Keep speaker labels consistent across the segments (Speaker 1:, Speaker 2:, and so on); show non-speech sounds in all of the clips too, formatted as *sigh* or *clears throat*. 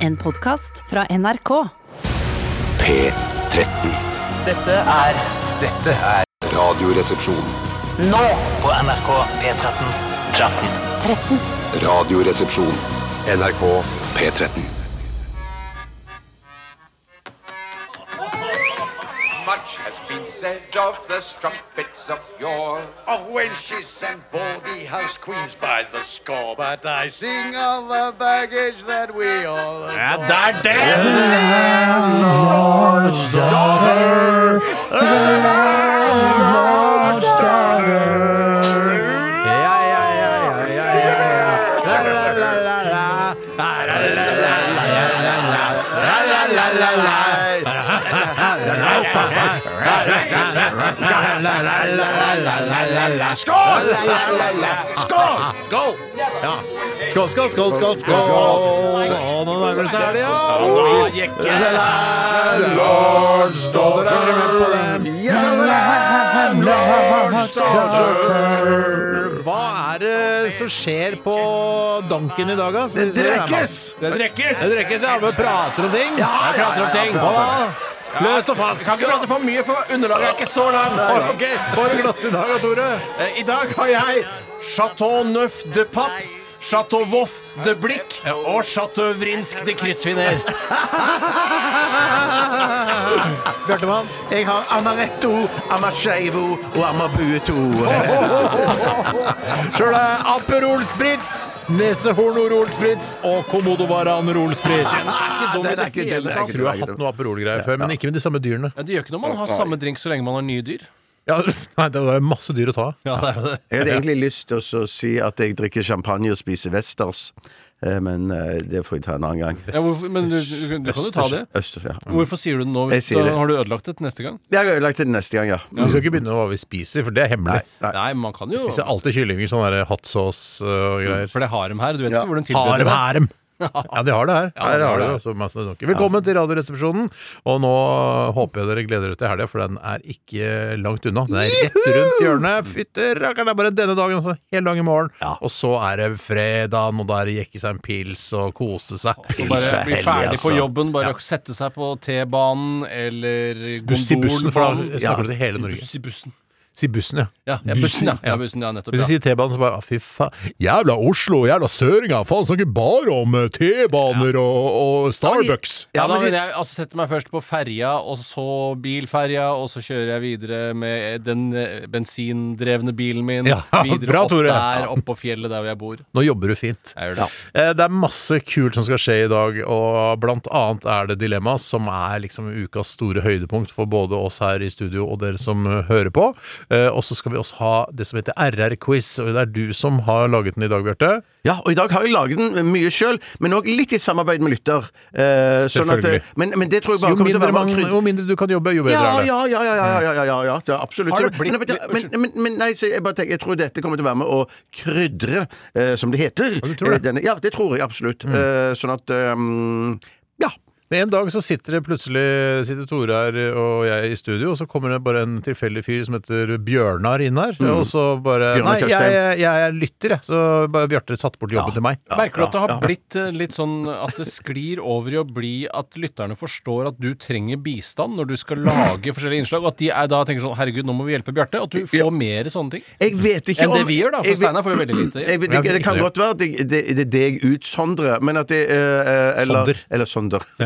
Speaker 1: En podkast fra NRK.
Speaker 2: P13.
Speaker 3: Dette er
Speaker 4: Dette er
Speaker 2: Radioresepsjon.
Speaker 3: nå
Speaker 4: på NRK P13.
Speaker 3: 13.
Speaker 2: Radioresepsjon. NRK P13.
Speaker 5: Much has been said of the strumpets of yore.
Speaker 6: of wenches and baldy house queens by the score. But I sing of the baggage that we all
Speaker 7: Ja, det er det! Skål! Skål! Skål! Ja. Skål, skål, skål, skål, skål! Å, nå nærmer det seg helg, ja! Lord Stodder. Hva er det som skjer på Donken i dag, da? Det drikkes!
Speaker 8: Det drikkes!
Speaker 7: Det drikkes, ja. Vi prater om ting. Ja,
Speaker 8: Jeg prater om ting.
Speaker 7: Hva? Løst og fast.
Speaker 8: Kan ikke prate for mye, for underlaget er ikke så langt.
Speaker 7: Ok, hva har du i glass i dag, Tore?
Speaker 8: Eh, I dag har jeg Chateau Neuf de Papp. Chateau Voff de Blikk og Chateau Vrinsk de *laughs* kryssfiner.
Speaker 7: Bjartemann?
Speaker 9: Jeg har amaretto, amarcheivo og amabueto.
Speaker 7: *laughs* Sjøl er det Aperol Spritz, Nesehorn Orol Spritz og Komodo Varan Orol Spritz.
Speaker 9: Den er ikke dum.
Speaker 7: Jeg tror jeg har hatt noe Aperol-greier før, men ikke med de samme dyrene.
Speaker 8: Ja, det gjør ikke noe om man har samme drink så lenge man har nye dyr.
Speaker 7: Ja, *laughs* nei, det var masse dyr å ta.
Speaker 8: Ja, det er jo det.
Speaker 9: Jeg hadde egentlig lyst til å så si at jeg drikker champagne og spiser westers, eh, men eh, det får jeg ta en annen gang.
Speaker 8: Ja, hvorfor, men du, du, du kan jo ta det.
Speaker 9: Østers, ja. Mm.
Speaker 8: Hvorfor sier du det nå?
Speaker 9: Jeg
Speaker 8: Hvis,
Speaker 9: sier
Speaker 8: da
Speaker 9: det.
Speaker 8: har du ødelagt det til neste gang?
Speaker 9: Jeg har ødelagt det neste gang, ja.
Speaker 7: Vi skal ikke begynne med hva vi spiser, for det er hemmelig.
Speaker 9: Nei.
Speaker 8: Nei, man kan jo
Speaker 7: Vi spiser alltid kyllinger, sånn der hot sauce øh, og greier.
Speaker 8: For det har dem her. Du vet ikke hvordan tilbeder
Speaker 7: Harem,
Speaker 8: det.
Speaker 7: harem!
Speaker 8: *laughs*
Speaker 7: Ja, de har det her.
Speaker 8: de
Speaker 7: her
Speaker 8: har
Speaker 7: har
Speaker 8: det
Speaker 7: de
Speaker 8: her.
Speaker 7: også masse donker. Velkommen til Radioresepsjonen. Og nå håper jeg dere gleder dere til helga, for den er ikke langt unna. Den er rett rundt hjørnet. Fytti rakkeren, det er bare denne dagen og så hele dagen i morgen. Og så er det fredag, og da er det jekke seg en pils og kose seg.
Speaker 8: Og Bare bli
Speaker 9: Hellig,
Speaker 8: ferdig på
Speaker 9: altså.
Speaker 8: jobben, bare sette seg på T-banen eller
Speaker 7: Buss i bussen, for
Speaker 8: gondolen.
Speaker 7: da snakker du til hele Norge.
Speaker 8: Buss i bussen.
Speaker 7: Si bussen, ja.
Speaker 8: Ja, ja, bussen, ja. ja.
Speaker 7: ja.
Speaker 8: bussen, ja nettopp,
Speaker 7: Hvis du
Speaker 8: ja.
Speaker 7: sier T-banen, så bare ah, fy faen. Jævla Oslo, jævla søringer. Faen, snakker bare om eh, T-baner og, og Starbucks.
Speaker 8: Ja,
Speaker 9: Ja,
Speaker 8: da
Speaker 9: men
Speaker 8: vil
Speaker 9: de,
Speaker 8: jeg altså, setter meg først på ferja, og så bilferja, og så kjører jeg videre med den eh, bensindrevne bilen min.
Speaker 7: *laughs* Ja,
Speaker 8: videre
Speaker 7: bra,
Speaker 8: opp
Speaker 7: Tore.
Speaker 8: der, opp på fjellet der hvor jeg bor.
Speaker 7: Nå jobber du fint.
Speaker 8: Jeg gjør det.
Speaker 7: Eh, Det er masse kult som skal skje i dag, og blant annet er det Dilemma, som er liksom ukas store høydepunkt for både oss her i studio og dere som eh, hører på. Eh, Og så skal vi også ha det som heter RR-quiz, og det er du som har laget den i dag, Bjarte.
Speaker 9: ja, og i dag har jeg laget den mye sjøl, men òg litt i samarbeid med lytter. eh, sånn at,
Speaker 7: Selvfølgelig.
Speaker 9: men, men det tror jeg bare
Speaker 7: Jo,
Speaker 9: kommer til å
Speaker 7: mindre
Speaker 9: være
Speaker 7: man-
Speaker 9: kryd-
Speaker 7: jo mindre du kan jobbe, jo bedre
Speaker 9: Ja,
Speaker 7: er det.
Speaker 9: ja, ja, ja, ja, ja, ja, ja, ja, det er absolutt.
Speaker 8: Har det blitt-
Speaker 9: men, men, men, men, men nei, så jeg bare tenker, jeg tror dette kommer til å være med å krydre, eh, som det heter.
Speaker 7: du tror det?
Speaker 9: Eh, denne, ja, det tror jeg absolutt. Eh, sånn at ehm, ja.
Speaker 7: Men En dag så sitter det plutselig sitter Tore her eh, og jeg i studio, og så kommer det bare en tilfeldig fyr som heter Bjørnar inn her. Og så bare
Speaker 9: Mm. Bjørnar
Speaker 7: Nei, jeg, jeg,
Speaker 9: Tjøstheim.
Speaker 7: jeg lytter, jeg. Så bare Bjarte satte bort jobben til meg.
Speaker 8: Merker du at det har blitt eh, litt sånn at det sklir over i å bli at lytterne forstår at du trenger bistand når du skal lage forskjellige innslag, og at de er da tenker sånn herregud, nå må vi hjelpe Bjarte, og at du får mer sånne ting?
Speaker 9: Jeg vet ikke
Speaker 8: Enn
Speaker 9: om
Speaker 8: det vi gjør, da.
Speaker 9: jeg
Speaker 8: For
Speaker 9: vet-
Speaker 8: Steinar får jo veldig lite.
Speaker 9: jeg vet ikke, det kan godt være at jeg- det det er det jeg utsondrer, men at det eh, eller,
Speaker 7: Sonder.
Speaker 9: Eller sonder. *laughs*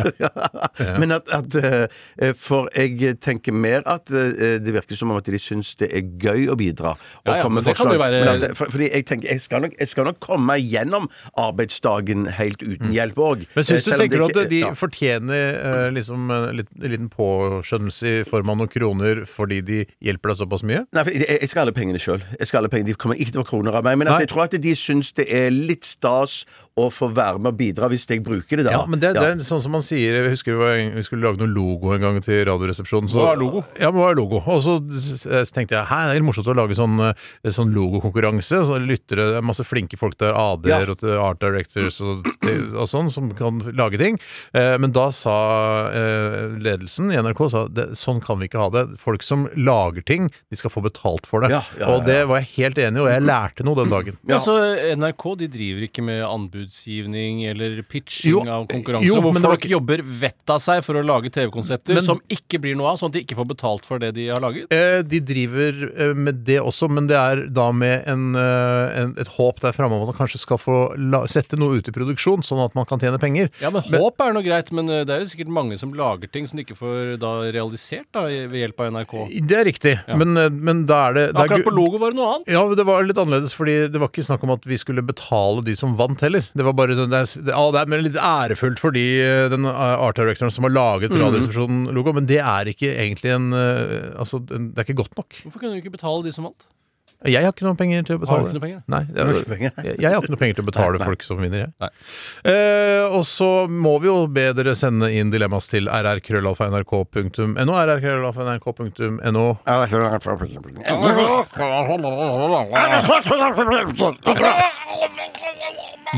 Speaker 9: men at, at eh, For jeg tenker mer at eh, det virker som om at de syns det er gøy å bidra. Og
Speaker 8: Ja, ja,
Speaker 9: komme
Speaker 8: men
Speaker 9: med
Speaker 8: det kan
Speaker 9: forslag.
Speaker 8: jo være-
Speaker 9: Men at, for, fordi jeg tenker jeg skal, nok, jeg skal nok komme gjennom arbeidsdagen helt uten hjelp eh, òg.
Speaker 7: Mm. Men syns du tenker du at de fortjener eh, liksom en lit- en liten påskjønnelse i form av noen kroner fordi de hjelper deg såpass mye?
Speaker 9: Nei, for jeg, jeg skal ha alle pengene sjøl. Jeg skal ha alle pengene. De kommer ikke til å få kroner av meg. Men
Speaker 7: Nei.
Speaker 9: at jeg tror at de syns det er litt stas å få være med og bidra hvis jeg bruker det, da.
Speaker 7: Ja, men det,
Speaker 9: Ja.
Speaker 7: det er sånn som man sier Jeg husker det var en, vi skulle lage noen logo en gang til Radioresepsjonen. så-
Speaker 8: Hva er logo?
Speaker 7: Ja, men hva er logo? Og så s- s- tenkte jeg hæ, det er litt morsomt å lage sånn, eh, sånn logokonkurranse. Så lyttere, det er masse flinke folk der, AD-er
Speaker 9: Ja.
Speaker 7: og til art directors og, og sånn, som kan lage ting. Eh, men da sa eh, ledelsen i NRK sa, det, sånn kan vi ikke ha det. Folk som lager ting, de skal få betalt for det.
Speaker 9: Ja, ja,
Speaker 7: Og det var jeg helt enig i, og jeg lærte noe den dagen.
Speaker 8: Altså, NRK de driver ikke med anbud anbudsgivning eller pitching
Speaker 7: Jo,
Speaker 8: av konkurranse,
Speaker 7: jo,
Speaker 8: hvor
Speaker 7: men det var
Speaker 8: folk
Speaker 7: ikke-
Speaker 8: jobber vettet av seg for å lage TV-konsepter
Speaker 7: Men-
Speaker 8: som ikke blir noe av, sånn at de ikke får betalt for det de har laget.
Speaker 7: Eh, De driver eh, med det også, men det er da med en, eh, en, et håp der framme om at man kanskje skal få la, sette noe ut i produksjon, sånn at man kan tjene penger.
Speaker 8: Ja, men Håp er noe greit, men eh, det er jo sikkert mange som lager ting som de ikke får da realisert da, i- ved hjelp av NRK.
Speaker 7: Det er riktig, men, eh, men da er det, det er
Speaker 8: Akkurat
Speaker 7: gu-
Speaker 8: på logo var det noe annet.
Speaker 7: Ja, men det var litt annerledes, fordi det var ikke snakk om at vi skulle betale de som vant heller. Det var bare sånn, det er, det, ja, det er men litt ærefullt for de, eh, den eh, art directoren som har
Speaker 8: Mm.
Speaker 7: laget Radioresepsjonen-logo, men det er ikke egentlig en eh, Altså, en- det er ikke godt nok.
Speaker 8: Hvorfor kunne du ikke betale de som vant?
Speaker 7: Jeg har ikke noen penger til å
Speaker 8: Har
Speaker 7: betale.
Speaker 8: du ikke noen penger?
Speaker 7: Nei, det er,
Speaker 9: ikke penger?
Speaker 7: jeg, jeg har ikke noen penger til å betale folk som vinner, jeg.
Speaker 8: Nei.
Speaker 7: Eh, og så må vi jo be dere sende inn dilemmas til rrkrøllalfa.nrk.no, rrkrøllalfa.nrk.no.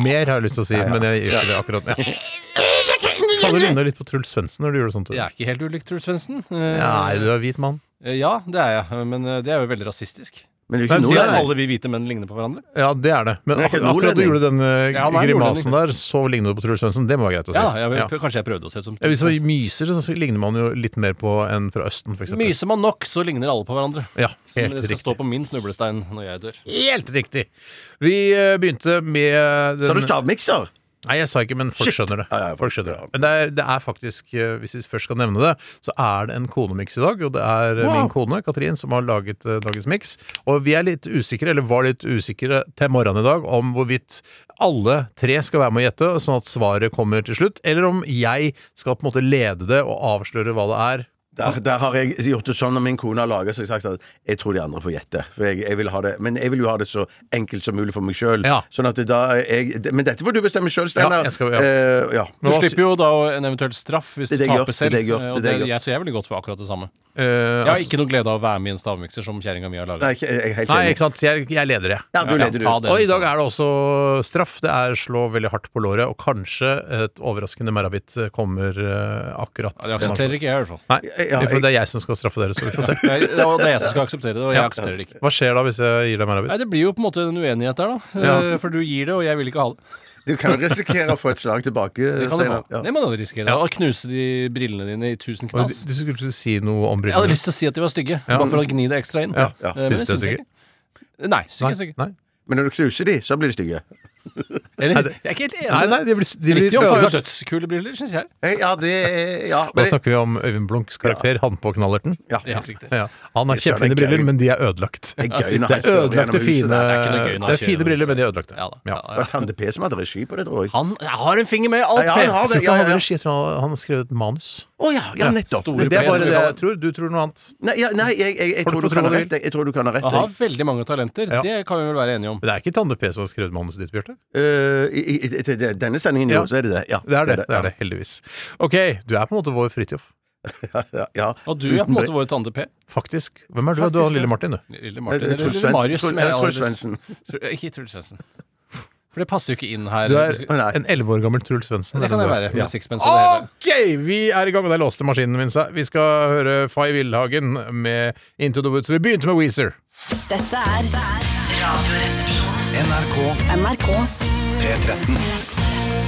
Speaker 7: Mer har jeg lyst til å si, men jeg gjør ikke det akkurat nå. Fader, du ligner litt på Truls Svendsen når du gjør det sånn.
Speaker 8: Jeg
Speaker 7: Ja.
Speaker 8: er ikke helt ulik Truls Svendsen. Eh,
Speaker 7: Nei, du er hvit mann.
Speaker 8: Ja, det er jeg, men eh, det er jo veldig rasistisk.
Speaker 9: Men det
Speaker 7: Men
Speaker 9: er ikke
Speaker 7: sier
Speaker 9: noe
Speaker 7: jeg-
Speaker 9: der.
Speaker 8: Alle vi hvite menn ligner på hverandre.
Speaker 7: Ja, det er det. Men
Speaker 9: Men er ikke
Speaker 7: akkurat, akkurat du
Speaker 9: nordlending.
Speaker 7: gjorde den eh,
Speaker 8: Ja, han er
Speaker 7: grimasen
Speaker 8: nordlending.
Speaker 7: der, så ligner du på Truls Svendsen. Det må være greit å si.
Speaker 8: Ja, jeg,
Speaker 7: Ja.
Speaker 8: Kanskje jeg prøvde å se som
Speaker 7: Ja, hvis man myser, så ligner man jo litt mer på en fra Østen, for eksempel.
Speaker 8: Myser man nok, så ligner alle på hverandre.
Speaker 7: Ja,
Speaker 8: Så
Speaker 7: helt
Speaker 8: det skal
Speaker 7: riktig.
Speaker 8: stå på min snublestein når jeg dør.
Speaker 7: Helt riktig! Vi eh, begynte med den...
Speaker 9: Sa du stavmikser?
Speaker 7: Nei, jeg sa ikke, men folk
Speaker 9: Shit.
Speaker 7: skjønner det.
Speaker 9: Ja, ja,
Speaker 7: folk skjønner det. Men det er, det er faktisk, eh, hvis vi først skal nevne det, så er det en konemiks i dag. Og det er eh, min kone, Katrin, som har laget eh, dagens miks. Og vi er litt usikre, eller var litt usikre til morgenen i dag, om hvorvidt alle tre skal være med å gjette, sånn at svaret kommer til slutt. Eller om jeg skal på en måte lede det og avsløre hva det er.
Speaker 9: Der, der har jeg gjort det sånn når min kone har laga, så har jeg sagt at jeg tror de andre får gjette. For jeg, jeg vil ha det, men jeg vil jo ha det så enkelt som mulig for meg sjøl.
Speaker 7: Ja.
Speaker 9: Sånn at det da er jeg, det- men dette får du bestemme sjøl, Steinar.
Speaker 7: Ja, jeg skal- ja.
Speaker 9: Eh, ja.
Speaker 8: Du
Speaker 7: hva-
Speaker 8: slipper jo da en eventuell straff hvis du
Speaker 9: Det er det jeg
Speaker 8: taper
Speaker 9: gjør,
Speaker 8: selv.
Speaker 9: det er det jeg
Speaker 8: eh,
Speaker 9: gjør, det
Speaker 8: og
Speaker 9: er det jeg
Speaker 8: det-
Speaker 9: gjør.
Speaker 8: jeg så jeg er veldig godt for akkurat det samme.
Speaker 7: Eh,
Speaker 8: Jeg har
Speaker 7: altså-
Speaker 8: ikke noe glede av å være med i en stavmikser som kjerringa mi har laga.
Speaker 9: Nei, jeg, jeg er helt
Speaker 7: Nei,
Speaker 9: enig.
Speaker 7: ikke sant. Jeg, jeg leder det.
Speaker 9: Ja, du
Speaker 8: Ja, ja,
Speaker 9: leder, du.
Speaker 8: ta det.
Speaker 7: Og i dag er det også straff. Det er slå veldig hardt på låret, og kanskje et overraskende merrabitt kommer eh, akkurat.
Speaker 8: Det aksepterer ikke jeg, i hvert fall.
Speaker 7: Nei,
Speaker 9: Ja,
Speaker 7: vi får- det er jeg som skal straffe dere, så vi får se.
Speaker 8: Jeg- Og det er jeg som skal akseptere det, og jeg aksepterer det ikke.
Speaker 7: Hva skjer da hvis jeg gir deg
Speaker 8: Nei,
Speaker 7: merrabitt?
Speaker 8: Det blir jo på en måte en uenighet der, da.
Speaker 7: Ja.
Speaker 8: Eh, For du gir det, og jeg vil ikke ha det.
Speaker 9: Du kan jo risikere å få et slag tilbake.
Speaker 8: Det kan du
Speaker 9: Steinar.
Speaker 8: få. Det må du risikere. Å knuse de brillene dine i tusen
Speaker 7: Og
Speaker 8: knas.
Speaker 7: Du du skulle ikke si noe om
Speaker 8: Jeg hadde
Speaker 7: brillene.
Speaker 8: lyst til å si at de var stygge, bare for å gni det ekstra inn.
Speaker 7: Ja,
Speaker 9: ja.
Speaker 8: Eh, Men det
Speaker 7: Synes du
Speaker 8: syns
Speaker 7: det er
Speaker 8: jeg ikke. Nei, syns ikke.
Speaker 7: Nei,
Speaker 8: syns ikke.
Speaker 7: nei.
Speaker 9: Men når du knuser de, så blir de stygge.
Speaker 8: Eller,
Speaker 7: det-
Speaker 8: jeg er ikke helt enig.
Speaker 7: nei, nei, de blir, de blir
Speaker 8: Fridtjof har jo
Speaker 7: ødelagt.
Speaker 8: dødskule briller, syns jeg.
Speaker 9: Eh, Ja, det er- ja,
Speaker 7: Da
Speaker 9: men det,
Speaker 7: snakker vi om Øyvind Blunks karakter, han på knallerten.
Speaker 9: ja.
Speaker 8: Ja, riktig.
Speaker 7: Ja. Han har
Speaker 9: Det er søren,
Speaker 7: kjempefine
Speaker 9: det er
Speaker 7: briller,
Speaker 9: gøy.
Speaker 7: men de er ødelagt.
Speaker 9: Det er gøy når
Speaker 7: Det
Speaker 9: han
Speaker 7: er
Speaker 9: kjører gjennom
Speaker 7: ødelagte,
Speaker 9: huset
Speaker 7: fine
Speaker 9: der.
Speaker 8: er ikke noe gøy når han
Speaker 7: Det er
Speaker 8: kjører
Speaker 7: fine briller,
Speaker 8: gjennom
Speaker 7: men de er ødelagte.
Speaker 8: Ja da, ja,
Speaker 7: Ja.
Speaker 8: ja.
Speaker 9: Det var Tante P som hadde regi på det, tror jeg.
Speaker 8: Han har en finger med i alt,
Speaker 9: Ja,
Speaker 7: Jeg
Speaker 9: han har
Speaker 7: tror
Speaker 9: det.
Speaker 7: ikke
Speaker 9: Ja,
Speaker 7: han
Speaker 9: ja,
Speaker 7: hadde
Speaker 9: ja.
Speaker 7: regi, jeg tror han han har skrevet manus.
Speaker 9: Å ja, ja, nettopp.
Speaker 8: Store
Speaker 7: Det er
Speaker 8: P, som
Speaker 7: bare
Speaker 8: vi
Speaker 7: det
Speaker 8: kaller
Speaker 7: jeg tror. Du tror noe annet.
Speaker 9: Nei, ja, nei jeg, jeg, jeg,
Speaker 7: Folk
Speaker 9: tror du
Speaker 7: får tro
Speaker 9: kan ha
Speaker 7: hva de
Speaker 9: rett. jeg. Jeg tror du kan ha rett.
Speaker 8: Han har
Speaker 9: jeg.
Speaker 8: veldig mange talenter,
Speaker 7: Ja.
Speaker 8: det kan vi vel være enige om.
Speaker 7: Men det er ikke Tande P som har skrevet manuset ditt, Bjarte?
Speaker 9: Eh, i, i, i, til det- denne sendingen, jo,
Speaker 7: Ja.
Speaker 9: så er det det. Ja,
Speaker 7: Det er det, det er
Speaker 9: ja.
Speaker 7: det, heldigvis. Ok, du er på en måte vår Fridtjof.
Speaker 9: Ja, ja.
Speaker 8: Og du er på en måte
Speaker 9: Uten
Speaker 8: vår tante P.
Speaker 7: Faktisk. Hvem er du? du
Speaker 9: Faktisk,
Speaker 7: er
Speaker 9: ja.
Speaker 7: lille Martin, du.
Speaker 8: Lille
Speaker 9: Nei,
Speaker 8: Martin
Speaker 9: det er
Speaker 8: eller
Speaker 9: Truls
Speaker 8: Lille
Speaker 9: Svendsen.
Speaker 8: Marius. som
Speaker 9: Truls-
Speaker 8: jeg
Speaker 9: eller Truls
Speaker 8: aldri-
Speaker 9: Svendsen.
Speaker 8: Tru- Ikke Truls Svendsen. For det passer jo ikke inn her.
Speaker 7: Du er
Speaker 8: Det
Speaker 9: Å, nei.
Speaker 7: en elleve år gammel Truls Svendsen.
Speaker 8: kan jeg
Speaker 7: eller
Speaker 8: være.
Speaker 7: noe.
Speaker 8: Med
Speaker 7: Ja.
Speaker 8: sixpence og sånn det hele.
Speaker 7: Ok, vi er i gang, og der låste maskinen min seg. Vi skal høre Fay Villhagen med Into the Woods. Vi begynte med Weezer.
Speaker 1: Dette er Radioresepsjonen.
Speaker 4: NRK
Speaker 1: NRK.
Speaker 4: P13.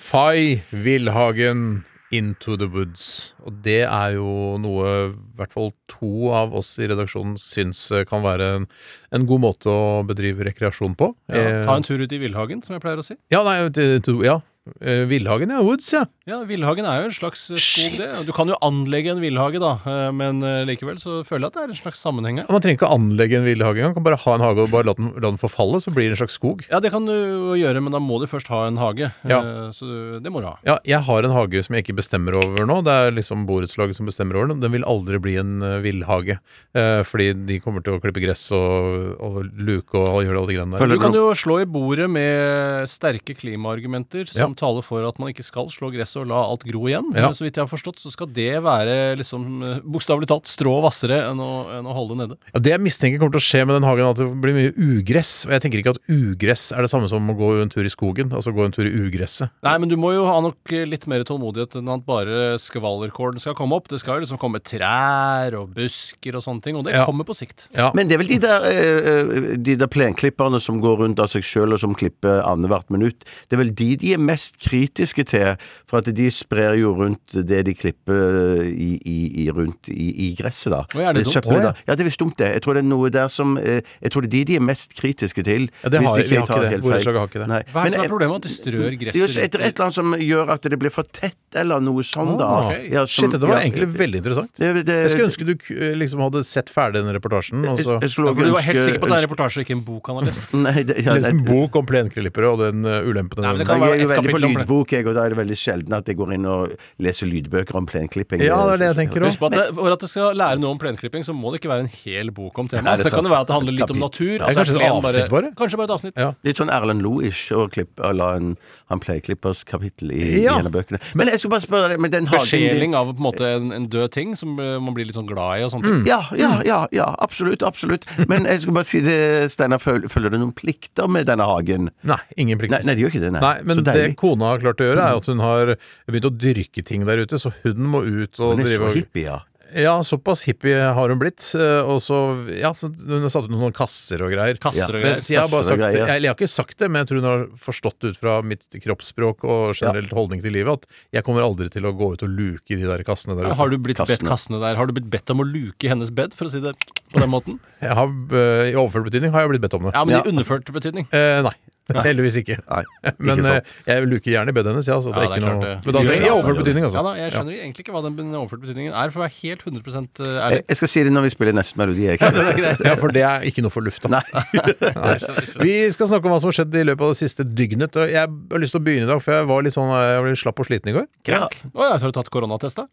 Speaker 7: Fay Villhagen, Into the Woods. Og det er jo noe i hvert fall to av oss i redaksjonen syns eh, kan være en, en god måte å bedrive rekreasjon på.
Speaker 8: Ja,
Speaker 7: Eh,
Speaker 8: ta en tur ut i Villhagen, som jeg pleier å si.
Speaker 7: Ja, nei, t- to, ja. Eh, Villhagen, ja. Woods, ja.
Speaker 8: Ja, Villhagen er jo en slags eh, skog, det. Du kan jo anlegge en villhage, da, eh, men eh, likevel så føler jeg at det er en slags sammenheng her.
Speaker 7: Man trenger ikke å anlegge en villhage engang. Kan bare ha en hage og bare la den, la den forfalle, så blir det en slags skog.
Speaker 8: Ja, det kan du jo gjøre, men da må du først ha en hage.
Speaker 7: Ja.
Speaker 8: Eh, Så det må du ha.
Speaker 7: Ja, jeg har en hage som jeg ikke bestemmer over nå. Det er liksom borettslaget som bestemmer over den. Den vil aldri bli en eh, villhage. Eh, fordi de kommer til å klippe gress og, og luke og gjøre alle de greiene der.
Speaker 8: Du kan jo slå i bordet med sterke klimaargumenter som taler for at man ikke skal slå gress å la alt gro igjen.
Speaker 7: Ja.
Speaker 8: Men Så vidt jeg har forstått, så skal det være liksom eh, bokstavelig talt strå hvassere enn å, enn å holde det nede.
Speaker 7: Ja, det jeg mistenker kommer til å skje med den hagen, er at det blir mye ugress. Og jeg tenker ikke at ugress er det samme som å gå en tur i skogen. Altså gå en tur i ugresset.
Speaker 8: Nei, men du må jo ha nok eh, litt mer tålmodighet enn at bare skvallerkålen skal komme opp. Det skal jo liksom komme trær og busker og sånne ting, og det
Speaker 7: Ja.
Speaker 8: kommer på sikt.
Speaker 7: Ja.
Speaker 9: Men det er vel de der, eh, eh, de der plenklipperne som går rundt av seg sjøl, og som klipper annethvert minutt. Det er vel de de er mest kritiske til, for at de sprer jo rundt det de klipper eh, i, i, i, rundt i, i gresset, da.
Speaker 8: Å, er det dumt?
Speaker 9: Søppelet,
Speaker 8: Å, ja.
Speaker 9: da. Ja, det er visst dumt, det. Jeg tror det er noe der som eh, Jeg tror det er de de er mest kritiske til.
Speaker 7: Ja, det har-
Speaker 9: hvis
Speaker 7: vi
Speaker 9: jeg
Speaker 7: har
Speaker 9: tar
Speaker 7: ikke det.
Speaker 9: helt feil.
Speaker 7: Borettslaget har ikke det.
Speaker 9: Nei.
Speaker 8: Hva er
Speaker 9: Men,
Speaker 8: det som er
Speaker 9: eh,
Speaker 8: problemet? At de strør
Speaker 9: det er jo
Speaker 8: gresset
Speaker 9: et et eller annet som gjør at det blir for tett, eller noe sånn, da.
Speaker 7: Ah,
Speaker 8: ok.
Speaker 9: Ja, som-
Speaker 7: Shit, dette var
Speaker 9: ja.
Speaker 7: egentlig veldig interessant.
Speaker 9: Det-
Speaker 7: Jeg
Speaker 9: det-
Speaker 7: skulle ønske du k- liksom hadde sett ferdig den reportasjen. Og så
Speaker 9: Jeg- jeg skulle
Speaker 8: Ja,
Speaker 9: også
Speaker 8: for du var helt
Speaker 9: ønske-
Speaker 8: sikker på at det er en reportasje og ikke en bok han har lest.
Speaker 9: Nei, det, ja,
Speaker 7: lest en
Speaker 9: nei.
Speaker 7: bok om plenklippere og den uh, ulempen
Speaker 8: Nei, men det kan
Speaker 7: den-
Speaker 9: Jeg
Speaker 8: være
Speaker 9: er
Speaker 8: et
Speaker 9: jo veldig på
Speaker 8: kapittel om det.
Speaker 9: lydbok, jeg, og da er det veldig sjelden at jeg går inn og leser lydbøker om plenklipping.
Speaker 7: Ja, det er det jeg tenker
Speaker 8: Husk
Speaker 7: òg.
Speaker 8: på at det, For at det skal lære noe om plenklipping, så må det ikke være en hel bok om
Speaker 9: Nei,
Speaker 8: temaet.
Speaker 9: det er
Speaker 8: Det kan
Speaker 9: sant.
Speaker 8: jo være at det handler litt om
Speaker 9: Kapit-
Speaker 8: natur.
Speaker 9: Ja.
Speaker 8: og så er
Speaker 7: Kanskje et
Speaker 8: plen
Speaker 7: avsnitt bare?
Speaker 8: Kanskje bare et avsnitt.
Speaker 7: Ja.
Speaker 9: Litt sånn Erlend Loe-ish å klippe å la en han pleieklippers kapittel i,
Speaker 7: Ja.
Speaker 9: i en av bøkene. Men jeg skulle bare spørre deg, men den hagen din-
Speaker 8: Besjeling av på en måte en, en død ting som eh, man blir litt sånn glad i og sånne ting.
Speaker 9: Ja, ja, ja, ja, absolutt, absolutt. Men jeg skulle bare si det, Steinar, føl- følger det noen plikter med denne hagen?
Speaker 7: Nei, ingen
Speaker 9: Nei,
Speaker 7: plikter.
Speaker 9: nei det gjør ikke det, nei.
Speaker 7: Nei, men
Speaker 9: Så deilig. Mm.
Speaker 7: det kona har klart å gjøre, er at hun har begynt å dyrke ting der ute, så hun må ut og
Speaker 9: Hun er
Speaker 7: drive
Speaker 9: så
Speaker 7: og
Speaker 9: hippie, ja.
Speaker 7: Ja, såpass hippie har hun blitt. eh, Og så, ja, så hun har satt ut noen kasser og greier.
Speaker 8: Kasser og
Speaker 7: Men
Speaker 8: greier.
Speaker 7: så jeg, har bare
Speaker 9: Kasser
Speaker 7: sagt,
Speaker 9: og
Speaker 7: jeg,
Speaker 9: greier.
Speaker 7: eller jeg har ikke sagt det, men jeg tror hun har forstått ut fra mitt kroppsspråk og generelt holdning til livet at jeg kommer aldri til å gå ut og luke i de der Mm. kassene der. ute.
Speaker 8: Har du blitt bedt
Speaker 9: Kassene.
Speaker 8: kassene der Har du blitt bedt om å luke i hennes bed, for å si det på den måten?
Speaker 7: Jeg har, eh, I overført betydning har jeg blitt bedt om det.
Speaker 8: Ja, men
Speaker 9: Ja.
Speaker 8: i underført betydning.
Speaker 7: Eh, nei. Heldigvis ikke.
Speaker 9: Nei, ikke
Speaker 7: *laughs* Men eh,
Speaker 9: sant.
Speaker 7: jeg luker gjerne i bedet hennes, ja. Så det
Speaker 8: Ja,
Speaker 7: er
Speaker 8: det
Speaker 7: ikke
Speaker 8: er
Speaker 7: noe
Speaker 8: klart det.
Speaker 7: Men da,
Speaker 9: Gjør
Speaker 7: I
Speaker 9: det.
Speaker 7: overført betydning, altså.
Speaker 8: Ja da, Jeg skjønner egentlig ikke hva den overførte betydningen er, for å være helt 100
Speaker 7: Eh,
Speaker 8: ærlig.
Speaker 9: Jeg, jeg skal si det når vi spiller neste melodi. Jeg. Ja,
Speaker 7: Ja, for det er ikke noe for lufta. *laughs* Nei. Vi skal snakke om hva som har skjedd i løpet av det siste dygnet. og Jeg har lyst til å begynne i dag, for jeg var litt sånn eh, jeg ble slapp og sliten i går.
Speaker 8: Å ja, har du tatt koronatest, da?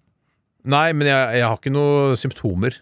Speaker 7: Nei, men jeg, jeg har ikke noen symptomer.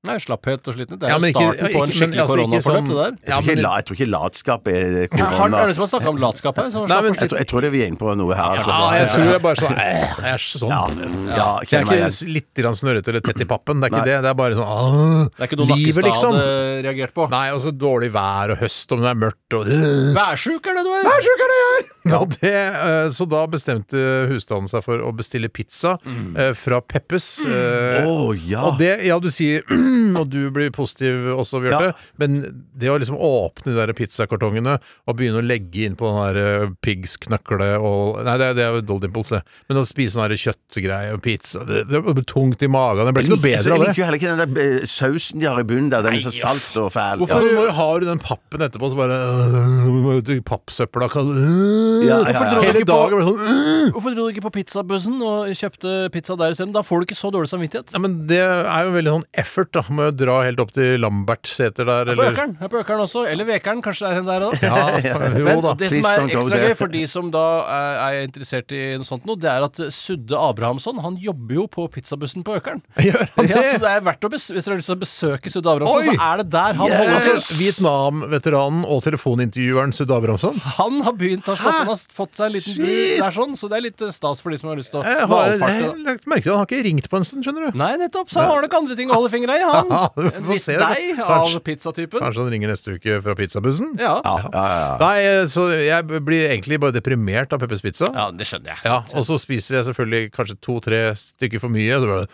Speaker 8: Nei, slapphet og slitenhet. Det er
Speaker 7: Ja,
Speaker 8: jo
Speaker 7: men ikke-
Speaker 8: starten på en
Speaker 7: ikke- men
Speaker 8: skikkelig
Speaker 7: altså ikke
Speaker 8: koronaforløp,
Speaker 7: sånn-
Speaker 8: det der.
Speaker 7: Ja,
Speaker 9: jeg, tror
Speaker 7: men-
Speaker 9: ikke la, jeg tror ikke latskap er
Speaker 8: Har,
Speaker 9: korona.
Speaker 8: er det som har snakka om latskap her? Så
Speaker 7: Nei, men-
Speaker 9: Jeg tror, jeg tror det vi er inne på noe her. altså.
Speaker 7: Ja, jeg tror jeg bare sånn eh, Jeg er sånn.
Speaker 9: Ja, ja,
Speaker 7: Jeg er
Speaker 9: kjenner meg
Speaker 7: ikke
Speaker 9: igjen.
Speaker 7: s- litt grann snørrete eller tett i pappen. Det er ikke
Speaker 9: Nei.
Speaker 7: det. Det er bare sånn ah,
Speaker 8: det er ikke noe
Speaker 7: Livet,
Speaker 8: Nakkestad
Speaker 7: liksom.
Speaker 8: hadde reagert på.
Speaker 7: Nei, og så dårlig vær og høst om det er mørkt og øh.
Speaker 8: Værsjuk er det du er!
Speaker 7: Værsjuk er det jeg er! *laughs* Ja, det, eh, så da bestemte husstanden seg for å bestille pizza eh, fra Peppes. eh,
Speaker 9: Mm. Å ja.
Speaker 7: Og det, ja, du sier *clears throat* og du blir positiv også, Bjarte,
Speaker 9: Ja.
Speaker 7: men det å liksom åpne de der pizzakartongene og begynne å legge inn på den der eh, piggsknøkle og Nei, det, er- det er jo Doll Dimples, det. Men å spise sånn der kjøttgreie og pizza Det, det ble tungt i magen. Det ble ikke noe bedre av
Speaker 9: Jeg liker
Speaker 7: det.
Speaker 9: jo heller ikke den der eh, sausen de har i bunnen der. Den er så salt og fæl.
Speaker 7: Hvorfor
Speaker 9: Ja.
Speaker 7: Altså, når har du den pappen etterpå, så bare øh, du må ut i Pappsøpla kan øh,
Speaker 9: Ja, ja,
Speaker 8: Hvorfor drar
Speaker 7: Hele
Speaker 9: ja.
Speaker 8: du ikke på-
Speaker 7: dagen ble sånn øh.
Speaker 8: Hvorfor dro du ikke på pizzabussen og kjøpte pizza der isteden? Da får du ikke så dårlig samvittighet.
Speaker 7: Ja, men det er jo veldig sånn effort, da. Må jo dra helt opp til Lambertseter der,
Speaker 8: På
Speaker 7: eller
Speaker 8: Økeren her på økeren også. Eller Vekeren. Kanskje det er henne der òg.
Speaker 7: Ja, jo
Speaker 8: Men
Speaker 7: da.
Speaker 8: det som
Speaker 9: please
Speaker 8: er
Speaker 9: don't go
Speaker 8: ekstra
Speaker 9: there.
Speaker 8: gøy for de som da eh, er interessert i noe sånt noe, det er at Sudde Abrahamsson han jobber jo på pizzabussen på Økeren.
Speaker 7: *laughs* Gjør han
Speaker 8: Ja, så
Speaker 7: det?
Speaker 8: det er verdt å bes Hvis dere har lyst til å besøke Sudde
Speaker 7: Oi!
Speaker 8: Abrahamsson, så er det der han holder til.
Speaker 7: Altså, Vietnam-veteranen og telefonintervjueren Sudde Abrahamsson.
Speaker 8: Han har begynt å slått, han har fått seg en liten by der sånn, så det er litt eh, stas for de som har lyst til å
Speaker 7: Jeg eh, har, jeg
Speaker 8: valfarte.
Speaker 7: har lagt merke til det. Han har ikke ringt på en stund, skjønner du.
Speaker 8: Nei, nettopp, så han har nok andre ting å holde fingra i, han.
Speaker 7: *laughs* Ja, vi
Speaker 8: En
Speaker 7: får
Speaker 8: viss
Speaker 7: se det.
Speaker 8: deg av
Speaker 7: Kanskje-
Speaker 8: pizzatypen.
Speaker 7: Kanskje han ringer neste uke fra pizzabussen?
Speaker 8: Ja.
Speaker 9: Ja, ja, ja.
Speaker 7: Nei, så jeg blir egentlig bare deprimert av Peppers Pizza.
Speaker 8: ja, det skjønner jeg.
Speaker 7: Ja, og så spiser jeg selvfølgelig kanskje to-tre stykker for mye. og Så bare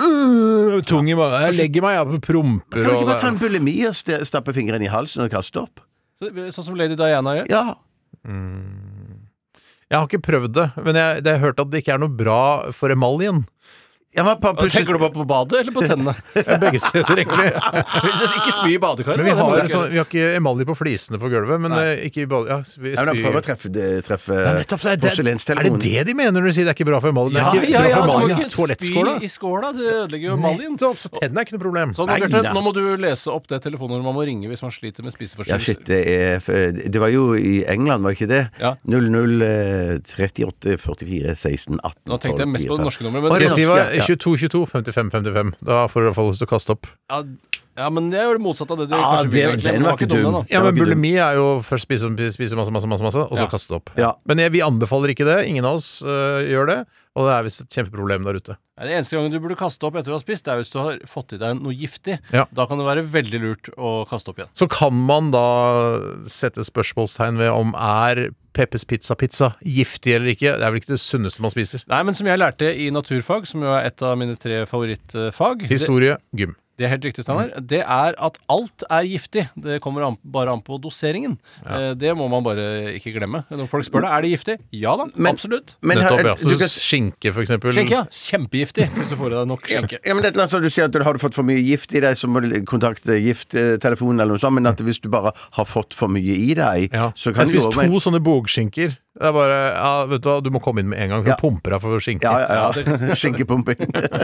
Speaker 7: øh, Tung i magen. Jeg legger meg, jeg promper
Speaker 9: Kan du ikke bare ta
Speaker 7: og
Speaker 9: en bulimi og st- stappe fingeren i halsen og kaste opp?
Speaker 8: Så, sånn som Lady Diana gjør.
Speaker 9: Ja.
Speaker 7: Jeg har ikke prøvd det, men jeg, det- jeg har hørt at det ikke er noe bra for emaljen.
Speaker 9: ja men bare pushe-
Speaker 8: Tenker du bare på badet eller på tennene?
Speaker 7: Eh, Begge steder, *laughs* egentlig.
Speaker 8: *laughs* ikke spy i badekaret.
Speaker 7: Men vi har, en sånn, vi har ikke emalje på flisene på gulvet, men eh, ikke i bad... Ja, vi
Speaker 9: Ja, men da
Speaker 7: spyr-
Speaker 9: Prøv å treffe, det- treffe
Speaker 7: Ja, nettopp, det er- det er-
Speaker 9: porselenstelefonen.
Speaker 7: Er det det de mener når de sier det er ikke bra for emaljen? Det er
Speaker 8: Ja,
Speaker 7: ikke
Speaker 8: ja, ja,
Speaker 7: bra
Speaker 8: du
Speaker 7: for
Speaker 8: må
Speaker 7: emaljen, ja.
Speaker 8: ikke spy
Speaker 7: Toalettskåla?
Speaker 8: i skåla, det ødelegger jo emaljen.
Speaker 7: Nettopp, så tennene Sånn er ikke noe problem.
Speaker 8: Så nå,
Speaker 9: Nei,
Speaker 8: Bjarte,
Speaker 9: nei.
Speaker 8: nå må du lese opp det telefonnummeret man må ringe hvis man sliter med
Speaker 9: Ja,
Speaker 8: spiseforstyrrelser.
Speaker 9: shit, det er f- Det var jo i England, var ikke det? eh,
Speaker 8: Ja.
Speaker 9: 00 38 44 16 18
Speaker 8: Nå tenkte jeg mest på det norske nummeret, men
Speaker 7: Skal jeg si hva
Speaker 9: norske, ja.
Speaker 7: 2222 55 55. Da får du i hvert fall lyst til å kaste opp.
Speaker 8: Ja, ja, men det er jo det motsatte av det du
Speaker 9: Ja,
Speaker 8: kanskje
Speaker 9: det-
Speaker 8: vil. egentlig,
Speaker 9: den
Speaker 8: men det
Speaker 9: var ikke
Speaker 8: dum,
Speaker 9: dum.
Speaker 8: den, da.
Speaker 7: Ja,
Speaker 9: Det var
Speaker 7: men
Speaker 9: ikke
Speaker 7: bulimi er jo først spise, spise masse, masse, masse, masse og så
Speaker 8: Ja.
Speaker 7: kaste det opp.
Speaker 9: Ja.
Speaker 7: Men jeg, vi anbefaler ikke det. Ingen av oss øh, gjør det. Og det er visst et kjempeproblem der ute.
Speaker 8: Nei, Det eneste gangen du burde kaste opp etter å ha spist, det er hvis du har fått i deg noe giftig.
Speaker 7: Ja.
Speaker 8: Da kan det være veldig lurt å kaste opp igjen.
Speaker 7: Så kan man da sette spørsmålstegn ved om er Peppes pizza-pizza giftig eller ikke. Det er vel ikke det sunneste man spiser.
Speaker 8: Nei, men som jeg lærte i naturfag, som jo er et av mine tre favorittfag det,
Speaker 7: Historie, gym.
Speaker 8: det er helt riktig, Steinar.
Speaker 9: Mm.
Speaker 8: Det er at alt er giftig. Det kommer an, bare an på doseringen. Eh, Det må man bare ikke glemme. Når folk spør deg er det giftig, ja da,
Speaker 9: Men-
Speaker 8: absolutt.
Speaker 9: Men her-
Speaker 7: Nettopp, ja. Så
Speaker 9: du kan-
Speaker 7: skinke, for eksempel.
Speaker 8: Skjenke, ja. Kjempegiftig hvis du får i deg nok skjenke.
Speaker 9: Ja, men dette, altså, du sier at du har fått for mye gift i deg, så må du kontakte gifttelefonen eller noe sånt, men at hvis du bare har fått for mye i deg,
Speaker 7: Ja.
Speaker 9: så kan
Speaker 7: jeg
Speaker 9: du
Speaker 7: spiste
Speaker 9: over-
Speaker 7: to sånne bogskinker. Det er bare, ja, vet Du hva, du må komme inn med en gang, for
Speaker 9: Ja.
Speaker 7: du pumper deg for skinke.
Speaker 9: Ja, ja, *laughs*
Speaker 7: *laughs*
Speaker 9: ja. Skinkepumping.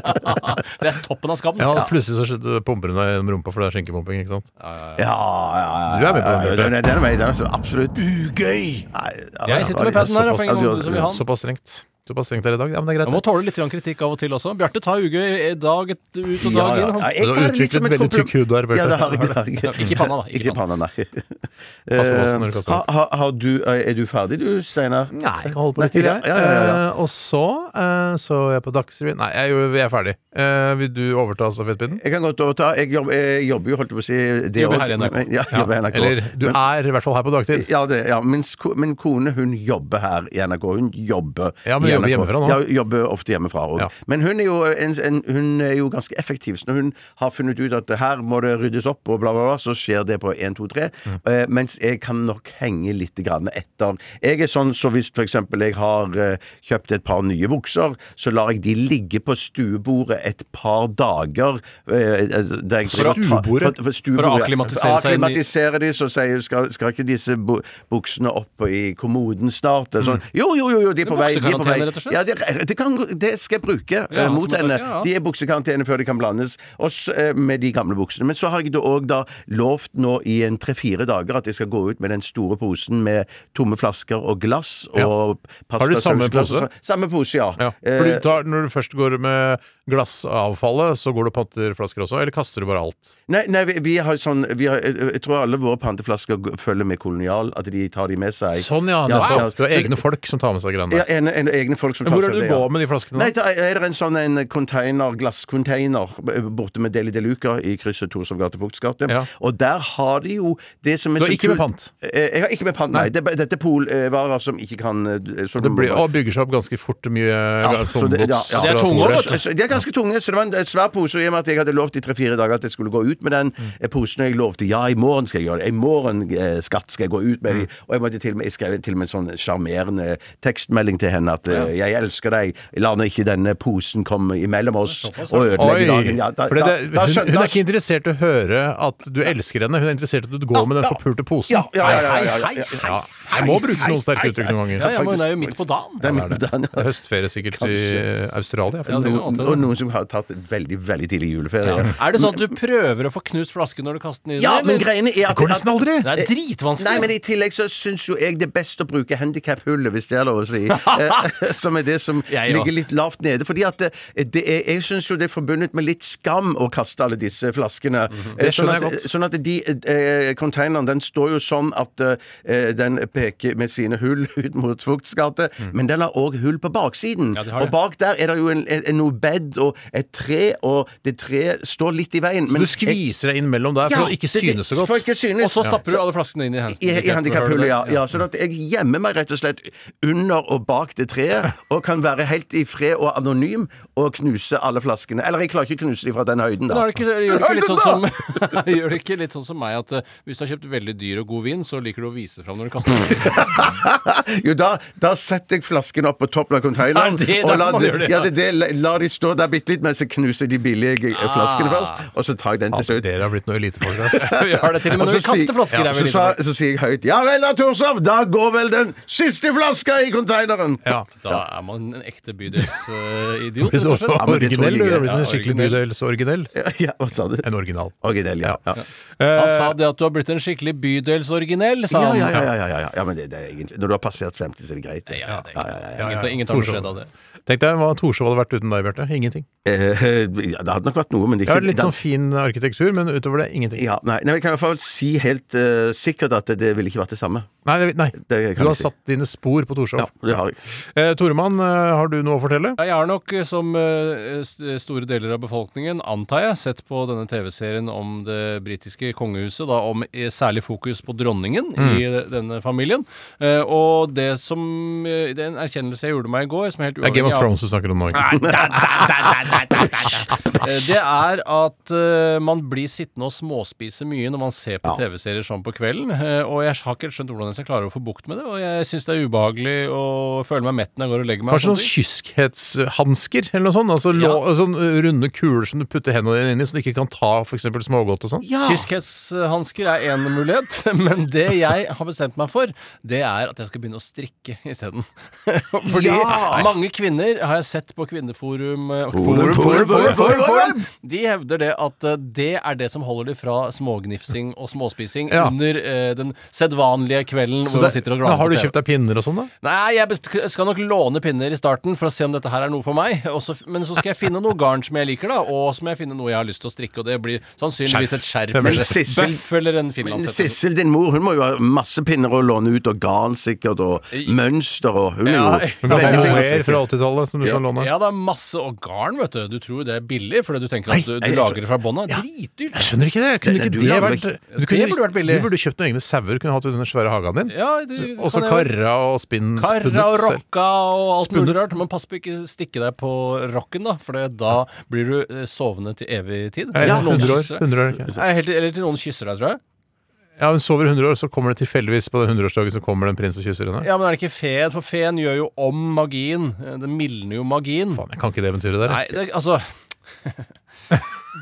Speaker 8: Det er toppen av skammen.
Speaker 7: Ja, plutselig så slutter- pumper hun deg gjennom rumpa, for det er skinkepumping. ikke sant?
Speaker 9: Ja, ja, ja.
Speaker 7: Du er med på den,
Speaker 9: ja,
Speaker 7: Bjarte.
Speaker 9: ja, Den er med, den er så absolutt. Ugøy!
Speaker 8: Jeg sitter med paden her. Jeg får ingen
Speaker 9: Såpass-
Speaker 8: måte som vi har. den.
Speaker 7: Såpass strengt. Såpass strengt er det i dag. Ja, men det er
Speaker 8: Jeg må
Speaker 7: greit. det.
Speaker 8: tåle litt grann kritikk av og til også. Bjarte tar ugøy dag et- ut og dag inn. Han.
Speaker 9: jeg
Speaker 7: Du har
Speaker 9: tar det litt
Speaker 7: utviklet
Speaker 9: som et
Speaker 7: veldig
Speaker 9: kompliment-
Speaker 7: tykk hud der, Bjarte.
Speaker 9: Ja, det har jeg, det har
Speaker 8: Ja,
Speaker 7: *laughs*
Speaker 9: jeg.
Speaker 8: Ikke i panna, da.
Speaker 9: Ikke i panna, nei. Eh,
Speaker 7: Pass på åsen når du kaster
Speaker 9: Ha,
Speaker 7: opp.
Speaker 9: ha, har du, eh, er du ferdig du, Steinar?
Speaker 7: Nei, jeg kan holde på litt til,
Speaker 9: Nei,
Speaker 7: jeg.
Speaker 9: ja, ja, ja, ja.
Speaker 7: Eh, og så eh, så jeg på Dagsrevyen Nei, jeg, gjorde- jeg er ferdig. Eh, vil du overta stafettpinnen?
Speaker 9: Jeg kan godt overta. Jeg jobber, jeg jobber jo, holdt jeg på å si det
Speaker 8: Jobber her i
Speaker 9: også.
Speaker 8: NRK.
Speaker 9: Men- Ja, jobber i NRK.
Speaker 7: Eller du
Speaker 9: Men-
Speaker 7: er i hvert fall her på dagtid.
Speaker 9: Ja, det, ja. Min, sko, min kone hun jobber her i NRK. Hun jobber
Speaker 7: Ja, men
Speaker 9: i
Speaker 7: jobber
Speaker 9: NRK.
Speaker 7: hjemmefra nå.
Speaker 9: Ja, hun jobber ofte hjemmefra òg.
Speaker 7: Ja.
Speaker 9: Men hun er, jo en, en, hun er jo ganske effektiv. Så når hun har funnet ut at her må det ryddes opp, og bla, bla, bla, så skjer det på 1, 2, 3.
Speaker 7: Mm.
Speaker 9: Eh, mens jeg kan nok henge litt grann etter. Jeg er sånn så hvis f.eks. jeg har eh, kjøpt et par nye bukser, så lar jeg de ligge på stuebordet et par dager. eh, der jeg
Speaker 7: For
Speaker 9: driver-
Speaker 7: stuebordet?
Speaker 9: For, for stuebordet.
Speaker 8: akklimatisere seg inn i-
Speaker 9: Akklimatisere ser de, så sier jeg, skal, skal ikke disse bu buksene opp i kommoden snart? Eller Sånn. Jo, jo, jo, jo, de er på vei. De er på vei.
Speaker 8: buksekarantene, rett og slett?
Speaker 9: Ja, det, det, kan, det skal jeg bruke eh,
Speaker 8: som
Speaker 9: mot
Speaker 8: du
Speaker 9: henne.
Speaker 8: bruker, ja.
Speaker 9: De er i buksekarantene før de kan blandes, også eh, med de gamle buksene. Men så har jeg da òg da lovt nå i en tre-fire dager at jeg skal gå ut med den store posen med tomme flasker og glass og
Speaker 7: Ja.
Speaker 9: pasta-
Speaker 7: du samme
Speaker 9: sausglass og
Speaker 7: pose?
Speaker 9: sånn. Samme pose, ja. Eh,
Speaker 7: Ja. For du tar, når du først går med glassavfallet, så går du og panter flasker også, eller kaster du bare alt?
Speaker 9: Nei, nei vi, vi har sånn vi har, jeg, jeg tror alle våre panteflasker g- følger med kolonial, at de tar de med seg.
Speaker 7: Sånn, ja.
Speaker 9: ja.
Speaker 7: Nettopp. Du har egne folk som tar med seg greiene
Speaker 9: Ja,
Speaker 7: der.
Speaker 9: en, en, egne folk som
Speaker 7: Men
Speaker 9: tar
Speaker 7: Hvor er
Speaker 9: seg
Speaker 7: det du
Speaker 9: ja.
Speaker 7: går med de flaskene?
Speaker 9: Nei,
Speaker 7: da?
Speaker 9: da er det en sånn en container, glasscontainer b- borte med Deli de Luca i krysset Torshov gate Vogts gate.
Speaker 7: Ja.
Speaker 9: Og der har de jo det som er
Speaker 7: Du har
Speaker 9: så
Speaker 7: ikke med
Speaker 9: kult-
Speaker 7: pant?
Speaker 9: Eh, Jeg har ikke med pant, nei. Det, er bare- dette er polvarer som ikke kan eh, som-
Speaker 7: Det blir, og bygger seg opp ganske fort mye eh, ja,
Speaker 9: så det- ja, ja.
Speaker 8: Det er tunge også, vet
Speaker 9: Så- så De er ganske tunge, så det var en eh, svær pose. Og i og med at jeg hadde lovt i tre-fire dager at jeg skulle gå ut med
Speaker 7: Mm.
Speaker 9: den eh, posen, og jeg lovte ja, i morgen skal jeg gjøre det, i morgen, eh, skatt, skal jeg gå ut
Speaker 7: Mm.
Speaker 9: med de Og jeg, måtte til og med, jeg skrev til og med en sånn sjarmerende tekstmelding til henne at eh, jeg elsker deg, la nå ikke denne posen komme imellom oss og
Speaker 7: Oi!
Speaker 9: ødelegge dagen. Ja, da-
Speaker 7: Fordi
Speaker 9: da-
Speaker 7: det, hun,
Speaker 9: da skjøn-
Speaker 7: hun
Speaker 9: da
Speaker 7: er ikke interessert i å høre at du elsker henne, hun er interessert i at du går med den forpulte posen.
Speaker 9: Ja, ja, ja, ja, ja, ja, ja.
Speaker 7: Ja. Jeg må bruke noen sterke uttrykk noen ganger.
Speaker 8: Ja, ja, men hun er jo midt på dagen.
Speaker 9: Det er midt på dagen,
Speaker 7: Det er høstferie sikkert i
Speaker 9: Kanskje.
Speaker 7: Australia.
Speaker 8: Ja, det kan godt
Speaker 9: Noen,
Speaker 8: hende.
Speaker 9: og noen som har tatt veldig veldig tidlig juleferie.
Speaker 8: Er det sånn at du prøver å få knust flasken når du kaster den i
Speaker 9: Ja,
Speaker 8: den,
Speaker 9: men
Speaker 8: eller?
Speaker 9: greiene er at
Speaker 7: Det går nesten aldri!
Speaker 8: Det er dritvanskelig.
Speaker 9: Nei, men i tillegg så syns jo jeg det er best å bruke handikaphullet, hvis det er lov å
Speaker 7: *laughs*
Speaker 9: si. Eh, som er det som
Speaker 8: Jeg òg.
Speaker 9: ligger litt lavt nede. Fordi at eh, det er, jeg syns jo det er forbundet med litt skam å kaste alle disse flaskene. Eh,
Speaker 7: Mhm. Det skjønner
Speaker 9: sånn at,
Speaker 7: jeg godt.
Speaker 9: Sånn at de eh, containeren den står jo sånn at eh, den peker med sine hull *laughs* ut mot Vogts gate,
Speaker 7: Mhm.
Speaker 9: men den har òg hull på baksiden.
Speaker 8: Ja, det har
Speaker 9: og
Speaker 8: det.
Speaker 9: bak der er det jo en, en, noe bed og et tre, og det treet står litt i veien.
Speaker 7: Du skviser deg innimellom der for å ikke synes så
Speaker 9: For å
Speaker 7: godt.
Speaker 9: ikke synes.
Speaker 8: Og så stapper du alle flaskene inn i hands-
Speaker 9: I, i handikaphullet, ja.
Speaker 8: handicap-hullet der.
Speaker 9: ja. Sånn at jeg gjemmer meg rett og slett under og bak det
Speaker 8: *laughs*
Speaker 9: treet, og kan være helt i fred og anonym og knuse alle flaskene. Eller jeg klarer ikke å knuse dem fra den høyden,
Speaker 8: Men
Speaker 9: da.
Speaker 8: er det ikke, gjør, det ikke litt sånn som, *laughs* gjør det ikke litt sånn som meg at eh, hvis du har kjøpt veldig dyr og god vin, så liker du å vise fram når du kaster
Speaker 9: *laughs*
Speaker 8: den?
Speaker 9: Jo, da, da setter jeg flasken opp på toppen av containeren.
Speaker 8: Er det
Speaker 9: og
Speaker 8: derfor man gjør det,
Speaker 9: ja,
Speaker 8: ja?
Speaker 9: det, er det, la de stå der bitte litt mens jeg knuser de billige
Speaker 8: Ah.
Speaker 9: eh, flaskene først, og så tar jeg den til slutt.
Speaker 7: Dere har blitt noe elitefolk, ass.
Speaker 9: *laughs*
Speaker 8: Vi har det til og med
Speaker 9: Og
Speaker 8: når
Speaker 9: så
Speaker 8: vi kaster
Speaker 9: sier-
Speaker 8: flasker.
Speaker 9: ja,
Speaker 8: er vi
Speaker 9: så,
Speaker 8: litt-
Speaker 9: sa, så sier jeg høyt Ja vel, da, Torshov, da går vel den siste flaska i containeren! *laughs*
Speaker 7: Ja.
Speaker 8: Da er man en ekte bydelsidiot,
Speaker 7: Blitt
Speaker 8: rett og slett.
Speaker 7: originell, du.
Speaker 9: jeg.
Speaker 7: Du har blitt
Speaker 8: Ja,
Speaker 7: en skikkelig
Speaker 8: originell.
Speaker 7: bydelsoriginell.
Speaker 9: Ja, hva sa du?
Speaker 7: En original.
Speaker 9: Originell, ja. ja.
Speaker 7: Eh,
Speaker 8: Han sa det at du har blitt en skikkelig bydelsorginell, sa
Speaker 9: Ja,
Speaker 8: han.
Speaker 9: ja, ja, ja, ja, ja, ja. Ja, men det, det er egentlig Når du har passert 50, så er det greit. det.
Speaker 8: Ja, det er
Speaker 9: Ja, ja, ja, ja.
Speaker 8: Ingen, ingen tar noe skjedd av det.
Speaker 7: Tenk deg hva Torshov hadde vært uten deg, Bjarte. Ingenting.
Speaker 9: Eh, ja, det hadde nok vært noe, men det
Speaker 7: Det
Speaker 9: er
Speaker 7: var
Speaker 9: ikke
Speaker 7: litt sånn fin arkitektur, men utover det ingenting.
Speaker 9: ja, nei, nei, men Jeg kan i hvert fall si helt eh, sikkert at det, det ville ikke vært det samme.
Speaker 7: Nei, det- nei.
Speaker 9: Det
Speaker 7: du
Speaker 9: kan
Speaker 7: har
Speaker 9: jeg si.
Speaker 7: satt dine spor på Torshov.
Speaker 9: Ja, det har jeg.
Speaker 7: Eh, Toremann, eh, har du noe å fortelle?
Speaker 8: Ja, Jeg har nok, eh, som eh, s- store deler av befolkningen, antar jeg, sett på denne TV-serien om det britiske kongehuset, da om eh, særlig fokus på dronningen
Speaker 7: Mm.
Speaker 8: i de- denne familien. Eh, Og det som eh, Det er en erkjennelse jeg gjorde meg i går, som er helt
Speaker 7: Det er
Speaker 8: uavhengig
Speaker 7: Game of
Speaker 8: av
Speaker 7: Thrones du snakker om nå. ikke?
Speaker 8: Eh, Det er at eh, man blir sittende og småspise mye når man ser på TV-serier sånn på kvelden. eh, og jeg har ikke helt skjønt hvordan jeg skal klare å få bukt med det. Og jeg syns det er ubehagelig å føle meg mett når jeg går og legger meg. og
Speaker 7: Kanskje
Speaker 8: sånne
Speaker 7: noen
Speaker 8: ting.
Speaker 7: kyskhetshansker sånn eller noe sånt? Altså lå, sånn eh, runde kuler som du putter hendene dine inn i, så du ikke kan ta f.eks. smågodt og sånn?
Speaker 8: Kyskhetshansker er én mulighet, *laughs* men det jeg har bestemt meg for, det er at jeg skal begynne å strikke isteden. *laughs* Fordi mange kvinner har jeg sett på Kvinneforum eh, og
Speaker 9: Forum, forum, forum, forum,
Speaker 8: De hevder det at eh, det er det som holder dem fra smågnifsing og småspising
Speaker 7: Ja.
Speaker 8: under eh, den sedvanlige kvelden
Speaker 7: Så
Speaker 8: hvor man
Speaker 7: det-
Speaker 8: sitter og
Speaker 7: men
Speaker 8: glaner
Speaker 7: har
Speaker 8: på
Speaker 7: du
Speaker 8: TV.
Speaker 7: kjøpt deg pinner og sånn, da?
Speaker 8: Nei, jeg best- skal nok låne pinner i starten for å se om dette her er noe for meg. Og så- men så skal jeg finne noe garn som jeg liker, da. Og så må jeg finne noe jeg har lyst til å strikke. Og det blir sannsynligvis et skjerf
Speaker 9: Men
Speaker 8: eller et
Speaker 9: Sissel-
Speaker 8: bøff eller en
Speaker 9: Men
Speaker 8: finlandshette.
Speaker 9: Sissel, din mor, hun må jo ha masse pinner å låne ut, og garn sikkert, og mønster, og hun er jo
Speaker 8: Ja,
Speaker 7: Du kan ha
Speaker 9: veldig flink til å
Speaker 7: mohair
Speaker 9: strikke.
Speaker 7: fra 80-tallet som du kan låne.
Speaker 8: Ja, det er masse og garn, vet du. Du tror det er billig fordi du tenker at du, du
Speaker 9: nei, jeg
Speaker 8: lager
Speaker 9: tror-
Speaker 8: det fra bånn av. Dritdyrt.
Speaker 7: Jeg skjønner ikke det. Kunne
Speaker 9: Nei,
Speaker 7: ikke
Speaker 9: du
Speaker 7: det
Speaker 9: lager
Speaker 7: vært
Speaker 9: ikke-
Speaker 7: du kunne,
Speaker 8: burde vært billig.
Speaker 7: Du burde kjøpt noen egne sauer kunne hatt under den svære hagen din.
Speaker 8: Ja, det- det
Speaker 7: Og så
Speaker 8: kan jeg-
Speaker 7: karra og spinn.
Speaker 8: Karra og
Speaker 7: spunnet selv.
Speaker 8: rocka og alt mulig
Speaker 7: Spunnet.
Speaker 8: rart. Men pass på ikke stikke deg på rocken, da. For det- da blir du eh, sovende til evig tid.
Speaker 7: Ja,
Speaker 8: Til noen
Speaker 7: 100 år.
Speaker 8: kysser deg.
Speaker 7: 100 år ikke?
Speaker 8: Nei, helt- Eller til noen kysser deg, tror jeg.
Speaker 7: Ja, hun sover 100 år, så kommer det tilfeldigvis på den 100-årsdagen så kommer det en prins og kysser henne.
Speaker 8: Ja, men er det ikke feen? For feen gjør jo om magien. Den mildner jo magien.
Speaker 7: Faen, jeg kan ikke det eventyret der.
Speaker 8: Nei,
Speaker 7: jeg.
Speaker 8: det, altså *laughs*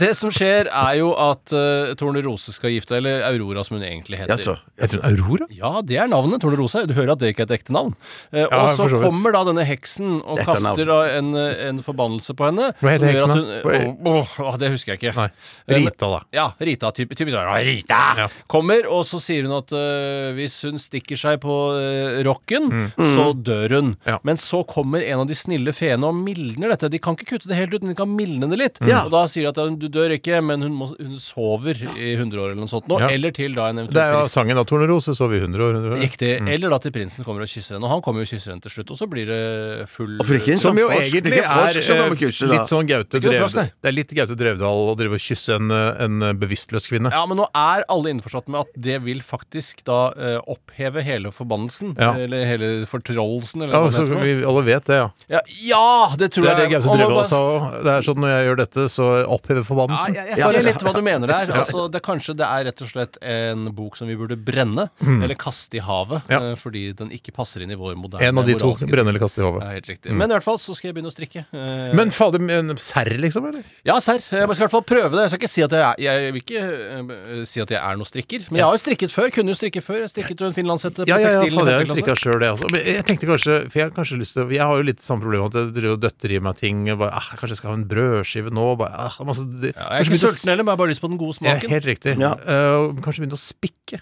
Speaker 8: Det som skjer, er jo at uh, Tornerose skal gifte Eller Aurora, som hun egentlig heter.
Speaker 9: Jaså.
Speaker 7: Heter hun Aurora?
Speaker 8: Ja, det er navnet. Tornerose. Du hører at det ikke er et ekte navn. Eh,
Speaker 7: Ja,
Speaker 8: og så
Speaker 7: for så vidt.
Speaker 8: kommer da denne heksen og
Speaker 9: Dette er
Speaker 8: kaster da en, eh, en forbannelse på henne.
Speaker 7: Hva
Speaker 8: som
Speaker 7: heter
Speaker 8: gjør
Speaker 7: heksen
Speaker 8: at
Speaker 7: da?
Speaker 8: hun- Åh, åh, åh, det husker jeg ikke.
Speaker 7: Nei.
Speaker 8: Eh, men-
Speaker 7: Rita, da.
Speaker 8: Ja, Rita. Typ, typisk sånn, «Åh, Rita! Kommer, og så sier hun at eh, hvis hun stikker seg på eh, rocken, så dør hun.
Speaker 7: Mm. Ja.
Speaker 8: Men så kommer en av de snille feene og mildner dette. De kan ikke kutte det helt ut, men de kan mildne det litt. Og da sier de at ja, du dør ikke, men hun, må, hun sover i 100 år eller noe sånt nå.
Speaker 7: Ja.
Speaker 8: Eller til da en eventuell
Speaker 7: Det er jo altså- Mm.
Speaker 8: prins-
Speaker 7: sangen da, 'Tornerose sov i 100 år'. 100 år.
Speaker 8: Riktig. Eller da til prinsen kommer og kysser henne. Og han kommer jo og kysser henne til slutt, og så blir det full
Speaker 9: Hvorfor ikke?
Speaker 7: Som jo
Speaker 9: Sånn frosk,
Speaker 7: egentlig
Speaker 9: ikke frosk
Speaker 7: er
Speaker 9: som
Speaker 7: eh,
Speaker 9: de må kysse, da.
Speaker 7: litt sånn Gaute
Speaker 8: Ikke frosk,
Speaker 7: Drevdal
Speaker 8: nei.
Speaker 7: Det er litt Gaute Drevdal å drive og kysse en, eh, en bevisstløs kvinne.
Speaker 8: Ja, men nå er alle innforstått med at det vil faktisk da eh, oppheve hele forbannelsen.
Speaker 7: Ja.
Speaker 8: Eller hele fortrollelsen, eller
Speaker 7: Ja,
Speaker 8: hva det
Speaker 7: så
Speaker 8: heter. for noe.
Speaker 7: vi alle vet det, ja.
Speaker 8: Ja, ja, det tror
Speaker 7: Det er det
Speaker 8: jeg.
Speaker 7: Gaute
Speaker 8: Og nå
Speaker 7: Drevdal
Speaker 8: bare-
Speaker 7: sa òg. Det er sånn når jeg gjør dette, så opphever
Speaker 8: Ja,
Speaker 7: forbannelsen.
Speaker 8: jeg, jeg ser litt hva du mener
Speaker 7: *laughs*
Speaker 8: der. Altså, det, kanskje det er rett og slett en bok som vi burde brenne, eller kaste i havet,
Speaker 7: Hmm. Ja.
Speaker 8: eh, fordi den ikke passer inn i vår moderne
Speaker 7: En av de to.
Speaker 8: moralske-
Speaker 7: Brenne eller kaste i
Speaker 8: Ja,
Speaker 7: hodet.
Speaker 8: helt riktig. Men i hvert fall så skal jeg begynne å strikke. eh,
Speaker 7: Men fader, en serr, liksom? eller?
Speaker 8: Ja, serr. Jeg skal i hvert fall prøve det. Jeg skal ikke si at jeg, er- jeg vil ikke eh, si at jeg er noe strikker. Men jeg har jo strikket før. Kunne jo strikke før. Jeg strikket jo en finlandshette på
Speaker 7: Ja, ja, ja,
Speaker 8: tekstilen. i
Speaker 7: fader, jeg
Speaker 8: femte
Speaker 7: strikka
Speaker 8: klasse.
Speaker 7: sjøl, det. Altså. Men jeg tenkte kanskje For jeg har kanskje lyst til å- Jeg har jo litt samme problem at jeg driver og døtter i meg ting. og Bare, ah, kanskje jeg skal ha en brødskive nå? Bare, ah, masse, det,
Speaker 8: Ja, jeg er ikke sulten heller, men jeg har bare lyst på den gode
Speaker 7: Ja,
Speaker 8: smaken.
Speaker 7: helt riktig.
Speaker 9: Ja.
Speaker 7: Eh, og kanskje begynne å spikke.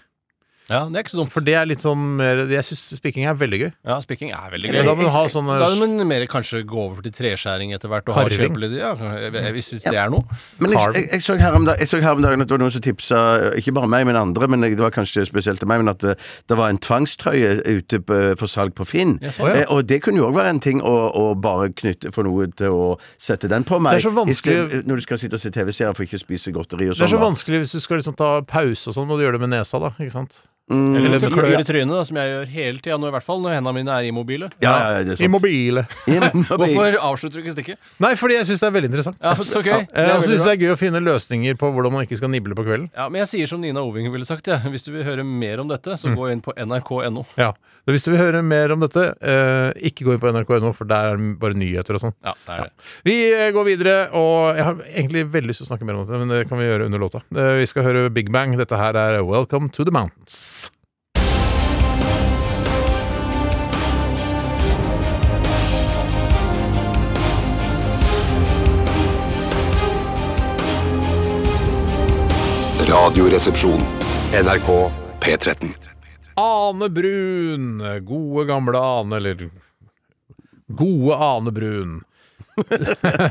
Speaker 8: Ja, Det er ikke så dumt.
Speaker 7: For det er litt sånn mer Jeg syns spikking er veldig gøy.
Speaker 8: Ja, Spikking er veldig gøy.
Speaker 7: Men da må du ha sånn
Speaker 8: Da må man mer kanskje gå over til treskjæring etter hvert. Og ha
Speaker 7: Karving.
Speaker 8: kjøpelig, ja, hvis, hvis det er noe.
Speaker 9: Men jeg, jeg, jeg, så her om da- jeg så her om dagen at det var noen som tipsa, ikke bare meg, men andre, men jeg, det var kanskje spesielt til meg, men at det, det var en tvangstrøye ute på, eh, for salg på Finn.
Speaker 7: ja.
Speaker 9: Eh, og det kunne jo òg være en ting å, å bare knytte for noe til å sette den på meg.
Speaker 7: Det er så vanskelig-
Speaker 9: I sted- Når du skal sitte og se TV-serier for ikke å spise godteri og
Speaker 7: Det er
Speaker 9: sånn.
Speaker 7: så
Speaker 9: da.
Speaker 7: vanskelig hvis du skal liksom ta pause og sånn, må du gjøre det med nesa, da. Ikke sant?
Speaker 8: Eller hvis du klør
Speaker 9: ja.
Speaker 8: i trynet, da, som jeg gjør hele tida nå, i hvert fall når hendene mine er immobile.
Speaker 9: Ja, ja, ja, det er sant.
Speaker 7: Immobile.
Speaker 9: *laughs*
Speaker 7: *laughs*
Speaker 8: Hvorfor avslutter du ikke stikket?
Speaker 7: Nei, fordi jeg syns det er veldig interessant. Eh, altså,
Speaker 8: Ja, så gøy. Det er
Speaker 7: Jeg
Speaker 8: veldig
Speaker 7: syns
Speaker 8: bra.
Speaker 7: det er gøy å finne løsninger på hvordan man ikke skal nible på kvelden.
Speaker 8: Ja, men jeg sier som Nina Oving ville sagt, jeg. Hvis du vil høre mer om dette,
Speaker 9: Mm.
Speaker 8: så gå inn på nrk.no.
Speaker 7: Ja. Men Hvis du vil høre mer om dette, eh, ikke gå inn på nrk.no, for der er det bare nyheter og sånn.
Speaker 8: Ja, det er det.
Speaker 7: Vi eh, går videre, og jeg har egentlig veldig lyst til å snakke mer om dette, men det kan vi gjøre under låta. Eh, Vi skal høre Big Bang. Dette her er Welcome to the Mountains.
Speaker 2: Radioresepsjon. NRK P13.
Speaker 7: Ane Brun. Gode, gamle Ane, eller Gode Ane Brun.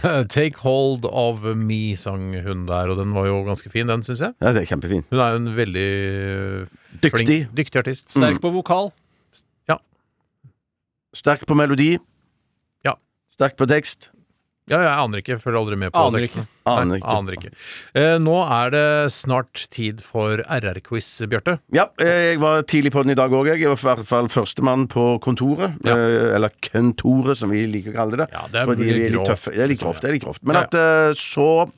Speaker 7: *laughs* Take hold of me, sang hun der, og den var jo ganske fin, den, syns jeg.
Speaker 9: Ja, det er kjempefint.
Speaker 7: Hun er jo en veldig
Speaker 9: Dyktig.
Speaker 7: flink- dyktig Mm. artist.
Speaker 9: Mm.
Speaker 8: Sterk på vokal.
Speaker 9: Sterk på melodi.
Speaker 7: Ja.
Speaker 9: Sterk på tekst.
Speaker 7: Ja, jeg aner ikke. Følger aldri med på
Speaker 8: Aner
Speaker 7: teksten.
Speaker 8: ikke.
Speaker 9: Aner
Speaker 7: Nei,
Speaker 9: ikke.
Speaker 7: aner ikke. Eh, nå er det snart tid for RR-quiz, Bjarte.
Speaker 9: Ja, eh, jeg var tidlig på den i dag òg. Jeg Jeg var i hvert fall førstemann på kontoret.
Speaker 7: Ja.
Speaker 9: eh, Eller kontoret, som vi liker å kalle det.
Speaker 7: Ja, det er
Speaker 9: fordi vi er litt
Speaker 7: grovt,
Speaker 9: tøffe. Det er litt
Speaker 7: liksom,
Speaker 9: grovt. Det er litt grovt. Men
Speaker 7: Ja,
Speaker 9: at eh, så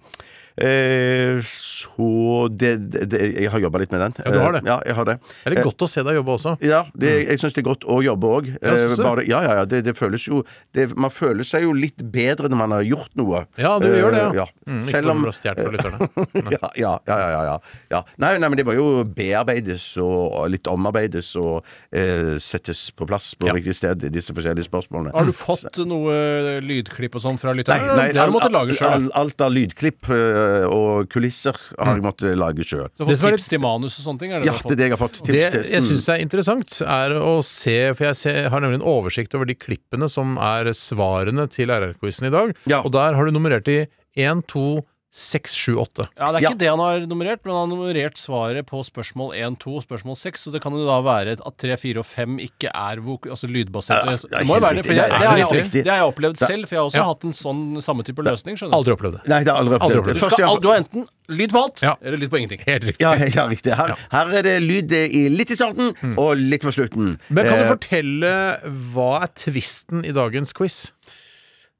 Speaker 9: eh, Så det, det, det Jeg har jobba litt med den.
Speaker 7: Ja, du har det.
Speaker 9: Eh, Ja, jeg har det.
Speaker 7: Er det godt å se deg jobbe også?
Speaker 9: Ja, det, jeg syns det er godt å jobbe òg.
Speaker 7: Ja, synes du?
Speaker 9: ja, ja, ja. Det, det føles jo det, Man føler seg jo litt bedre når man har gjort noe.
Speaker 7: Ja, du gjør det,
Speaker 9: Eh,
Speaker 7: ja.
Speaker 9: ja.
Speaker 7: Mm, ikke
Speaker 9: Selv om
Speaker 7: bare stjålet fra
Speaker 9: *laughs*
Speaker 7: lytterne.
Speaker 9: ja, ja, ja, ja, ja, ja. Nei, nei, men det må jo bearbeides og litt omarbeides og eh, settes på plass på
Speaker 7: Ja.
Speaker 9: riktig sted, disse forskjellige spørsmålene.
Speaker 8: Har du fått noe lydklipp og sånn fra
Speaker 9: Nei,
Speaker 8: lytterne?
Speaker 9: Mm. nei,
Speaker 8: det har du måttet
Speaker 9: alt-
Speaker 8: lage sjøl.
Speaker 9: alt- Alt av lydklipp eh, og kulisser har jeg måttet lage sjøl.
Speaker 8: Du har
Speaker 7: Det
Speaker 8: fått
Speaker 7: som er
Speaker 8: tips til manus og sånne ting? Er det
Speaker 9: Ja,
Speaker 8: Mm. du har fått?
Speaker 9: det er det jeg har fått Mm. tips
Speaker 7: Det
Speaker 9: til.
Speaker 7: jeg syns er interessant, er å se For jeg ser, har nemlig en oversikt over de klippene som er svarene til RR-quizen i dag.
Speaker 9: Ja.
Speaker 7: Og der har du nummerert i 1, 2, 6, 7, 8.
Speaker 8: Ja, det er
Speaker 9: Ja.
Speaker 8: ikke det han har nummerert, men han har nummerert svaret på spørsmål 1, 2 og spørsmål 6, så det kan jo da være at 3, 4 og 5 ikke er vok altså lydbaserte.
Speaker 9: Ja,
Speaker 8: Det,
Speaker 9: ja,
Speaker 8: må jo
Speaker 9: helt
Speaker 8: være det,
Speaker 9: riktig.
Speaker 8: for jeg,
Speaker 9: Ja,
Speaker 8: det, har
Speaker 9: helt
Speaker 8: jeg,
Speaker 9: riktig.
Speaker 8: det har jeg opplevd
Speaker 9: Ja.
Speaker 8: selv, for jeg har også
Speaker 7: Ja. hatt
Speaker 8: hatt en sånn samme type løsning, skjønner du.
Speaker 7: Aldri opplevd det.
Speaker 9: Nei, det har aldri
Speaker 7: Aldri
Speaker 9: opplevd.
Speaker 7: opplevd.
Speaker 9: Det
Speaker 8: Du,
Speaker 9: første
Speaker 8: skal,
Speaker 9: jeg har-
Speaker 8: al- du har enten lyd på alt,
Speaker 7: Ja.
Speaker 8: eller lyd på ingenting.
Speaker 7: Helt riktig.
Speaker 9: Ja, ja, riktig. Her, her er det lyd i, litt i starten
Speaker 8: Mm.
Speaker 9: og litt på slutten.
Speaker 7: Men kan du
Speaker 9: Eh,
Speaker 7: fortelle hva er tvisten i dagens quiz?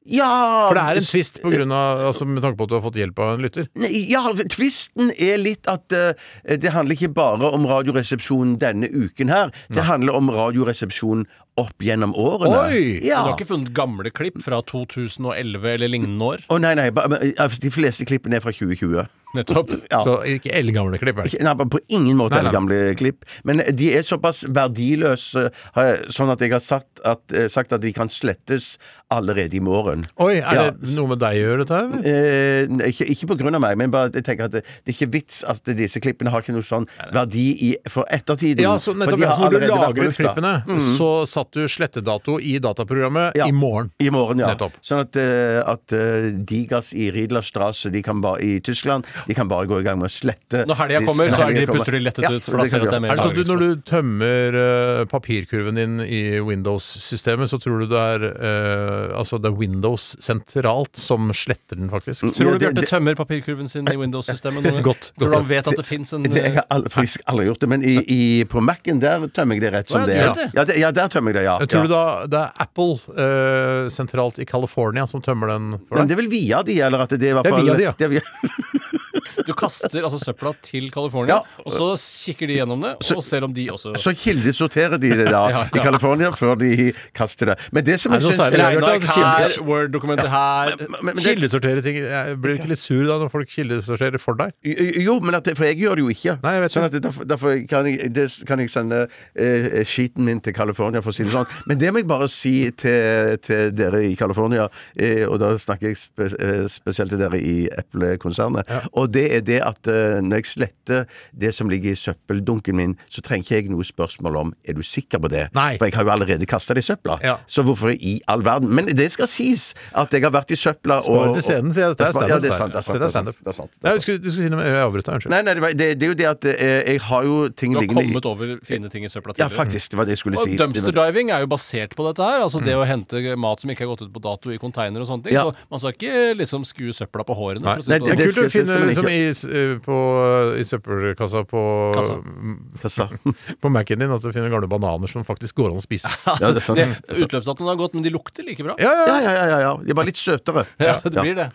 Speaker 9: Ja
Speaker 7: For det er en tvist på grunn av, altså, med tanke på at du har fått hjelp av en lytter.
Speaker 9: Nei, ja, tvisten er litt at eh, det handler ikke bare om Radioresepsjonen denne uken her. Det handler om Radioresepsjonen opp gjennom årene.
Speaker 7: Oi!
Speaker 9: Ja.
Speaker 8: Du har ikke funnet gamle klipp fra 2011 eller lignende år?
Speaker 9: Å nei, nei, ba, men, eh, de fleste klippene er fra 2020.
Speaker 8: Nettopp.
Speaker 9: *laughs* Ja.
Speaker 7: Så ikke eldgamle klipp. Er det.
Speaker 9: Ikke- Nei, på ingen måte
Speaker 7: Nei, nei.
Speaker 9: er det gamle klipp. Men eh, de er såpass verdiløse, har jeg- sånn at jeg har sagt at, eh, sagt at de kan slettes allerede i morgen.
Speaker 7: Oi, er
Speaker 9: Ja.
Speaker 7: det noe med deg å gjøre, dette her? eller?
Speaker 9: Eh, nei, ikke, ikke på grunn av meg, men bare at jeg tenker at det, det er ikke vits at disse klippene har ikke noe sånn verdi i, for ettertiden.
Speaker 7: Ja, så
Speaker 9: for
Speaker 7: nettopp
Speaker 9: de har
Speaker 7: så Når du
Speaker 9: allerede vært på
Speaker 7: lagret
Speaker 9: lufta. Mm.
Speaker 7: klippene, så satt du slettedato i dataprogrammet
Speaker 9: Ja.
Speaker 7: i morgen.
Speaker 9: I morgen, ja.
Speaker 7: Nettopp.
Speaker 9: Sånn at, eh, at eh, Digas i Riedlerstrasse de kan bare, i Tyskland de kan bare gå i gang med å slette
Speaker 8: Når helga
Speaker 9: disse-
Speaker 8: kommer, så
Speaker 9: Når
Speaker 8: er
Speaker 9: helga
Speaker 8: de
Speaker 9: kommer.
Speaker 8: plutselig lettet
Speaker 9: Ja,
Speaker 8: ut, for da
Speaker 9: kan
Speaker 8: ser du at det er
Speaker 9: gjøre.
Speaker 7: Er
Speaker 8: mer
Speaker 7: det sånn at du, når
Speaker 8: lagringsplass.
Speaker 7: du tømmer eh, papirkurven din i Windows-systemet, så tror du det er eh, Altså det er Windows sentralt som sletter den, faktisk?
Speaker 8: Tror du
Speaker 9: Ja, det-
Speaker 8: Bjarte
Speaker 9: det-
Speaker 8: tømmer papirkurven sin i Windows-systemet? noen gang?
Speaker 7: Godt,
Speaker 8: Tror du
Speaker 7: godt
Speaker 8: han
Speaker 7: sett.
Speaker 8: vet at det fins en
Speaker 9: Det, jeg har aldri, frisk, aldri gjort det, men i, i, på Mac-en der tømmer jeg det rett som
Speaker 8: Å,
Speaker 9: det
Speaker 8: ja,
Speaker 9: er.
Speaker 8: du gjør det?
Speaker 9: Ja, det, ja, der tømmer jeg det, ja.
Speaker 7: Jeg tror
Speaker 9: mm. ja.
Speaker 7: du da det er Apple eh, sentralt i California som tømmer den for
Speaker 9: Men det
Speaker 7: deg?
Speaker 9: er vel via de, eller at det er i hvert
Speaker 7: Det er
Speaker 9: fall
Speaker 7: via de, ja.
Speaker 9: det er via-
Speaker 8: Du kaster altså søpla til California,
Speaker 9: Ja.
Speaker 8: og så kikker de gjennom det, og ser om de også
Speaker 9: Så kildesorterer de det da
Speaker 8: *laughs* ja.
Speaker 9: i California før de kaster det. Men det som
Speaker 7: Er
Speaker 9: jeg
Speaker 7: det noe
Speaker 9: syns
Speaker 7: særlig? Jeg har hørt
Speaker 8: Regneark
Speaker 7: at det
Speaker 8: her,
Speaker 7: kildes.
Speaker 8: Word-dokumenter her
Speaker 9: Men- men det-
Speaker 7: Kildesortere ting Jeg Blir du ikke litt sur da når folk kildesorterer for deg?
Speaker 9: Jo, men at, det- for jeg gjør det jo ikke.
Speaker 7: Nei, jeg vet
Speaker 9: sånn at det- derfor, derfor kan jeg, det, kan jeg sende eh, skiten min til California, for å si
Speaker 7: *laughs*
Speaker 9: det sånn. Men det må jeg bare si til, til dere i California, eh, og da snakker jeg spe, eh, spesielt til dere i Apple-konsernet, og det er det at eh, når jeg sletter det som ligger i søppeldunken min, så trenger ikke jeg noe spørsmål om er du sikker på det,
Speaker 7: Nei.
Speaker 9: for jeg har jo allerede kasta det i søpla.
Speaker 7: Ja.
Speaker 9: Så hvorfor i all verden? Men det skal sies at jeg har vært i søpla og
Speaker 7: Bare til scenen, sier jeg. Dette er standup.
Speaker 9: Ja, det er sant. Det er sant,
Speaker 7: Dette er
Speaker 9: det er sant,
Speaker 7: standup.
Speaker 9: det er sant, det er
Speaker 7: Nei, jeg skulle- Du skulle si noe, jeg avbrøt deg. Unnskyld.
Speaker 9: Nei, nei, det, var- det, det er jo det at eh, jeg har jo ting
Speaker 8: Du har
Speaker 9: liggende i-
Speaker 8: kommet over fine ting i søpla
Speaker 9: Ja,
Speaker 8: tidligere.
Speaker 9: faktisk. Det var det jeg skulle si.
Speaker 8: Og dumpster diving er jo basert på dette her. Altså det å hente mat som ikke er gått ut på dato i container og sånne ting.
Speaker 9: Mm. Ja.
Speaker 8: Så man skal ikke liksom skue søpla på hårene. for å si
Speaker 9: Nei,
Speaker 8: det sånn.
Speaker 7: Det er
Speaker 9: Det
Speaker 7: kult å
Speaker 9: skal- det
Speaker 7: finne
Speaker 9: skal man
Speaker 7: liksom,
Speaker 9: ikke.
Speaker 7: i, s- på, i søppelkassa på,
Speaker 8: Kassa.
Speaker 9: Kassa.
Speaker 8: *laughs*
Speaker 7: på Mac-en din at du finner gamle bananer som faktisk går an å spise.
Speaker 9: Ja, det er sant.
Speaker 8: Det- Utløpsdatoen har gått, men de lukter like bra.
Speaker 7: Ja,
Speaker 9: Ja, ja, ja, ja, ja. De er bare litt søtere.
Speaker 8: Ja, *laughs* det blir det.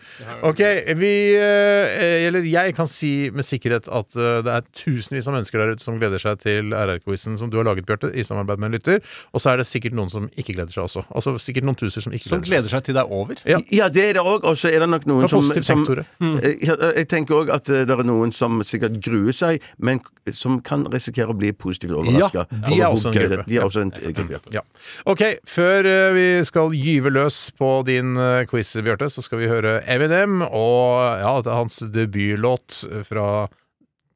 Speaker 7: Ok, vi eh, Eller jeg kan si med sikkerhet at eh, det er tusenvis av mennesker der ute som gleder seg til RR-quizen som du har laget, Bjarte, i samarbeid med en lytter. Og så er det sikkert noen som ikke gleder seg også. Altså sikkert noen tusen som ikke
Speaker 8: Som
Speaker 7: gleder seg.
Speaker 8: gleder seg til det er over.
Speaker 7: Ja.
Speaker 9: Ja, det er det òg. Og så er det nok noen
Speaker 7: Det var
Speaker 9: som,
Speaker 7: positivt
Speaker 9: som
Speaker 7: tenkt, Tore. Mm.
Speaker 9: Eh, ja, Jeg tenker òg at eh, det er noen som sikkert gruer seg, men k- som kan risikere å bli positivt overraska.
Speaker 7: Ja, de er også en gruppe.
Speaker 9: De er også en eh, gruppe.
Speaker 7: Ja.
Speaker 9: ja.
Speaker 7: Ok, før eh, vi skal gyve løs på din eh, quiz, Bjarte, så skal vi høre Eminem og ja, det er hans debutlåt fra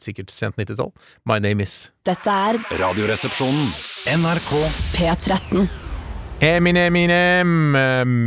Speaker 7: sikkert sent 90-tall. My name is
Speaker 1: Dette er
Speaker 2: Radioresepsjonen.
Speaker 4: NRK
Speaker 1: P13.
Speaker 7: Eminem Inem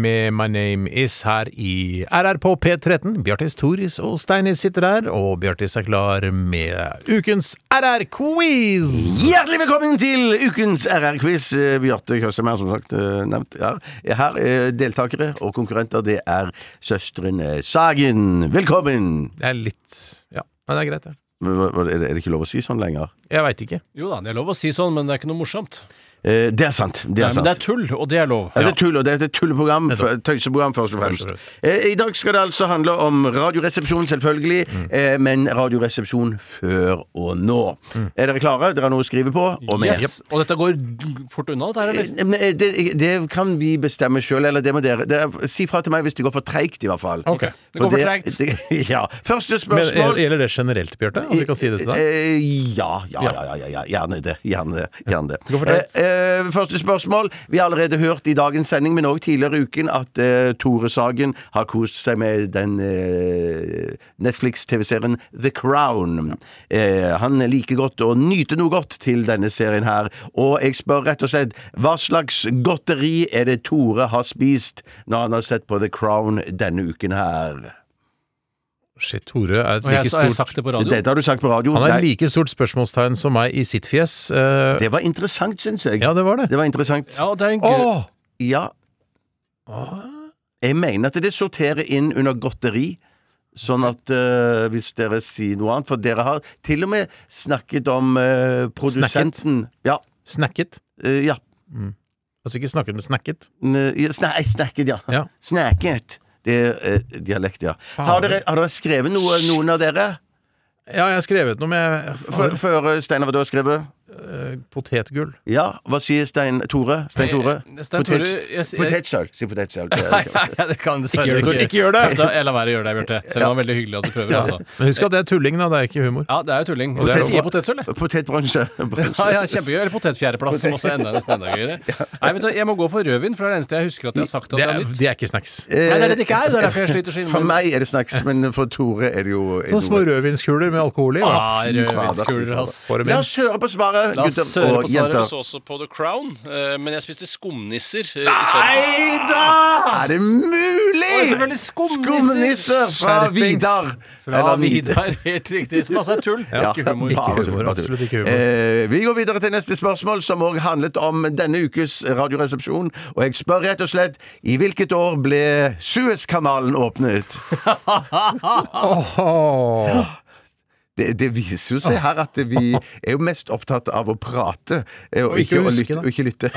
Speaker 7: med My Name Is her i RR på P13. Bjartis Toris og Steinis sitter der, og Bjartis er klar med ukens RR-quiz!
Speaker 9: Hjertelig velkommen til ukens RR-quiz. Eh, Bjarte Køstemeier, som sagt eh, nevnt. Her, her er deltakere og konkurrenter. Det er søstrene Sagen. Velkommen!
Speaker 7: Det er litt Ja, men det er greit, det.
Speaker 9: Hva- hva- Er det er det ikke lov å si sånn lenger?
Speaker 7: Jeg veit ikke.
Speaker 8: Jo da, det er lov å si sånn, men det er ikke noe morsomt.
Speaker 9: Eh, Det er sant. Det
Speaker 8: Nei,
Speaker 9: er
Speaker 8: men det er
Speaker 9: sant.
Speaker 8: tull, og det er lov.
Speaker 9: Ja, det er tull, og det er et tulleprogram.
Speaker 7: Nettopp.
Speaker 9: f- Tøyseprogram, først og
Speaker 7: Først og
Speaker 9: fremst.
Speaker 7: fremst.
Speaker 9: Eh, I dag skal det altså handle om Radioresepsjon, selvfølgelig. eh, Men Radioresepsjon før og nå. Er dere klare? Dere har noe å skrive på? Og mer.
Speaker 8: Yes. Og dette går d- fort unna, dette her, eller?
Speaker 9: Eh, men, eh, Det, det kan vi bestemme sjøl, eller det må dere. Det er, si fra til meg hvis det går for treigt, i hvert fall.
Speaker 7: Ok.
Speaker 8: Det går for treigt.
Speaker 9: det- *laughs* Ja. Første
Speaker 7: Men
Speaker 9: spørsmål
Speaker 7: Gjelder det generelt, Bjarte? At vi kan si det sånn? til deg?
Speaker 9: Eh, Ja, ja, ja, ja, ja, ja. Gjerne det. Gjerne, det, gjerne det.
Speaker 7: Gå for det.
Speaker 9: Eh, eh, første spørsmål. Vi har allerede hørt i dagens sending, men òg tidligere i uken, at eh, Tore Sagen har kost seg med den eh, Netflix-TV-serien The Crown. Eh, han liker godt å nyte noe godt til denne serien her, og jeg spør rett og slett hva slags godteri er det Tore har spist når han har sett på The Crown denne uken her?
Speaker 7: Shit, Tore er et
Speaker 8: Og jeg,
Speaker 7: like
Speaker 8: så- har jeg
Speaker 7: stort
Speaker 8: sagt det på radio.
Speaker 9: Dette har du sagt på radio.
Speaker 7: Han er
Speaker 9: Nei,
Speaker 7: et like stort spørsmålstegn som meg i sitt fjes. Eh,
Speaker 9: det var interessant, syns jeg.
Speaker 7: ja, det var det.
Speaker 9: Det var interessant.
Speaker 8: Ja, og det er en
Speaker 7: Å!
Speaker 8: grunn.
Speaker 9: Ja. Jeg mener at det sorterer inn under godteri. Sånn at eh, hvis dere sier noe annet For dere har til og med snakket om eh, produsenten Ja.
Speaker 7: Snacket.
Speaker 9: eh, ja.
Speaker 7: Altså ikke snakket, men snacket.
Speaker 9: N- ja, sna nei, snakket, ja.
Speaker 7: Ja.
Speaker 9: Snakket. Det er eh, dialekt, ja. Har dere, har dere skrevet noe, noen av dere?
Speaker 7: Ja, jeg har skrevet noe med
Speaker 9: Før, før eh, Steinar, hva du har skrevet?
Speaker 7: eh, potetgull.
Speaker 9: Ja, hva sier Stein Tore? Stein Tore?
Speaker 8: Eh, Stein Tore,
Speaker 9: Potets-
Speaker 8: jeg sier-
Speaker 9: Potetsøl. Si potetsøl.
Speaker 8: *laughs* Nei, det kan
Speaker 7: Ikke gjør det, Tore. Ikke gjør det.
Speaker 8: Da, jeg lar være å gjøre det, Bjarte. Selv om det var veldig hyggelig at du prøver, altså.
Speaker 7: Men husk at det er tulling, da. Det er ikke humor.
Speaker 8: Ja, det er jo tulling.
Speaker 9: det
Speaker 8: Jeg
Speaker 9: er-
Speaker 8: sier potetsøl, jeg.
Speaker 9: Potetbransje.
Speaker 8: *laughs* Ja, ja, kjempegøy. Eller potetfjerdeplass, som også er enda, nesten enda gøyere. Nei, vet du, hva, jeg må gå for rødvin, for det er det eneste jeg husker at jeg har sagt at
Speaker 7: Det
Speaker 8: det
Speaker 7: er,
Speaker 8: er nytt.
Speaker 7: det er ikke snacks.
Speaker 8: Nei, det
Speaker 9: Eh,
Speaker 8: er det det ikke er. Det er derfor jeg sliter så
Speaker 9: For
Speaker 8: innmari.
Speaker 9: meg er det snacks, men for Tore er det jo er
Speaker 7: Sånne
Speaker 9: det
Speaker 7: små
Speaker 9: jo-
Speaker 7: rødvinskuler med alkohol i.
Speaker 8: Ja,
Speaker 7: da.
Speaker 8: Ah, rødvinskuler, ass.
Speaker 7: Får dem
Speaker 9: La
Speaker 7: inn.
Speaker 9: oss høre på svaret,
Speaker 8: La oss
Speaker 9: gutter
Speaker 8: høre
Speaker 9: og
Speaker 8: på svaret.
Speaker 9: jenter.
Speaker 10: Jeg så også på The Crown, eh, men jeg spiste skumnisser. eh, i stedet.
Speaker 9: Nei da! Er det
Speaker 8: Og
Speaker 9: mulig?
Speaker 8: selvfølgelig skumnisser!
Speaker 9: Skumnisser fra Vidar.
Speaker 8: Fra
Speaker 9: Eller Vid-
Speaker 8: Vidar, *laughs* helt riktig. Som altså er tull.
Speaker 9: Ja,
Speaker 8: Ikke humor.
Speaker 9: bare
Speaker 7: Ikke humor,
Speaker 9: bare
Speaker 7: absolutt ikke humor.
Speaker 9: Eh, vi går videre til neste spørsmål, som òg handlet om denne ukes Radioresepsjon. Og jeg spør rett og slett i hvilket år ble Suezkanalen åpnet?
Speaker 7: Åh.
Speaker 9: Det, det viser jo seg her at vi er jo mest opptatt av å prate, eh, og
Speaker 7: Og ikke
Speaker 9: ikke, å
Speaker 7: huske
Speaker 9: lytte,
Speaker 7: det.
Speaker 9: og ikke lytte.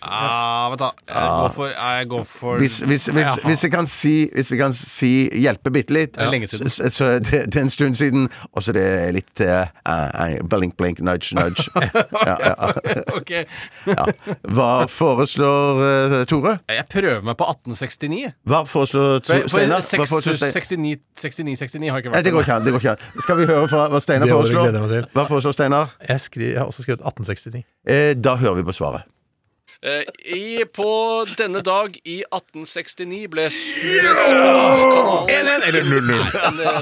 Speaker 8: Ah, vent da. Jeg går for, jeg går for
Speaker 9: Hvis, hvis, hvis,
Speaker 8: Ja.
Speaker 9: hvis jeg kan si, hvis jeg kan si hjelpe bitte litt
Speaker 8: Det er lenge siden.
Speaker 9: Så, så det, det er en stund siden, og så det er litt eh, eh, blink, blink, nudge, nudge. ja, ja,
Speaker 8: *laughs* Ok.
Speaker 9: ja. Hva foreslår eh, Tore?
Speaker 8: Jeg prøver meg på 1869.
Speaker 9: Hva foreslår
Speaker 8: For,
Speaker 9: Tore-
Speaker 8: for
Speaker 9: Steinar? Hva foreslår Steinar?
Speaker 8: 69-69 har ikke
Speaker 9: Nei,
Speaker 8: vært
Speaker 9: det går ikke an. det går ikke an Skal vi høre hva, hva Steinar
Speaker 7: Det var det
Speaker 9: foreslår?
Speaker 7: gleder jeg meg
Speaker 9: Hva foreslår Steinar?
Speaker 7: Jeg, skri, jeg har også skrevet 1869.
Speaker 9: Eh, da hører vi på svaret.
Speaker 10: Eh, I, på denne dag i 1869 ble Suezkanalen
Speaker 7: 1-1 eller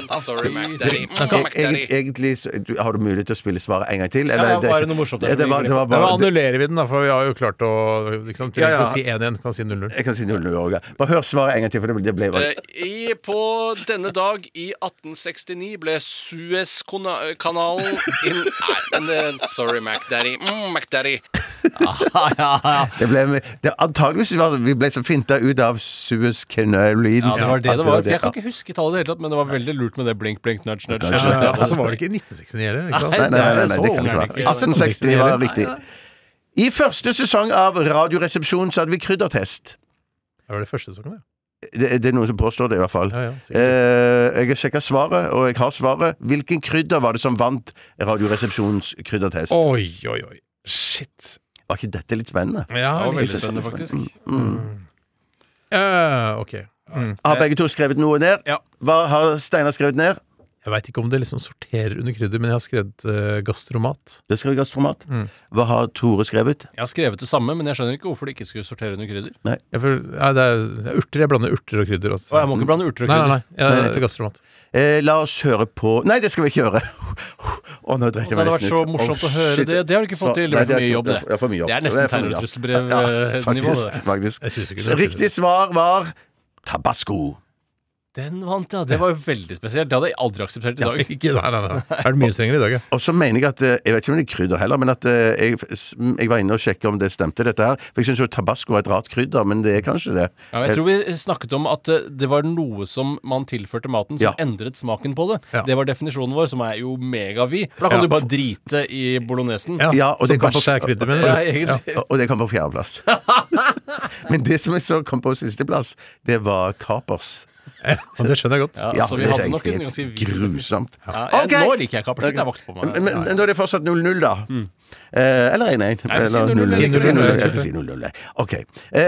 Speaker 7: 0-0.
Speaker 10: Sorry, Mac Daddy.
Speaker 9: Egent, E- egentlig så, du, Har du mulighet til å spille svaret en gang til?
Speaker 8: Ja, var det noe morsomt der?
Speaker 9: Ja, det var, det var
Speaker 7: Da
Speaker 9: bare,
Speaker 7: annullerer vi den, da, for vi har jo klart å ikke sant,
Speaker 9: Ja, ja.
Speaker 7: Trenger ikke å si 1-1, kan si 0-0.
Speaker 9: jeg kan si 00 òg. Bare hør svaret en gang til, for det ble, det ble bare
Speaker 10: Eh, I, på denne dag i 1869 ble Suezkanalen inn... Nei, eh, sorry, Mac Daddy. Mm, Mac Daddy.
Speaker 9: Det ble, det, antageligvis var, vi ble så finta ut av Suez Canal-lyden.
Speaker 8: Ja, det var det
Speaker 9: at
Speaker 8: det var. For jeg kan
Speaker 9: ja.
Speaker 8: ikke huske tallet i det hele tatt, men det var veldig lurt med det blink, blink, nudge, nudge.
Speaker 9: Ja,
Speaker 8: skjønte jeg.
Speaker 7: Og så var det ikke 1969 heller. ikke sant?
Speaker 8: Nei,
Speaker 9: Nei, nei, nei, nei,
Speaker 8: Så
Speaker 9: det kan
Speaker 8: ung er den ikke.
Speaker 9: ikke være. 1869
Speaker 7: Nei,
Speaker 9: var
Speaker 7: nei,
Speaker 9: riktig. I første sesong av Radioresepsjonen så hadde vi kryddertest.
Speaker 7: Det var det første som kom, ja.
Speaker 9: Det, det er noen som påstår det, i hvert fall.
Speaker 7: Ja, ja, sikkert.
Speaker 9: Eh, jeg har sjekka svaret, og jeg har svaret. Hvilken krydder var det som vant Radioresepsjonens kryddertest?
Speaker 7: Oi, oi, oi. Shit.
Speaker 9: Var ikke dette litt spennende?
Speaker 7: Ja,
Speaker 8: Det var
Speaker 7: litt-
Speaker 8: veldig spennende, faktisk.
Speaker 7: Eh, ok. Mm.
Speaker 8: Mm.
Speaker 9: Har begge to skrevet noe ned?
Speaker 8: Eh, Ja.
Speaker 9: Hva har Steinar skrevet ned?
Speaker 7: Jeg veit ikke om det liksom sorterer under krydder, men jeg har skrevet eh, gastromat.
Speaker 9: Det skal være gastromat.
Speaker 8: Mm.
Speaker 9: Hva har Tore skrevet?
Speaker 8: Jeg har skrevet det samme, men jeg skjønner ikke hvorfor det ikke skulle sortere under krydder.
Speaker 7: Jeg føler, nei, det er, det er urter. Jeg blander urter og krydder.
Speaker 8: Og
Speaker 7: Altså.
Speaker 8: jeg må ikke blande urter og
Speaker 7: Nei, nei,
Speaker 8: krydder.
Speaker 7: nei. Jeg, heter gastromat.
Speaker 9: Eh, la oss høre på Nei, det skal vi ikke gjøre! *laughs* Å, nå
Speaker 8: Det
Speaker 9: drikker jeg meg
Speaker 8: hadde vært
Speaker 9: nesten
Speaker 8: så
Speaker 9: ut.
Speaker 8: morsomt
Speaker 9: Å,
Speaker 8: å høre
Speaker 9: shit.
Speaker 8: det. Det har du ikke fått
Speaker 9: Så-
Speaker 8: til. Det er
Speaker 9: nei,
Speaker 8: for mye jobb,
Speaker 9: det. er for mye jobb.
Speaker 8: Det er
Speaker 9: Det
Speaker 8: nesten
Speaker 9: for mye jobb. Ja,
Speaker 8: terrortrusselbrev-nivå,
Speaker 9: faktisk,
Speaker 8: det.
Speaker 9: faktisk.
Speaker 7: Jeg synes ikke
Speaker 9: Så
Speaker 7: det.
Speaker 9: Riktig svar var tabasco.
Speaker 8: Den vant, ja. Det var jo veldig spesielt. Det hadde jeg aldri akseptert i dag.
Speaker 7: Ikke, nei, nei, nei. Er det mye strengere i dag, ja?
Speaker 9: Og så mener jeg at eh, Jeg vet ikke om det er krydder heller, men at eh, jeg, jeg var inne og sjekka om det stemte, dette her. For jeg syns jo tabasco er et rart krydder, men det er kanskje det.
Speaker 8: Ja, jeg tror vi snakket om at eh, det var noe som man tilførte maten som
Speaker 9: Ja.
Speaker 8: endret smaken på det.
Speaker 7: Ja.
Speaker 8: Det var definisjonen vår, som er jo megavid. For Da kan du bare drite i bolognesen.
Speaker 7: Ja,
Speaker 9: Ja, og
Speaker 7: Som
Speaker 9: det kan-
Speaker 7: kanskje er krydder, mener
Speaker 8: Ja,
Speaker 7: du?
Speaker 8: egentlig.
Speaker 9: Og- Og det kom på
Speaker 8: *laughs*
Speaker 9: fjerdeplass. men det som jeg så kom på sisteplass, det var kapers.
Speaker 7: Ja, det skjønner jeg godt.
Speaker 8: Ja, så vi
Speaker 9: det er
Speaker 8: hadde nok
Speaker 9: egentlig
Speaker 8: en ganske
Speaker 9: helt
Speaker 8: vid
Speaker 9: grusomt.
Speaker 8: Ja, jeg,
Speaker 9: Ok.
Speaker 8: Nå liker jeg ikke appelsitt. Jeg er vokst på meg. Mm.
Speaker 9: Men, men da er det fortsatt 0-0, da. Eh, eller 1-1.
Speaker 8: Nei, si 0-0.
Speaker 9: Eller
Speaker 8: Si
Speaker 9: 0-0.
Speaker 7: 0-0.
Speaker 9: Si 0-0. Jeg skal si 0-0. jeg. OK.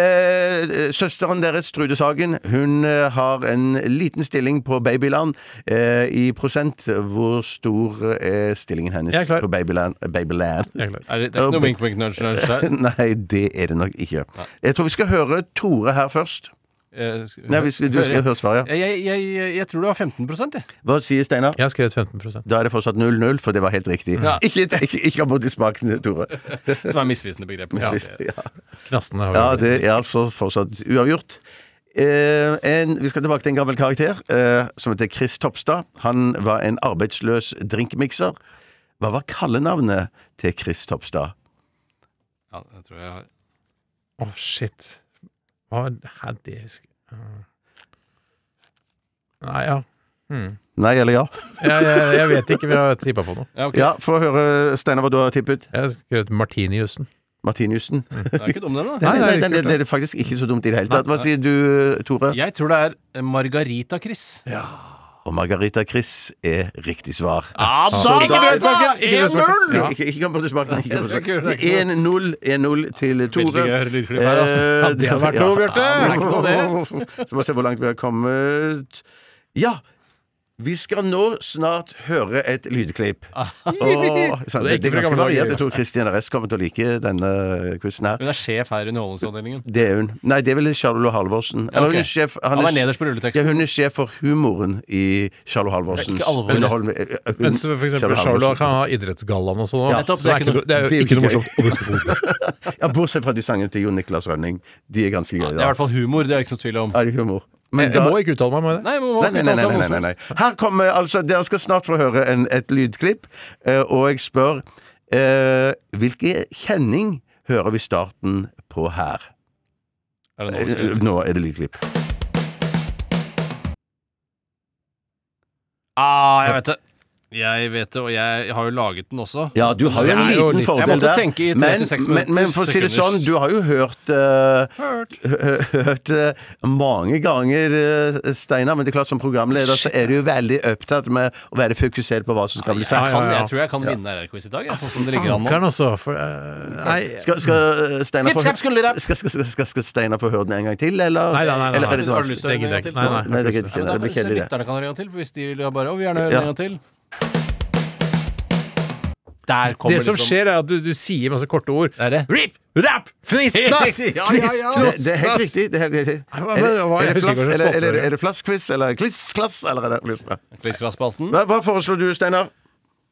Speaker 9: Eh, søsteren deres, Trude Sagen, hun eh, har en liten stilling på Babyland. Eh, I prosent, hvor stor er stillingen hennes
Speaker 7: Jeg er klar.
Speaker 9: på Babyland? Babyland?
Speaker 7: Jeg er klar.
Speaker 8: Er det, det er ikke
Speaker 9: Ja,
Speaker 8: noe wink wink nudge nudge der.
Speaker 9: *laughs* Nei, det er det nok ikke. Jeg tror vi skal høre Tore her først.
Speaker 8: Eh, skal-
Speaker 9: Nei, vi skal, du skal høre svaret.
Speaker 8: Jeg, jeg, jeg, jeg tror det var 15 jeg.
Speaker 9: Hva sier Steinar?
Speaker 7: Jeg har skrevet 15
Speaker 9: Da er det fortsatt 0-0, for det var helt riktig.
Speaker 8: Ja.
Speaker 9: *laughs* Ikke, ikke, ikke ha mot i smaken, Tore.
Speaker 8: Som er misvisende begrep.
Speaker 9: Ja,
Speaker 7: Knastene har vi.
Speaker 9: ja, det er altså fortsatt uavgjort. Eh, en, vi skal tilbake til en gammel karakter eh, som heter Chris Topstad. Han var en arbeidsløs drinkmikser. Hva var kallenavnet til Chris Topstad?
Speaker 8: Ja, det tror jeg jeg har.
Speaker 7: Å, shit. Hva er det her? Det husker jeg- Nei, ja.
Speaker 9: Nei eller ja?
Speaker 7: Jeg, jeg, jeg vet ikke. Vi har tippa på noe.
Speaker 8: Ja, ok.
Speaker 9: Ja, Få høre, Steinar, hva du har tippet.
Speaker 7: Jeg har skrevet martinijussen.
Speaker 9: Martiniussen.
Speaker 8: Det er ikke dum, den, da.
Speaker 9: *laughs* Nei, nei,
Speaker 7: det er
Speaker 9: nei,
Speaker 7: kult,
Speaker 9: det er faktisk ikke så dumt i det hele tatt. Hva sier du, Tore?
Speaker 8: Jeg tror det er Margarita-Chris.
Speaker 9: Og Margarita Chris er riktig svar.
Speaker 8: Ja,
Speaker 9: Så
Speaker 8: da,
Speaker 9: da-
Speaker 7: Ikke drøy smaken.
Speaker 9: Ja. Ikke, ikke kom på tilbake. Ikke
Speaker 8: Jeg skal ikke gjøre det.
Speaker 9: Det er 1-0 1-0 til
Speaker 8: Veldig
Speaker 9: Tore.
Speaker 8: gøy å høre lydklipp her, ass.
Speaker 9: Eh,
Speaker 7: Ja, det hadde vært
Speaker 9: ja.
Speaker 7: noe, Bjarte!
Speaker 8: Ja, men det er ikke noe, det.
Speaker 9: *laughs* Så må vi se hvor langt vi har kommet. Ja! Vi skal nå snart høre et lydklipp. Åh, sant,
Speaker 7: Det er
Speaker 9: det,
Speaker 7: ikke
Speaker 9: det er
Speaker 7: fra
Speaker 9: ganske
Speaker 7: gamle dager.
Speaker 9: variert. Jeg tror Christian RS kommer til å like denne quizen her.
Speaker 8: Hun er sjef her i Underholdningsavdelingen.
Speaker 9: Det er hun. Nei, det er vel Charlo Halvorsen. Eller
Speaker 8: Ok.
Speaker 9: hun er sjef han
Speaker 8: Han er nederst på rulleteksten.
Speaker 9: Ja, hun er sjef for humoren i Charlo Halvorsens
Speaker 8: Ikke alvor.
Speaker 9: underholdning. Eh, hun-
Speaker 7: Mens for eksempel Charlo kan ha idrettsgallaen og sånn. også,
Speaker 9: Ja,
Speaker 8: nettopp,
Speaker 7: så er ikke noe- det er
Speaker 9: det
Speaker 7: jo
Speaker 9: er
Speaker 7: ikke
Speaker 9: jo
Speaker 7: noe
Speaker 9: ikke
Speaker 7: morsomt overhodet.
Speaker 9: Ja, bortsett fra de sangene til Jon Niklas Rønning. De er ganske gøye,
Speaker 8: Det er i
Speaker 9: da.
Speaker 8: hvert fall humor, det er det ikke noe tvil om.
Speaker 9: Er det humor? Men
Speaker 7: Jeg må ikke uttale meg om det.
Speaker 8: Nei, må, må,
Speaker 9: Nei, nei, nei, nei, nei, nei, nei. Her kommer altså Dere skal snart få høre en, et lydklipp, eh, og jeg spør eh, Hvilken kjenning hører vi starten på her?
Speaker 8: Er det noe vi
Speaker 9: Eh,
Speaker 8: skal-
Speaker 9: Nå er det lydklipp.
Speaker 8: Ah, jeg vet det. Jeg vet det, og jeg har jo laget den også.
Speaker 9: Ja, du har jo en
Speaker 8: Det er
Speaker 9: liten
Speaker 8: litt-
Speaker 9: fordel
Speaker 8: Jeg måtte
Speaker 9: der.
Speaker 8: tenke i
Speaker 9: men,
Speaker 8: 36
Speaker 9: men, men for å si det
Speaker 8: sekunders-
Speaker 9: sånn, du har jo hørt eh, hø- Hørt eh, mange ganger, eh, Steinar, men det er klart som programleder så er du jo veldig opptatt med å være fokusert på hva som skal bli
Speaker 8: Jeg,
Speaker 9: sagt.
Speaker 8: kan,
Speaker 7: ja, ja.
Speaker 8: jeg tror jeg kan vinne RR-quiz i dag, jeg, sånn som det ligger an nå.
Speaker 7: Ankeren, altså. For, eh, nei,
Speaker 9: Skal, skal eh, Steinar få
Speaker 8: Slipp, slipp, skulle dere.
Speaker 9: skal, skal, skal, skal, skal Steinar få høre den en gang til, eller?
Speaker 7: Nei, nei, nei, nei,
Speaker 9: eller
Speaker 7: nei.
Speaker 9: er det
Speaker 8: Har du
Speaker 9: dårlig?
Speaker 8: lyst til å
Speaker 7: det
Speaker 8: høre den en gang
Speaker 7: gidder jeg ikke.
Speaker 8: til?
Speaker 7: Nei, nei.
Speaker 9: Nei, det
Speaker 8: Ja,
Speaker 9: gidder jeg
Speaker 8: men da
Speaker 9: ikke. Det blir
Speaker 8: får
Speaker 9: kjedelig, det.
Speaker 8: Lytterne kan høre en gang til, for hvis de vil bare Å, vi gjerne høre
Speaker 9: Ja.
Speaker 8: en gang til. Der kommer
Speaker 7: Det som
Speaker 8: liksom-
Speaker 7: skjer, er at du, du sier masse korte ord.
Speaker 8: Det er det.
Speaker 7: Rip, rap,
Speaker 8: *laughs*
Speaker 7: fniss, fnass!
Speaker 8: Ja, ja, ja.
Speaker 9: Det, det er helt riktig. Det er helt riktig.
Speaker 7: Nei, hva-
Speaker 9: Er det-
Speaker 7: hva- jeg husker
Speaker 9: er det
Speaker 7: ikke hva
Speaker 9: flass-
Speaker 7: slags
Speaker 9: eller-
Speaker 7: spalte det
Speaker 9: eller-
Speaker 7: er.
Speaker 9: Er det flaskquiz eller kliss-klass? Eller er det
Speaker 8: Kliss-klass-spalten.
Speaker 9: hva, hva foreslår du, Steinar?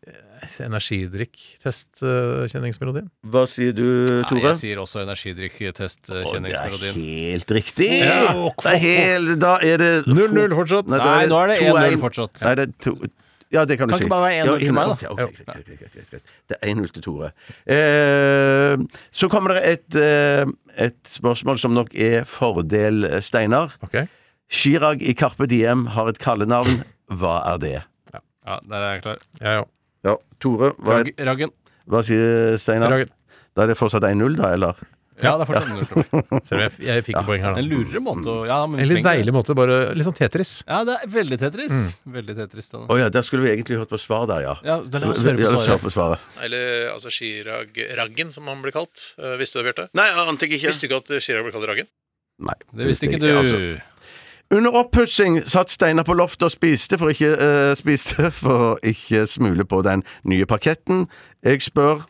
Speaker 7: eh, Energidrikk-testkjenningsmelodien.
Speaker 9: Hva sier du,
Speaker 8: Nei,
Speaker 9: Tore?
Speaker 8: jeg sier også eh,
Speaker 9: Å, det er
Speaker 8: energidrikk-testkjenningsmelodien.
Speaker 9: helt riktig! Det er helt, da er det
Speaker 7: 0-0 fortsatt.
Speaker 9: da
Speaker 8: Nei, nå er det
Speaker 9: 2-1.
Speaker 8: 1-0 fortsatt.
Speaker 9: Nei, det er to... Ja, det kan du
Speaker 8: Kan
Speaker 9: si.
Speaker 8: ikke bare være 1-0
Speaker 9: Ja,
Speaker 8: til meg, da?
Speaker 9: ok, ok, greit, greit, greit, greit, greit. Det er 1-0 til Tore. Eh, så kommer det et, eh, et spørsmål som nok er fordel eh, Steinar.
Speaker 7: Ok.
Speaker 9: Chirag i Carpe Diem har et kallenavn. Hva er det?
Speaker 8: Ja, der er jeg klar.
Speaker 7: Ja, ja.
Speaker 9: Ja, Tore, hva,
Speaker 8: Rag, raggen.
Speaker 9: hva sier Steinar?
Speaker 7: Ragen.
Speaker 9: Da er det fortsatt 1-0, da, eller?
Speaker 8: Ja, det er fortsatt null for meg.
Speaker 7: Ser du, jeg, jeg fikk et poeng her,
Speaker 8: En
Speaker 7: da.
Speaker 8: lurere måte å Ja, men
Speaker 7: En
Speaker 8: vi
Speaker 7: litt
Speaker 8: trenger det.
Speaker 7: deilig måte. Bare litt sånn Tetris.
Speaker 8: Ja, det er veldig Tetris. Veldig Tetris da.
Speaker 9: Å ja, der skulle vi egentlig hørt på svar der, ja.
Speaker 8: Ja, da la oss
Speaker 9: Ja,
Speaker 8: høre
Speaker 9: la
Speaker 8: på
Speaker 9: oss høre
Speaker 8: svaret.
Speaker 9: på svaret.
Speaker 11: Eller altså Chirag-raggen, som han ble kalt. Eh, visste du det, Bjarte?
Speaker 9: Nei, jeg ante jeg ikke.
Speaker 11: Visste du ikke at Chirag ble kalt Raggen?
Speaker 9: Nei,
Speaker 8: Det visste ikke du.
Speaker 9: jeg altså. Under oppussing satt Steinar på loftet og spiste for, ikke, eh, spiste for å ikke smule på den nye parketten. Jeg spør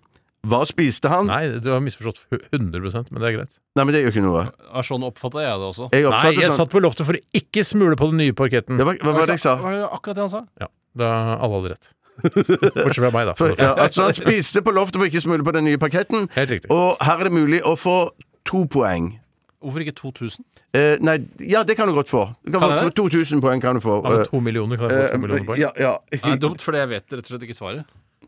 Speaker 9: hva spiste han?
Speaker 7: Nei, du har misforstått 100 men det er greit.
Speaker 9: Nei, men det gjør ikke noe.
Speaker 8: Ja, sånn oppfatta jeg det også.
Speaker 9: Jeg
Speaker 7: Nei,
Speaker 9: oppfattet
Speaker 7: jeg
Speaker 9: sånn-
Speaker 7: satt på loftet for å ikke smule på den nye parketten.
Speaker 9: Ja, hva, hva var det jeg sa?
Speaker 8: Var det akkurat det han sa?
Speaker 7: Ja, da alle hadde rett. Bortsett fra meg, da.
Speaker 9: For, ja, altså han spiste på loftet for ikke å smule på den nye parketten.
Speaker 7: Helt riktig.
Speaker 9: Og her er det mulig å få to poeng.
Speaker 8: Hvorfor ikke 2000?
Speaker 9: Eh, nei, ja, det kan du godt få. Du kan
Speaker 8: Kan
Speaker 9: få
Speaker 8: jeg det?
Speaker 9: 2000 poeng kan du få.
Speaker 7: Ja, men to millioner, kan jeg få
Speaker 9: Eh,
Speaker 7: to millioner poeng?
Speaker 9: ja, ja.
Speaker 8: Nei, dumt, for jeg vet rett og slett ikke svaret.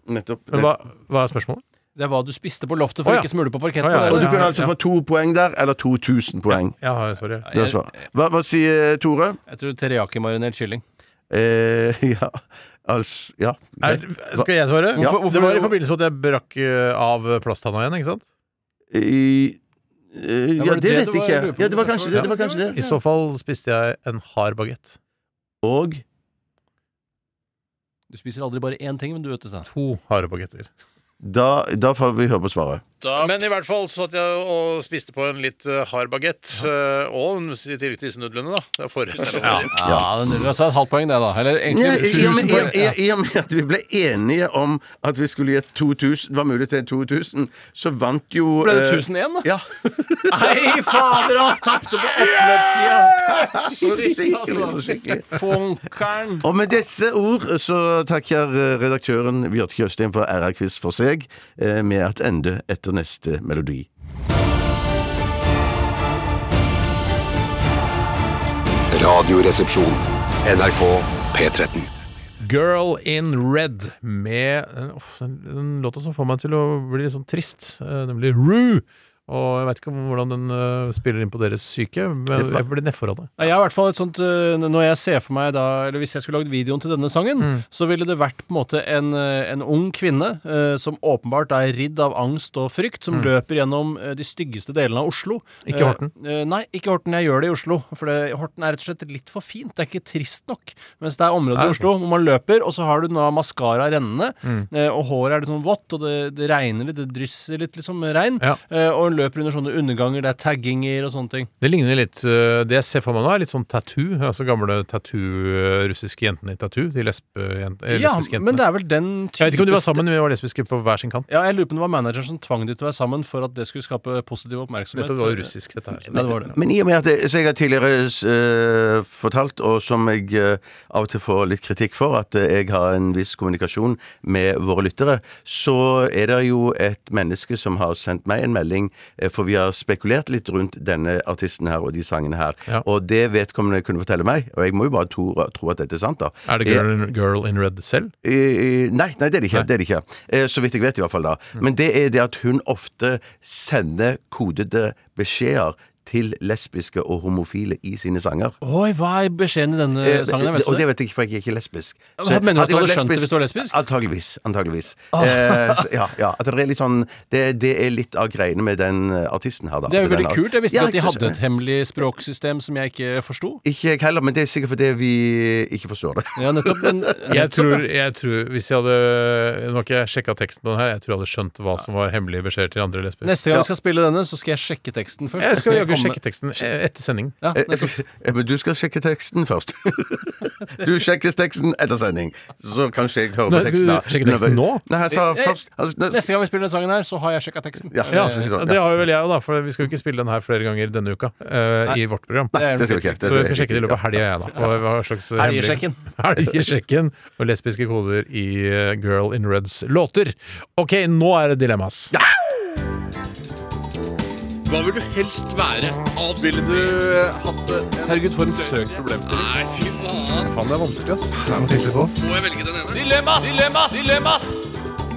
Speaker 9: Nettopp.
Speaker 7: Men hva, hva er spørsmålet?
Speaker 8: Det er hva du spiste på loftet for
Speaker 7: Å, ja.
Speaker 8: ikke smule på parketten.
Speaker 7: Å, ja,
Speaker 8: det er
Speaker 9: Og du
Speaker 8: det.
Speaker 9: kan altså få to poeng der, eller 2000 poeng.
Speaker 7: Jeg har svaret.
Speaker 9: Det er svar. Hva, hva sier Tore?
Speaker 8: Jeg tror teriyaki-marinert kylling.
Speaker 9: Eh, *laughs* ja, altså Ja.
Speaker 7: Er,
Speaker 9: greit.
Speaker 7: skal jeg svare?
Speaker 9: Ja. Hvorfor-
Speaker 7: det var i forbindelse med at jeg brakk eh, av plasttanna igjen, ikke sant?
Speaker 9: I, eh, ja,
Speaker 8: var det det
Speaker 9: det vet
Speaker 8: du
Speaker 9: jeg
Speaker 8: var-
Speaker 9: ikke.
Speaker 8: lurer på?
Speaker 9: Ja, det var kanskje det. det, var kanskje
Speaker 7: I
Speaker 9: det.
Speaker 7: så fall spiste jeg en hard bagett.
Speaker 9: Og
Speaker 8: Du spiser aldri bare én ting, men du vet det, Stein.
Speaker 7: To harde bagetter.
Speaker 9: da, da får vi høre på svaret.
Speaker 11: Men i hvert fall satt jeg og spiste på en litt
Speaker 7: øh,
Speaker 11: eh, hard bagett. eh, Og en- i tillegg til disse nudlene, da. Det er forrett. er det man sier.
Speaker 8: Ja, den nuller altså et halvt poeng, det, da. Eller egentlig
Speaker 9: Ja, i- i og
Speaker 8: 1000
Speaker 9: med-
Speaker 8: poeng.
Speaker 9: i- i- I og med at vi ble enige om at vi skulle gi 2000, det var mulig til 2000, så vant jo
Speaker 8: Ble det
Speaker 9: eh,
Speaker 8: 1001, da?
Speaker 9: Ja.
Speaker 8: Nei, fader, han tapte på oppløpssida!
Speaker 9: Så
Speaker 8: *laughs*
Speaker 9: skikkelig, så skikkelig.
Speaker 8: Funkeren!
Speaker 9: Og med disse ord så takker eh, redaktøren Bjarte Tjøstheim for RR-quiz for seg, eh, med at ende etter neste melodi.
Speaker 2: Radioresepsjon. NRK P13.
Speaker 7: Girl in Red med eh, uff, den, den låta som får meg til å bli litt sånn trist, eh, nemlig Rue. Og jeg veit ikke om hvordan den eh, spiller inn på deres psyke, men jeg blir nedfor av det.
Speaker 8: Nei, Jeg har i hvert fall et sånt øh, Når jeg ser for meg da Eller hvis jeg skulle lagd videoen til denne sangen,
Speaker 7: Mm.
Speaker 8: så ville det vært på en måte en, øh, en ung kvinne øh, som åpenbart er ridd av angst og frykt, som løper gjennom øh, de styggeste delene av Oslo.
Speaker 7: Mm. Ikke Horten.
Speaker 8: Eh, eh, nei, ikke Horten. Jeg gjør det i Oslo. For det, Horten er rett og slett litt for fint. Det er ikke trist nok. Mens det er områder
Speaker 7: Nei, Mm.
Speaker 8: i Oslo hvor man løper, og så har du da maskara rennende, eh, og håret er litt sånn vått, og det, det regner litt, det drysser litt liksom regn,
Speaker 7: Ja.
Speaker 8: eh, og hun løper under sånne underganger, det er tagginger og sånne ting.
Speaker 7: Det ligner litt eh, Det jeg ser for meg nå, er litt sånn tattoo. Altså gamle tattoo, eh, russiske jentene i tattoo. De lesbejent- eh,
Speaker 8: Ja,
Speaker 7: lesbiske
Speaker 8: men
Speaker 7: jentene.
Speaker 8: det er vel den
Speaker 7: Jeg vet ikke om de var
Speaker 8: typiske-
Speaker 7: sammen, men vi var lesbiske på hver sin kant.
Speaker 8: Ja, jeg lurer på om det var manageren som tvang de til å være sammen for at det skulle skape positiv oppmerksomhet.
Speaker 7: Nettopp, det var jo russisk, dette her.
Speaker 8: Ja, det var det.
Speaker 9: Men i og med at det, så jeg har tidligere eh, fortalt, og som jeg eh, av og til får litt kritikk for, at eh, jeg har en viss kommunikasjon med våre lyttere, så er det jo et menneske som har sendt meg en melding, eh, for vi har spekulert litt rundt denne artisten her og de sangene her.
Speaker 7: Ja.
Speaker 9: Og det vedkommende kunne fortelle meg, og jeg må jo bare tro, tro at dette er sant, da.
Speaker 7: Er det girl, in- girl in Red selv?
Speaker 9: Eh, eh, Nei, nei, det er det ikke. Det er det ikke. Eh, Så vidt jeg vet, i hvert fall. da
Speaker 8: Mm.
Speaker 9: Men det er det at hun ofte sender kodede beskjeder til lesbiske og homofile i sine sanger.
Speaker 8: Oi, hva er beskjeden i denne
Speaker 9: Eh,
Speaker 8: sangen? her,
Speaker 9: det-
Speaker 8: Vet
Speaker 9: og
Speaker 8: du
Speaker 9: det
Speaker 8: det?
Speaker 9: vet jeg ikke, for jeg er ikke lesbisk.
Speaker 8: Ja, men mener du at du
Speaker 9: jeg var
Speaker 8: hadde skjønt det hvis du var lesbisk?
Speaker 9: Antageligvis. antageligvis. Eh, så, ja, ja, at det er litt sånn det, det er litt av greiene med den eh, artisten her, da.
Speaker 8: Det er jo
Speaker 9: Den
Speaker 8: veldig
Speaker 9: har-
Speaker 8: kult. Jeg visste
Speaker 9: Ja,
Speaker 8: at de
Speaker 9: jeg synes-
Speaker 8: hadde et hemmelig språksystem som jeg ikke forsto.
Speaker 9: Ikke jeg heller, men det er sikkert fordi vi ikke forstår det.
Speaker 8: Ja, nettopp. Men,
Speaker 7: *laughs* Jeg tror, jeg tror Hvis jeg hadde Nå har ikke jeg sjekka teksten på den her, jeg tror jeg hadde skjønt hva som var hemmelige beskjeder til andre lesber.
Speaker 8: neste gang vi skal spille denne, så skal jeg sjekke teksten først.
Speaker 7: Jeg skal jaggu
Speaker 8: *laughs* komme-
Speaker 7: sjekke teksten eh, etter sending.
Speaker 8: Ja,
Speaker 9: Eh,
Speaker 8: nettopp.
Speaker 7: *laughs*
Speaker 9: eh, Men du skal sjekke teksten først. *laughs* du sjekker teksten etter sending. Så kanskje jeg hører
Speaker 7: Nei,
Speaker 9: på
Speaker 7: skal
Speaker 9: teksten.
Speaker 7: du
Speaker 9: da.
Speaker 7: sjekke teksten nå?
Speaker 9: Nei, jeg sa først altså, nei,
Speaker 8: Neste gang vi spiller denne sangen her, så har jeg sjekka teksten.
Speaker 9: sånn, ja,
Speaker 7: Ja,
Speaker 9: det skal
Speaker 7: Det har jo vel jeg òg, da, for vi skal jo ikke spille den her flere ganger denne uka eh, i vårt program.
Speaker 8: Nei,
Speaker 9: vi ikke. Det
Speaker 7: Så jeg skal
Speaker 9: vi
Speaker 7: sjekke det i løpet av helga, jeg, da. Hva, hva slags
Speaker 8: *laughs*
Speaker 7: hemmelig- *laughs*
Speaker 8: Helgesjekken.
Speaker 7: Helgesjekken og lesbiske koder i eh, Girl in Reds låter. Ok, nå er det dilemmas.
Speaker 10: Hva vil du helst være? Ville du
Speaker 8: Herregud, for en søk problem.
Speaker 10: Nei, fy faen.
Speaker 8: Faen, det er vanskelig, ass.
Speaker 10: Må jeg velge den ene?
Speaker 3: Dilemmas! Dilemmas! Dilemmas!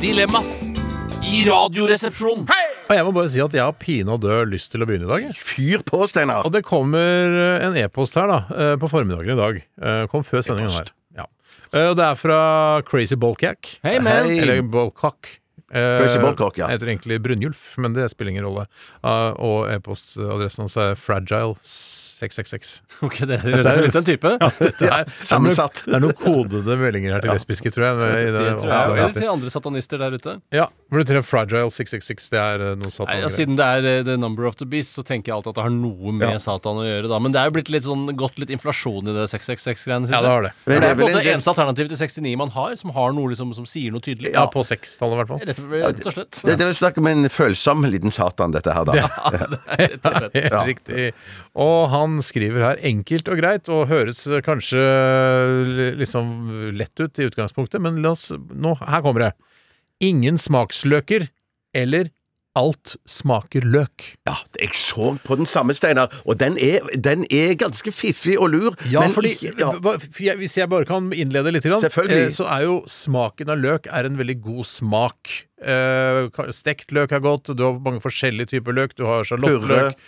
Speaker 3: Dilemmas i Radioresepsjonen.
Speaker 7: Og jeg må bare si at jeg har pinadø lyst til å begynne i dag. jeg.
Speaker 9: Fyr på, Steinar!
Speaker 7: Og det kommer eh, en e-post her da, eh, på formiddagen i dag. Eh, Kom før sendingen her. Ja. Eh, Og det er fra Crazy Bolkak.
Speaker 8: Hei, man.
Speaker 7: Eller Bolkak. Eh,
Speaker 9: Tracy Balcock, ja.
Speaker 7: Han heter egentlig Brunjulf, men det spiller ingen rolle. Eh, og e-postadressen hans er *laughs* fragile666.
Speaker 8: Ok, det er det er litt en type.
Speaker 7: Det er-
Speaker 9: sammensatt.
Speaker 7: Det er noen kodede meldinger her til lesbiske, tror jeg. med- i
Speaker 8: Det
Speaker 7: det-
Speaker 8: tror jeg. Eller til andre satanister der ute.
Speaker 7: Ja, hvor du treffer Fragile 666, det er eh, noe satan.
Speaker 8: Nei, ja, siden det er eh, The Number of the Beast, så tenker jeg alltid at det har noe med
Speaker 7: Ja.
Speaker 8: Satan å gjøre. da Men det er jo blitt litt sånn, gått litt inflasjon i det 666-greiene.
Speaker 7: Ja, det har det.
Speaker 8: Det
Speaker 9: Men
Speaker 8: er på en
Speaker 9: vel
Speaker 8: måte
Speaker 9: en
Speaker 8: det
Speaker 9: del-
Speaker 8: eneste alternativet til 69 man har, som har noe liksom, som sier noe tydelig.
Speaker 7: Ja, på sekstallet i hvert fall.
Speaker 8: Rett og rett og slett.
Speaker 9: Det, det er vel snakk om en følsom liten satan, dette her, da.
Speaker 7: *laughs* Helt riktig. Og han skriver her enkelt og greit, og høres kanskje li- liksom lett ut i utgangspunktet, men la oss nå, Her kommer det. Ingen smaksløker eller alt smaker løk.
Speaker 9: Ja, jeg så på den samme, Steinar, og den er, den er ganske fiffig og lur.
Speaker 7: Ja,
Speaker 9: men
Speaker 7: fordi
Speaker 9: ikke- ja.
Speaker 7: hva- for jeg- Hvis jeg bare kan innlede litt, grann,
Speaker 9: Selvfølgelig.
Speaker 7: eh, så er jo smaken av løk er en veldig god smak. Eh, ka- Stekt løk er godt, du har mange forskjellige typer løk. Du har sjalottløk,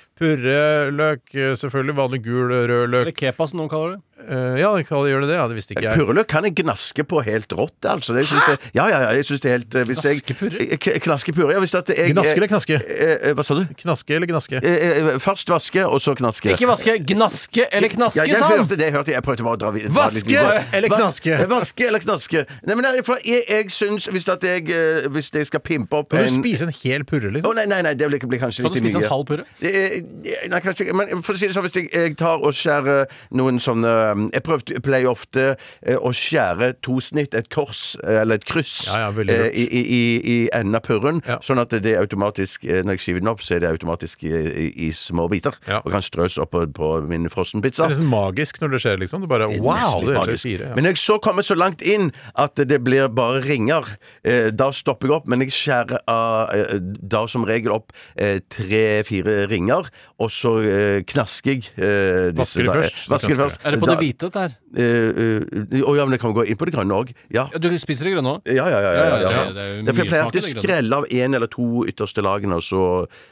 Speaker 7: purreløk, eh, selvfølgelig vanlig gul, rød løk.
Speaker 8: Eller kepa, som noen kaller det.
Speaker 7: Eh, ja, hva gjør det det? Ja, det visste ikke jeg.
Speaker 9: Purreløk kan jeg gnaske på helt rått, altså. Jeg synes det, ja, ja, ja, jeg synes det er helt eh, hvis jeg-
Speaker 7: Gnaskepurre?
Speaker 9: Eh, k- Knaskepurre? Ja, hvis at jeg
Speaker 7: Gnaske eller knaske?
Speaker 9: eh, eh, Hva sa du?
Speaker 7: Knaske eller gnaske?
Speaker 9: Eh, eh, Først vaske, og så knaske.
Speaker 8: Ikke vaske, gnaske eller
Speaker 9: Ja,
Speaker 8: knaske,
Speaker 9: jeg
Speaker 8: sa han!
Speaker 9: hørte det. jeg hørte det. Jeg prøvde bare å dra vid- dra
Speaker 7: Vaske
Speaker 9: litt videre.
Speaker 7: eller
Speaker 9: Vas-
Speaker 7: knaske?
Speaker 9: eh, Vaske eller knaske. Nei, men jeg, for jeg, jeg syns Hvis at jeg, eh, hvis jeg skal pimpe opp
Speaker 7: Kan du
Speaker 9: en
Speaker 7: spise en hel purre,
Speaker 9: Å
Speaker 7: liksom?
Speaker 9: nei, nei, nei, det blir, blir kanskje
Speaker 8: Kan
Speaker 9: litt
Speaker 8: du
Speaker 9: mye.
Speaker 8: spise en halv purre?
Speaker 9: Det er- Eh, Nei, kanskje ikke. Men for å si det sånn, hvis jeg, jeg tar og skjærer noen sånne um, Jeg prøvde, jeg pleier ofte eh, å skjære to snitt, et kors eh, eller et kryss,
Speaker 7: Ja, ja, veldig
Speaker 9: eh,
Speaker 7: lurt.
Speaker 9: i, i, i, i enden av purren.
Speaker 7: Ja.
Speaker 9: Sånn at det er automatisk eh, Når jeg skyver den opp, så er det automatisk i, i, i små biter.
Speaker 7: Ja.
Speaker 9: Og kan strøs oppå på min frossenpizza.
Speaker 7: Det er nesten magisk når det skjer, liksom. Du bare
Speaker 9: Det er
Speaker 7: wow!
Speaker 9: nesten litt
Speaker 7: Det skjer
Speaker 9: magisk.
Speaker 7: fire. Ja.
Speaker 9: Men når jeg så kommer så langt inn at det blir bare ringer, eh, da stopper jeg opp. Men jeg skjærer av eh, da som regel opp eh, tre-fire ringer, og så eh, knasker jeg eh, disse
Speaker 7: Vasker de
Speaker 9: da-
Speaker 7: først, så
Speaker 9: eh, Vasker de
Speaker 7: knasker
Speaker 9: først.
Speaker 8: Er det på det hvite, dette her?
Speaker 9: Da, eh, eh, å ja, men jeg kan gå inn på det grønne òg. Ja.
Speaker 8: Ja, Du spiser det grønne òg?
Speaker 9: Ja, ja, ja. ja, ja,
Speaker 8: Ja,
Speaker 9: ja.
Speaker 8: ja, det er jo mye
Speaker 9: Derfor jeg pleier
Speaker 8: smak i
Speaker 9: alltid
Speaker 8: det
Speaker 9: å
Speaker 8: grønne.
Speaker 9: skrelle av én eller to ytterste lagene, og så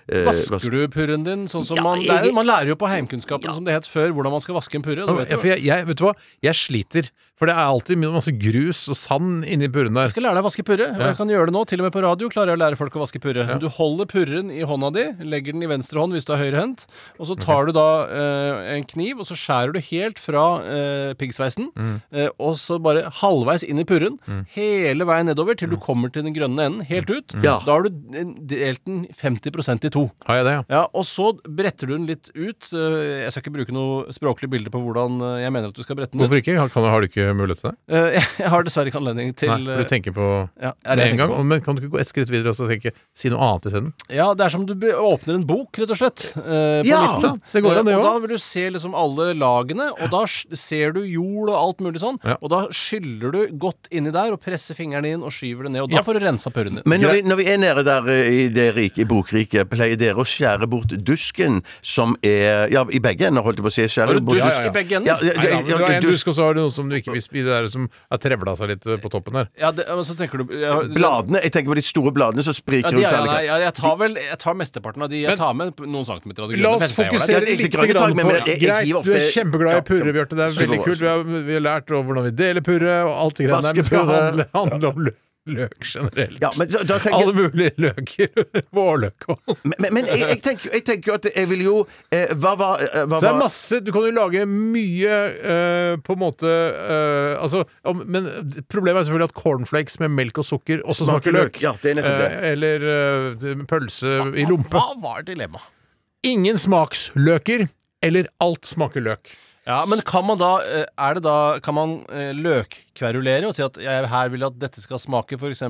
Speaker 9: eh,
Speaker 8: Vasker du purren din sånn som
Speaker 9: Ja,
Speaker 8: man det er,
Speaker 9: jeg-
Speaker 8: Man lærer jo på heimkunnskapen, som det het før, hvordan man skal vaske en purre. Du vet
Speaker 7: Ja, For
Speaker 8: jo.
Speaker 7: jeg, jeg, vet du hva? Jeg sliter. For det er alltid masse grus og sand inni purren der.
Speaker 8: Jeg skal lære deg å vaske purre, og jeg kan gjøre det nå. Til og med på radio klarer jeg å lære folk å vaske purre. Du holder purren i hånda di, legger den i venstre hånd hvis du er høyrehendt, og så tar du da eh, en kniv, og så skjærer du helt fra eh, piggsveisen,
Speaker 7: Mm.
Speaker 8: eh, og så bare halvveis inn i purren, hele veien nedover
Speaker 7: Mm.
Speaker 8: til du kommer til den grønne enden, helt ut.
Speaker 9: Ja.
Speaker 8: Da har du eh, delt den 50 i to.
Speaker 7: Har jeg det, ja?
Speaker 8: Ja, og så bretter du den litt ut. Eh, Jeg skal ikke bruke noe språklig bilde på hvordan eh, jeg mener at du skal brette den ut.
Speaker 7: Hvorfor ikke? Har, kan, har du ikke mulighet til det?
Speaker 8: Eh, *laughs* Jeg har dessverre ikke anledning til
Speaker 7: Nei, for
Speaker 8: eh,
Speaker 7: du tenker på
Speaker 8: ja, er
Speaker 7: med
Speaker 8: det jeg
Speaker 7: en
Speaker 8: tenker
Speaker 7: gang.
Speaker 8: på.
Speaker 7: Men kan du ikke gå et skritt videre og så tenke si noe annet isteden?
Speaker 8: Ja, det er som du be- åpner en bok, rett og slett. eh, på
Speaker 9: Ja,
Speaker 8: midten.
Speaker 7: det går an, det
Speaker 8: Eh, Og
Speaker 7: også.
Speaker 8: da vil du se liksom alle lagene, og da s- ser du jord og alt mulig sånn.
Speaker 7: Ja.
Speaker 8: Og da skyller du godt inni der og presser fingrene inn og skyver det ned. Og da får du rensa purren din.
Speaker 9: Men når vi, når vi er nede der eh, i det rike, i bokriket, pleier dere å skjære bort dusken som er Ja, i begge ender, holdt jeg på å si.
Speaker 8: Har
Speaker 9: Skjærer
Speaker 8: du
Speaker 9: bort
Speaker 8: dusk
Speaker 7: ja, ja.
Speaker 8: i begge
Speaker 9: Ja,
Speaker 8: ender?
Speaker 9: ja,
Speaker 7: Nei, da, men
Speaker 9: ja,
Speaker 7: du har en
Speaker 9: dusk-
Speaker 7: dusk, og så har du noe som du ikke vil spise, det er som har trevla seg litt eh, på toppen der.
Speaker 8: Ja, det, og så tenker du ja,
Speaker 9: Bladene, Jeg tenker på de store bladene som
Speaker 8: Ja,
Speaker 9: spriker
Speaker 8: de,
Speaker 9: rundt.
Speaker 8: ja,
Speaker 9: alle-
Speaker 8: nei, ja, jeg tar vel Jeg tar mesteparten av de. Jeg
Speaker 7: Men-
Speaker 8: tar med noen centimeter av det
Speaker 7: La oss
Speaker 8: Det synes jeg er
Speaker 7: fokusere
Speaker 9: det.
Speaker 7: litt
Speaker 9: Jeg liker
Speaker 7: grann
Speaker 9: grønne
Speaker 7: på
Speaker 9: tag, men jeg- jeg
Speaker 7: Greit,
Speaker 9: gir ofte-
Speaker 7: du er kjempeglad i
Speaker 9: Ja,
Speaker 7: purre, Bjarte. Det er
Speaker 9: så-
Speaker 7: veldig kult. Vi har, vi har lært om hvordan vi deler purre og alt det greiene der. Men det skal
Speaker 9: Vaskepurre.
Speaker 7: handle, handle om lø- løk generelt.
Speaker 9: Ja, men da- da tenker jeg-
Speaker 7: Alle mulige løker. *laughs* Vårløkål.
Speaker 9: Men, men- men jeg, jeg, tenker, jeg tenker jo at jeg vil jo eh, Hva var eh, hva
Speaker 7: Så det er
Speaker 9: var-
Speaker 7: masse Du kan jo lage mye eh, på en måte eh, Altså om, Men problemet er selvfølgelig at cornflakes med melk og sukker også
Speaker 9: Smaker
Speaker 7: smaker løk.
Speaker 9: løk. Ja, det er nettopp det.
Speaker 7: Eh, eller eh, pølse i rumpe.
Speaker 8: Hva var dilemmaet?
Speaker 7: Ingen smaksløker eller alt smaker løk.
Speaker 8: Ja, men kan man da, eh, er det da Kan man eh, løkkverulere og si at jeg her vil at dette skal smake f.eks.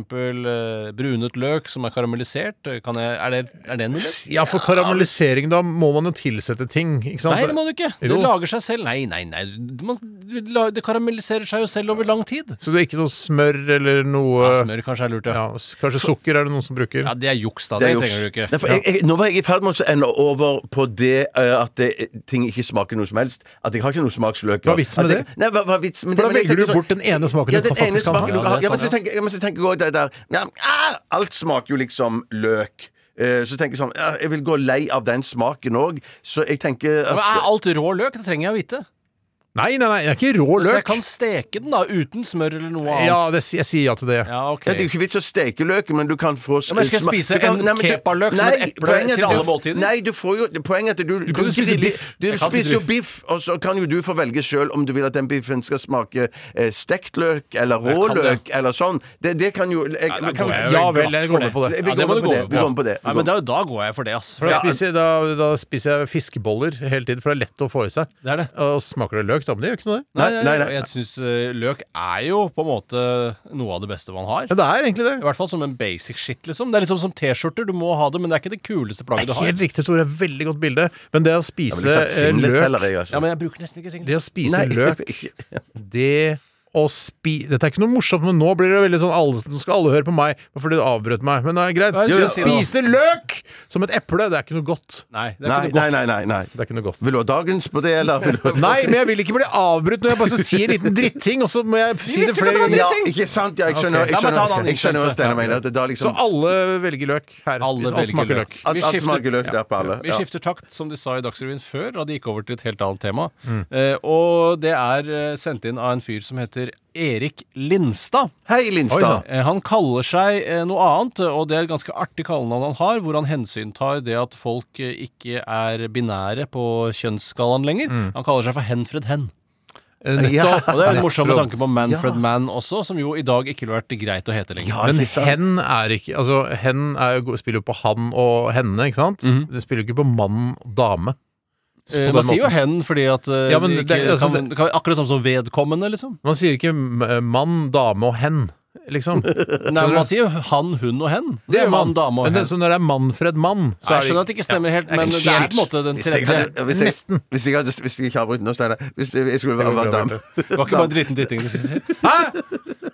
Speaker 8: brunet løk som er karamellisert? Kan jeg, er, det, er det en mulighet?
Speaker 7: Ja, for karamellisering, da må man jo tilsette ting, ikke sant?
Speaker 8: Nei, det må du ikke. Det
Speaker 7: Jo.
Speaker 8: lager seg selv. Nei, nei, nei. Du må- du la- Det karamelliserer seg jo selv over lang tid.
Speaker 7: Så det er ikke noe smør eller noe
Speaker 8: Ja, smør kanskje er lurt, ja.
Speaker 7: ja, s- Kanskje sukker er det noen som bruker?
Speaker 8: Ja, Det er juks, da. Det,
Speaker 9: Det er juks.
Speaker 8: trenger du ikke.
Speaker 9: Nei, for jeg, jeg, nå var jeg i ferd med å ende over på det eh, at det, ting ikke smaker noe som helst. At jeg har ikke noe smaksløk.
Speaker 7: Hva er vitsen med
Speaker 9: At jeg-
Speaker 7: det?
Speaker 9: Nei, hva, hva er vitsen med
Speaker 7: For da
Speaker 9: det? Men jeg
Speaker 7: velger du
Speaker 9: tenker så-
Speaker 7: bort den ene smaken
Speaker 9: ja,
Speaker 7: du
Speaker 9: den
Speaker 7: kan-
Speaker 9: ene
Speaker 7: faktisk kan ha.
Speaker 9: smaken du
Speaker 8: Ja,
Speaker 9: kan
Speaker 8: det er
Speaker 9: ja, men
Speaker 8: sant,
Speaker 9: så tenker jeg- men så tenker jeg også det der ja, ah, Alt smaker jo liksom løk. Eh, Så tenker jeg sånn ja, Jeg vil gå lei av den smaken òg, så jeg tenker
Speaker 8: Men
Speaker 9: at,
Speaker 7: ah,
Speaker 8: er alt rå løk? Det trenger jeg å vite.
Speaker 7: Nei, nei, nei, det er ikke rå
Speaker 8: Så jeg
Speaker 7: løk.
Speaker 8: kan steke den da, uten smør eller noe annet.
Speaker 7: Ja, det, jeg sier ja til det.
Speaker 8: Ja, ok.
Speaker 9: Ja, det er jo ikke vits å steke løken, men du kan få
Speaker 8: Ja, men skal jeg
Speaker 9: sma-
Speaker 8: spise
Speaker 9: du kan-
Speaker 8: en
Speaker 9: Nei, men du-
Speaker 8: kepaløk som
Speaker 9: Nei,
Speaker 8: et eple
Speaker 9: poenget
Speaker 8: til
Speaker 9: er at du-
Speaker 8: alle måltider?
Speaker 9: Nei, du får jo, det- poenget er at du Du,
Speaker 7: kan jo spise
Speaker 9: griller-
Speaker 7: biff.
Speaker 9: Du
Speaker 8: Jeg kan spise
Speaker 9: spiser jo biff, og så kan jo du få velge sjøl om du vil at den biffen skal smake eh, stekt løk eller rå
Speaker 8: Jeg kan det.
Speaker 9: løk eller sånn. Det, det kan jo jeg,
Speaker 8: da
Speaker 9: kan,
Speaker 8: går jeg jo
Speaker 7: Ja
Speaker 8: glatt
Speaker 7: vel, jeg
Speaker 8: for
Speaker 7: går med på det.
Speaker 9: Vi
Speaker 8: Ja, det
Speaker 9: går
Speaker 8: må
Speaker 9: med
Speaker 8: du
Speaker 9: på
Speaker 8: gå
Speaker 9: det.
Speaker 8: med
Speaker 9: Vi går med på det.
Speaker 8: Nei, men da, da går jeg for det, ass.
Speaker 7: For da,
Speaker 8: Ja.
Speaker 7: spiser, da, da spiser jeg fiskeboller hele tiden, for det er lett å få i seg.
Speaker 8: Det er det.
Speaker 7: Og smaker det løk, da, men det gjør ikke noe, det.
Speaker 8: Nei, nei,
Speaker 9: Nei, nei, nei.
Speaker 8: Jeg syns løk er jo på en måte noe av det beste man har.
Speaker 7: Ja, det er egentlig
Speaker 8: I
Speaker 7: det.
Speaker 8: hvert fall som en basic shit, liksom. Det er liksom som T-skjorter, du må ha det, men det er ikke det kuleste plagget du har.
Speaker 7: Helt riktig, Tore. Veldig godt bilde. Men det å spise
Speaker 9: Jeg ville sagt
Speaker 7: eh,
Speaker 9: singlet heller,
Speaker 7: løk
Speaker 9: jeg, altså.
Speaker 8: Ja, men jeg bruker nesten ikke singlet.
Speaker 7: Det å spise
Speaker 9: Nei,
Speaker 7: løk, det å spi... Dette er ikke noe morsomt, men nå blir det veldig sånn alle, Nå skal alle høre på meg fordi du avbrøt meg. Men det er greit.
Speaker 8: Nei,
Speaker 7: Det
Speaker 8: du
Speaker 7: å
Speaker 8: sier det.
Speaker 7: spise løk som et eple, det er ikke noe godt.
Speaker 8: Nei, det er
Speaker 9: Nei,
Speaker 8: ikke noe
Speaker 9: nei,
Speaker 8: godt.
Speaker 9: nei, nei, nei.
Speaker 7: Det er ikke noe godt.
Speaker 9: Vil du ha dagens på det, eller? Vil
Speaker 8: *laughs*
Speaker 9: du ha-
Speaker 7: Nei, men jeg vil ikke bli avbrutt når jeg bare skal si en liten dritting, og så må jeg si det flere
Speaker 9: Ja,
Speaker 7: ganger.
Speaker 9: ikke sant? Ja, jeg skjønner,
Speaker 7: Ok.
Speaker 8: La meg ta
Speaker 9: jeg
Speaker 8: en
Speaker 9: skjønner,
Speaker 8: annen
Speaker 9: jeg skjønner hva
Speaker 8: innsats.
Speaker 9: Steinar mener. At det da
Speaker 7: Så
Speaker 9: liksom
Speaker 7: alle velger løk her.
Speaker 8: Alle
Speaker 7: Spis-
Speaker 8: velger
Speaker 7: Alt smaker
Speaker 8: løk.
Speaker 7: løk.
Speaker 9: At
Speaker 8: Vi
Speaker 9: alt
Speaker 8: skifter-
Speaker 9: smaker løk der på alle.
Speaker 8: Vi
Speaker 9: ja.
Speaker 8: skifter takt, som de sa i Dagsrevyen før, da de gikk over til et helt annet tema.
Speaker 7: Mm.
Speaker 8: Eh, og det er eh, sendt inn av en fyr som heter Erik Lindstad.
Speaker 9: Hei, Lindstad.
Speaker 8: Eh, Han kaller seg eh, noe annet, og det er et ganske artig kallenavn han har, hvor han hensyntar det at folk eh, ikke er binære på kjønnsskalaen lenger. Han kaller seg for Henfred Hen.
Speaker 7: Eh, Nettopp.
Speaker 8: Og det er en morsom
Speaker 7: Nettopp.
Speaker 8: tanke på Manfred Man også, som jo i dag ikke ville vært greit å hete lenger.
Speaker 7: Men hen er ikke Altså, hen er, jo- spiller jo på han og henne, ikke sant?
Speaker 8: Mhm.
Speaker 7: Det spiller jo ikke på mann og dame.
Speaker 8: Eh,
Speaker 7: På den
Speaker 8: Man sier jo
Speaker 7: måten.
Speaker 8: hen fordi at eh,
Speaker 7: Ja, men
Speaker 8: de ikke,
Speaker 7: det- altså,
Speaker 8: kan, kan, Akkurat sånn som vedkommende, liksom.
Speaker 7: Man sier ikke m- mann, dame og hen, liksom. Det
Speaker 8: Nei, men Man sier jo han, hun og hen. Det gjør man, dame og
Speaker 7: Men
Speaker 8: hen.
Speaker 7: det, så når det er Manfred Mann, så
Speaker 8: Nei,
Speaker 7: er
Speaker 8: jeg skjønner at det ikke stemmer helt, men det er på en måte den
Speaker 9: Hvis jeg
Speaker 8: tredje.
Speaker 9: hadde- hvis jeg-
Speaker 7: Nesten.
Speaker 9: Hvis jeg, hadde, hvis jeg ikke har brutt nå, Steinar Hvis jeg, jeg skulle
Speaker 7: går
Speaker 9: være
Speaker 7: bra,
Speaker 9: dame
Speaker 8: Det var ikke bare dritten ditting du skulle si.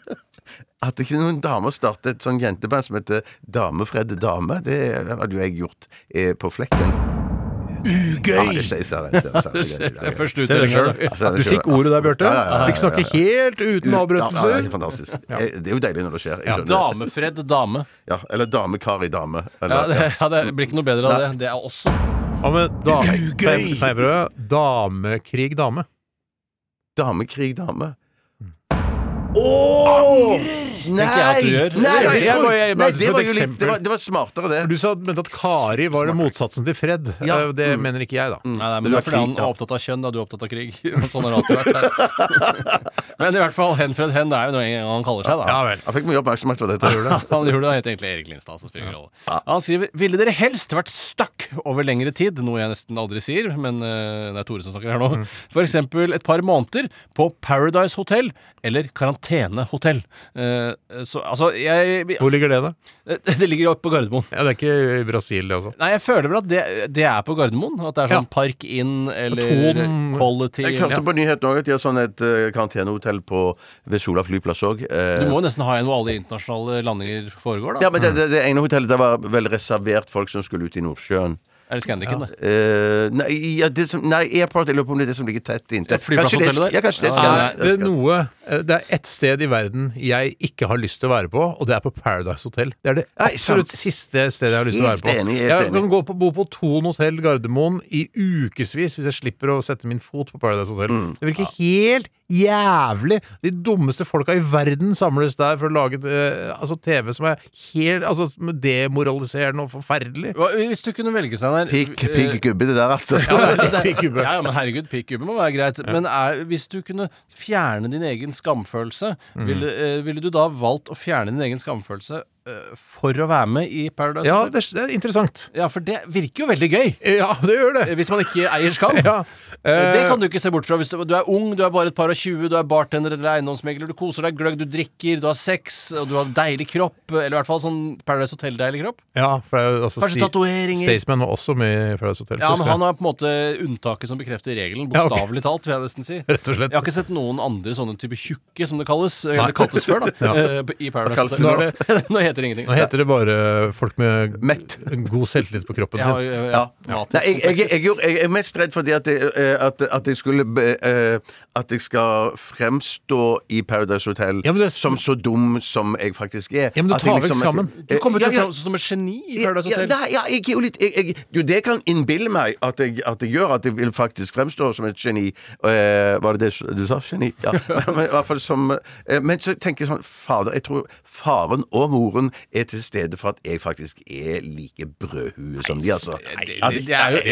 Speaker 8: *laughs*
Speaker 9: At ikke noen damer startet et sånt jenteband som heter Damefred Dame, det hadde jo jeg gjort eh, på flekken. Ugøy!
Speaker 8: *laughs* Det er
Speaker 9: Først
Speaker 8: første
Speaker 7: Ser
Speaker 8: utdelingen.
Speaker 7: det selv.
Speaker 8: da.
Speaker 9: Altså,
Speaker 7: Du
Speaker 9: det skjønner
Speaker 7: fikk ordet der, Bjarte.
Speaker 9: Ja, ja, ja, ja,
Speaker 7: Fikk snakke helt uten
Speaker 9: Ja, det er
Speaker 7: avbrytelser.
Speaker 9: fantastisk. Eh, Det er jo deilig når det skjer. Jeg skjønner.
Speaker 8: Damefred dame.
Speaker 9: Ja, eller damekar i dame. Eller,
Speaker 8: Ja, det,
Speaker 9: ja.
Speaker 8: *laughs* ja, det blir ikke noe bedre av det. Det er også
Speaker 7: Ja, men da, Nei, jeg prøver. Damekrig dame.
Speaker 9: Damekrig dame. Ååå! Nei!
Speaker 8: Mm. Tenker jeg at du gjør.
Speaker 9: Nei,
Speaker 7: Jeg-
Speaker 9: jeg
Speaker 7: jeg
Speaker 9: tror-
Speaker 7: bare- jeg bare
Speaker 9: nei,
Speaker 7: synes
Speaker 9: det
Speaker 7: som
Speaker 9: var
Speaker 7: et
Speaker 9: jo litt
Speaker 7: eksempel.
Speaker 9: Det var, det var smartere, det.
Speaker 7: Du sa, mente at Kari var det motsatsen til Fred.
Speaker 9: Ja. Mm.
Speaker 7: Eh, Det mener ikke jeg, da.
Speaker 8: Nei, nei,
Speaker 9: Det
Speaker 8: men det
Speaker 9: var
Speaker 8: er fordi han
Speaker 9: krig, ja.
Speaker 8: er opptatt av kjønn, da du er opptatt av krig. *laughs* Sånn har det alltid vært. men i hvert fall Henfred Hen, det er jo noe en gang han kaller seg, da.
Speaker 7: Ja vel.
Speaker 9: Jeg fikk mye oppmerksomhet på dette.
Speaker 8: *laughs* Han gjorde det, han heter egentlig Erik Lindstad. Som spiller rolle. Han skriver Ville dere helst vært stuck over lengre tid, noe jeg nesten aldri sier, men eh, det er Tore som snakker her nå, For eksempel et par måneder på Paradise Hotel eller Karantenehotell. Eh, så altså, jeg vi-
Speaker 7: Hvor ligger det, da?
Speaker 8: *laughs* Det ligger oppe på Gardermoen.
Speaker 7: Ja, det er ikke i Brasil, det også.
Speaker 8: Nei, jeg føler vel at det, det er på Gardermoen. At det er sånn
Speaker 7: Ja.
Speaker 8: Park Inn eller
Speaker 7: Ton-
Speaker 8: Quality.
Speaker 9: Jeg hørte på nyheten òg at de har sånn et eh, karantenehotell på- ved Sola flyplass òg.
Speaker 8: Du må jo nesten ha en hvor alle internasjonale landinger foregår, da.
Speaker 9: Ja, men det, det, det ene hotellet der var vel reservert folk som skulle ut i Nordsjøen.
Speaker 8: Er det Scandican, det?
Speaker 9: Eh, nei, ja, det som, nei, Airport Jeg lurer på om det er det som ligger tett inntil. Kanskje det,
Speaker 8: flyplasshotellet der?
Speaker 9: ja, kanskje det skal
Speaker 7: Er det noe eh, Det er ett sted i verden jeg ikke har lyst til å være på, og det er på Paradise Hotel. Det er det
Speaker 9: Nei, sant.
Speaker 7: absolutt siste stedet jeg har lyst til å være
Speaker 9: Helt
Speaker 7: på.
Speaker 9: enig, helt
Speaker 7: Jeg
Speaker 9: enig.
Speaker 7: kan gå på, bo på Thon hotell Gardermoen i ukevis hvis jeg slipper å sette min fot på Paradise Hotel.
Speaker 9: Mm.
Speaker 7: Det virker helt jævlig. De dummeste folka i verden samles der for å lage eh, altså, TV som er helt altså, som er demoraliserende og forferdelig.
Speaker 8: Hva, hvis du kunne velge, Steinar
Speaker 9: Pikk,
Speaker 8: eh,
Speaker 9: pikk gubbe, det der, altså.
Speaker 8: Ja, det
Speaker 7: *laughs*
Speaker 8: er-
Speaker 7: Pikk gubbe.
Speaker 8: Ja, ja, men herregud, pikk gubbe må være greit. Men er, hvis du kunne fjerne din egen skamfølelse, ville, eh, ville du da valgt å fjerne din egen skamfølelse eh, for å være med i Paradise
Speaker 7: Ja,
Speaker 8: Hotel?
Speaker 7: det er, det er interessant.
Speaker 8: Ja, for det virker jo veldig gøy.
Speaker 7: Ja, det gjør det.
Speaker 8: eh, Hvis man ikke eier skam.
Speaker 7: *laughs* Ja.
Speaker 8: Eh, Det kan du ikke se bort fra. Hvis du, du er ung, du er bare et par og tjue, du er bartender eller eiendomsmegler, du koser deg gløgg, du drikker, du har sex, og du har deilig kropp. Eller i hvert fall sånn Paradise Hotel-deilig kropp.
Speaker 7: Ja, for det er jo altså
Speaker 8: Kanskje
Speaker 7: Sti-
Speaker 8: tatoveringer.
Speaker 7: Staysman var også med i Paradise Hotel.
Speaker 8: Ja,
Speaker 7: husker
Speaker 8: men
Speaker 7: jeg.
Speaker 8: han er på en måte unntaket som bekrefter regelen,
Speaker 7: Ja, ok.
Speaker 8: bokstavelig talt, vil jeg nesten si.
Speaker 7: Rett og slett.
Speaker 8: Jeg har ikke sett noen andre sånne type tjukke, som det kalles, eller det kaltes før, da, eh, i Paradise
Speaker 7: Nå
Speaker 8: Hotel.
Speaker 7: er
Speaker 8: *laughs* Nå heter heter ingenting.
Speaker 7: Nå heter det bare folk med
Speaker 9: Mett.
Speaker 7: god selvtillit på kroppen
Speaker 8: Ja,
Speaker 7: sin.
Speaker 8: ja, ja.
Speaker 9: Ja.
Speaker 8: Matisk
Speaker 9: Nei, jeg, jeg,
Speaker 8: komplekser.
Speaker 9: jeg, gjorde- jeg er mest redd fordi at jeg, eh, at, at jeg skulle be- eh, At jeg skal fremstå i Paradise Hotel
Speaker 7: Ja, men det-
Speaker 9: som så dum som jeg faktisk er.
Speaker 7: Ja, men du
Speaker 9: At jeg
Speaker 7: tar vekk
Speaker 9: at jeg-
Speaker 7: skammen.
Speaker 8: Du kommer til å
Speaker 9: Ja, ja.
Speaker 8: framstå som et geni i
Speaker 9: Ja,
Speaker 8: Paradise
Speaker 9: ja,
Speaker 8: Hotel.
Speaker 9: nei, ja, jeg er jo litt jeg, jeg, Jo, det kan innbille meg at jeg, at jeg gjør at jeg vil faktisk fremstå som et geni. Eh, var det det du sa? Geni?
Speaker 8: *laughs*
Speaker 9: Ja. Men, men, i hvert fall som, eh, men så tenker jeg sånn Fader, jeg tror faren og moren er til stede for at jeg faktisk er like brødhue som de, altså. At-
Speaker 8: det- det er jo- det er jo- det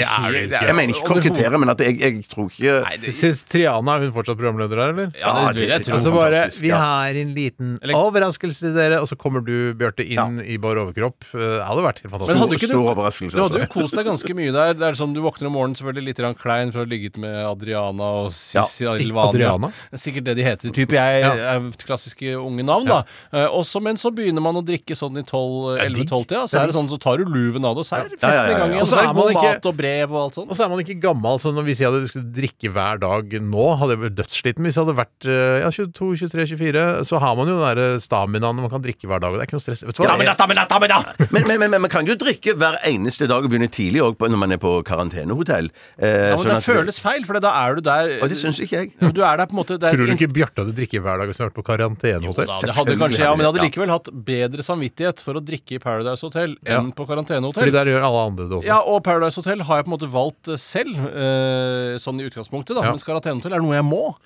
Speaker 8: er jo-
Speaker 9: jeg mener ikke konkurrere, men at jeg, jeg tror ikke
Speaker 7: Syns Triana er hun fortsatt programleder her, eller?
Speaker 8: Ja, det, jeg tror
Speaker 7: Og så bare
Speaker 9: fantastisk,
Speaker 7: Vi
Speaker 9: ja.
Speaker 7: har en liten
Speaker 8: Eller-
Speaker 7: overraskelse til dere, og så kommer du, Bjarte, inn i bar overkropp. Eh, Det hadde vært helt
Speaker 8: Men hadde
Speaker 7: fantastisk.
Speaker 8: ikke du,
Speaker 9: Stor overraskelse,
Speaker 8: du hadde jo
Speaker 9: altså.
Speaker 8: kost deg ganske mye der. Det er som Du våkner om morgenen selvfølgelig litt grann klein for å ha ligget med Adriana og Sissi
Speaker 7: Ja.
Speaker 8: Alvania.
Speaker 7: Adriana?
Speaker 8: Det er Sikkert det de heter. Type jeg er klassiske unge navn, da. Eh, Også, men så begynner man å drikke sånn i 12,
Speaker 7: digg.
Speaker 8: 11-12-tida. Så er det sånn, så tar du luven av det, og så er det
Speaker 9: Ja,
Speaker 8: festen i
Speaker 9: ja, ja, ja.
Speaker 8: gang igjen.
Speaker 7: Og
Speaker 8: Og
Speaker 7: så
Speaker 8: så er
Speaker 7: er
Speaker 8: det
Speaker 7: man
Speaker 8: god
Speaker 7: ikke-
Speaker 8: mat og brev og alt sånt.
Speaker 7: Og så er man ikke gammel, så når hvis jeg hadde skulle drikke hver dag nå, hadde jeg blitt dødssliten. Hvis jeg hadde vært eh, ja, 22, 23, 24, så har man jo den der staminaen man kan drikke hver dag, og det er ikke noe stress. Vet du hva?
Speaker 8: Stamina, stamina, stamina!
Speaker 9: Men, men, men, men man kan jo drikke hver eneste dag og begynne tidlig òg når man er på karantenehotell. Eh,
Speaker 8: Ja, men
Speaker 9: sånn
Speaker 8: det
Speaker 9: at-
Speaker 8: føles feil, for da er du der
Speaker 9: Og det syns ikke jeg.
Speaker 8: Du er der på en måte det er
Speaker 7: Tror du
Speaker 8: et
Speaker 7: ikke Bjarte hadde drikke hver dag hvis han hadde vært på karantenehotell?
Speaker 8: Ja, det hadde
Speaker 9: Selvfølgelig
Speaker 8: kanskje, ja, men jeg hadde
Speaker 9: hadde det,
Speaker 8: likevel hatt bedre samvittighet for å drikke i Paradise Hotel enn på
Speaker 7: Fordi
Speaker 8: karantenehotell.
Speaker 7: der gjør alle andre det også.
Speaker 8: Ja, og Paradise Hotel har jeg på en måte valgt eh, selv, eh, sånn i utgangspunktet, da.
Speaker 7: Ja.
Speaker 8: Mens karantenehotell er noe jeg må.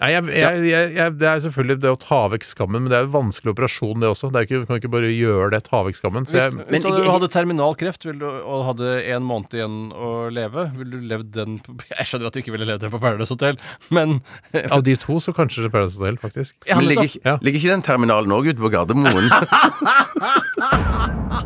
Speaker 7: Nei, jeg, jeg, jeg, jeg, det er selvfølgelig det å ta vekk skammen, men det er jo en vanskelig operasjon, det også. Det er jo ikke, du kan ikke bare gjøre det, ta vekk skammen. Så jeg,
Speaker 8: Hvis
Speaker 9: Men
Speaker 8: du
Speaker 9: ikke-
Speaker 8: hadde terminal kreft vil du, og hadde en måned igjen å leve, ville du levd den på, *laughs* Jeg skjønner at du ikke ville levd den på Paradise Hotel, men
Speaker 7: av de to så kanskje Paradise Hotel, faktisk.
Speaker 8: jeg
Speaker 9: Men
Speaker 8: hadde
Speaker 9: ligger,
Speaker 8: tatt-
Speaker 9: ikke-
Speaker 7: Ja.
Speaker 9: ligger ikke den terminalen òg ute på *laughs* Gardermoen?
Speaker 7: Å,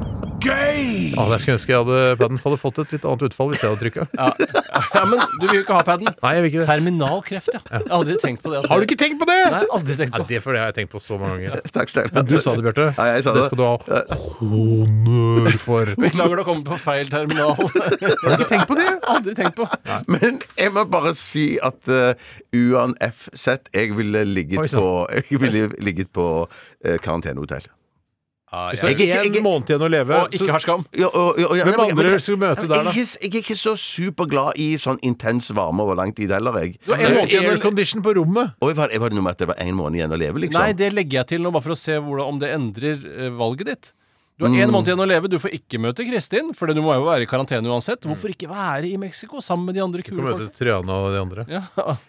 Speaker 7: Ah, jeg skulle ønske jeg hadde Padden hadde fått et litt annet utfall hvis jeg hadde trykka.
Speaker 8: *laughs* Ja, men du vil jo ikke ha paden.
Speaker 7: Nei, jeg vil ikke det.
Speaker 8: Terminal kreft, ja. Jeg har aldri tenkt på det. at-
Speaker 7: Har du ikke tenkt på det?!
Speaker 8: Nei, aldri tenkt
Speaker 7: Nei,
Speaker 8: på det.
Speaker 7: det, for det har jeg tenkt på så mange ganger.
Speaker 9: Takk, Steinar.
Speaker 7: Men du sa det, Bjarte.
Speaker 9: Ja, jeg sa
Speaker 7: det
Speaker 9: det.
Speaker 7: skal du ha honnør for.
Speaker 8: Beklager, du har kommet på feil terminal. *laughs*
Speaker 9: Har du ikke tenkt på det?
Speaker 8: aldri tenkt på.
Speaker 9: Men jeg må bare si at eh, uanfz, jeg ville
Speaker 7: Oi,
Speaker 9: ligget
Speaker 7: sann.
Speaker 9: på, jeg ville ligget på eh, karantenehotell.
Speaker 7: Hvis du
Speaker 9: Jeg-
Speaker 7: har én
Speaker 9: jeg-
Speaker 7: måned igjen å leve,
Speaker 8: Og ikke
Speaker 7: så
Speaker 8: har skam.
Speaker 9: Ja, og- og- ja,
Speaker 7: Hvem
Speaker 9: nei, men-
Speaker 7: andre
Speaker 9: men-
Speaker 7: skal du møte der,
Speaker 9: men
Speaker 7: da?
Speaker 9: Jeg, er ikke- jeg er ikke så superglad i sånn intens varme over lang tid heller, jeg.
Speaker 8: Du har en måned igjen å le-
Speaker 7: Aircondition på rommet!
Speaker 9: Og jeg var, jeg var det noe med at det var én måned igjen å leve, liksom?
Speaker 8: Nei, det legger jeg til nå, bare for å se hvordan, om det endrer eh, valget ditt. Du har
Speaker 7: Mm.
Speaker 8: én måned igjen å leve, du får ikke møte Kristin, for du må jo være i karantene uansett. Hvorfor ikke være i Mexico sammen med de andre
Speaker 7: Du
Speaker 8: kule
Speaker 7: kan møte
Speaker 8: folka?
Speaker 7: Triana og de andre.
Speaker 8: Ja.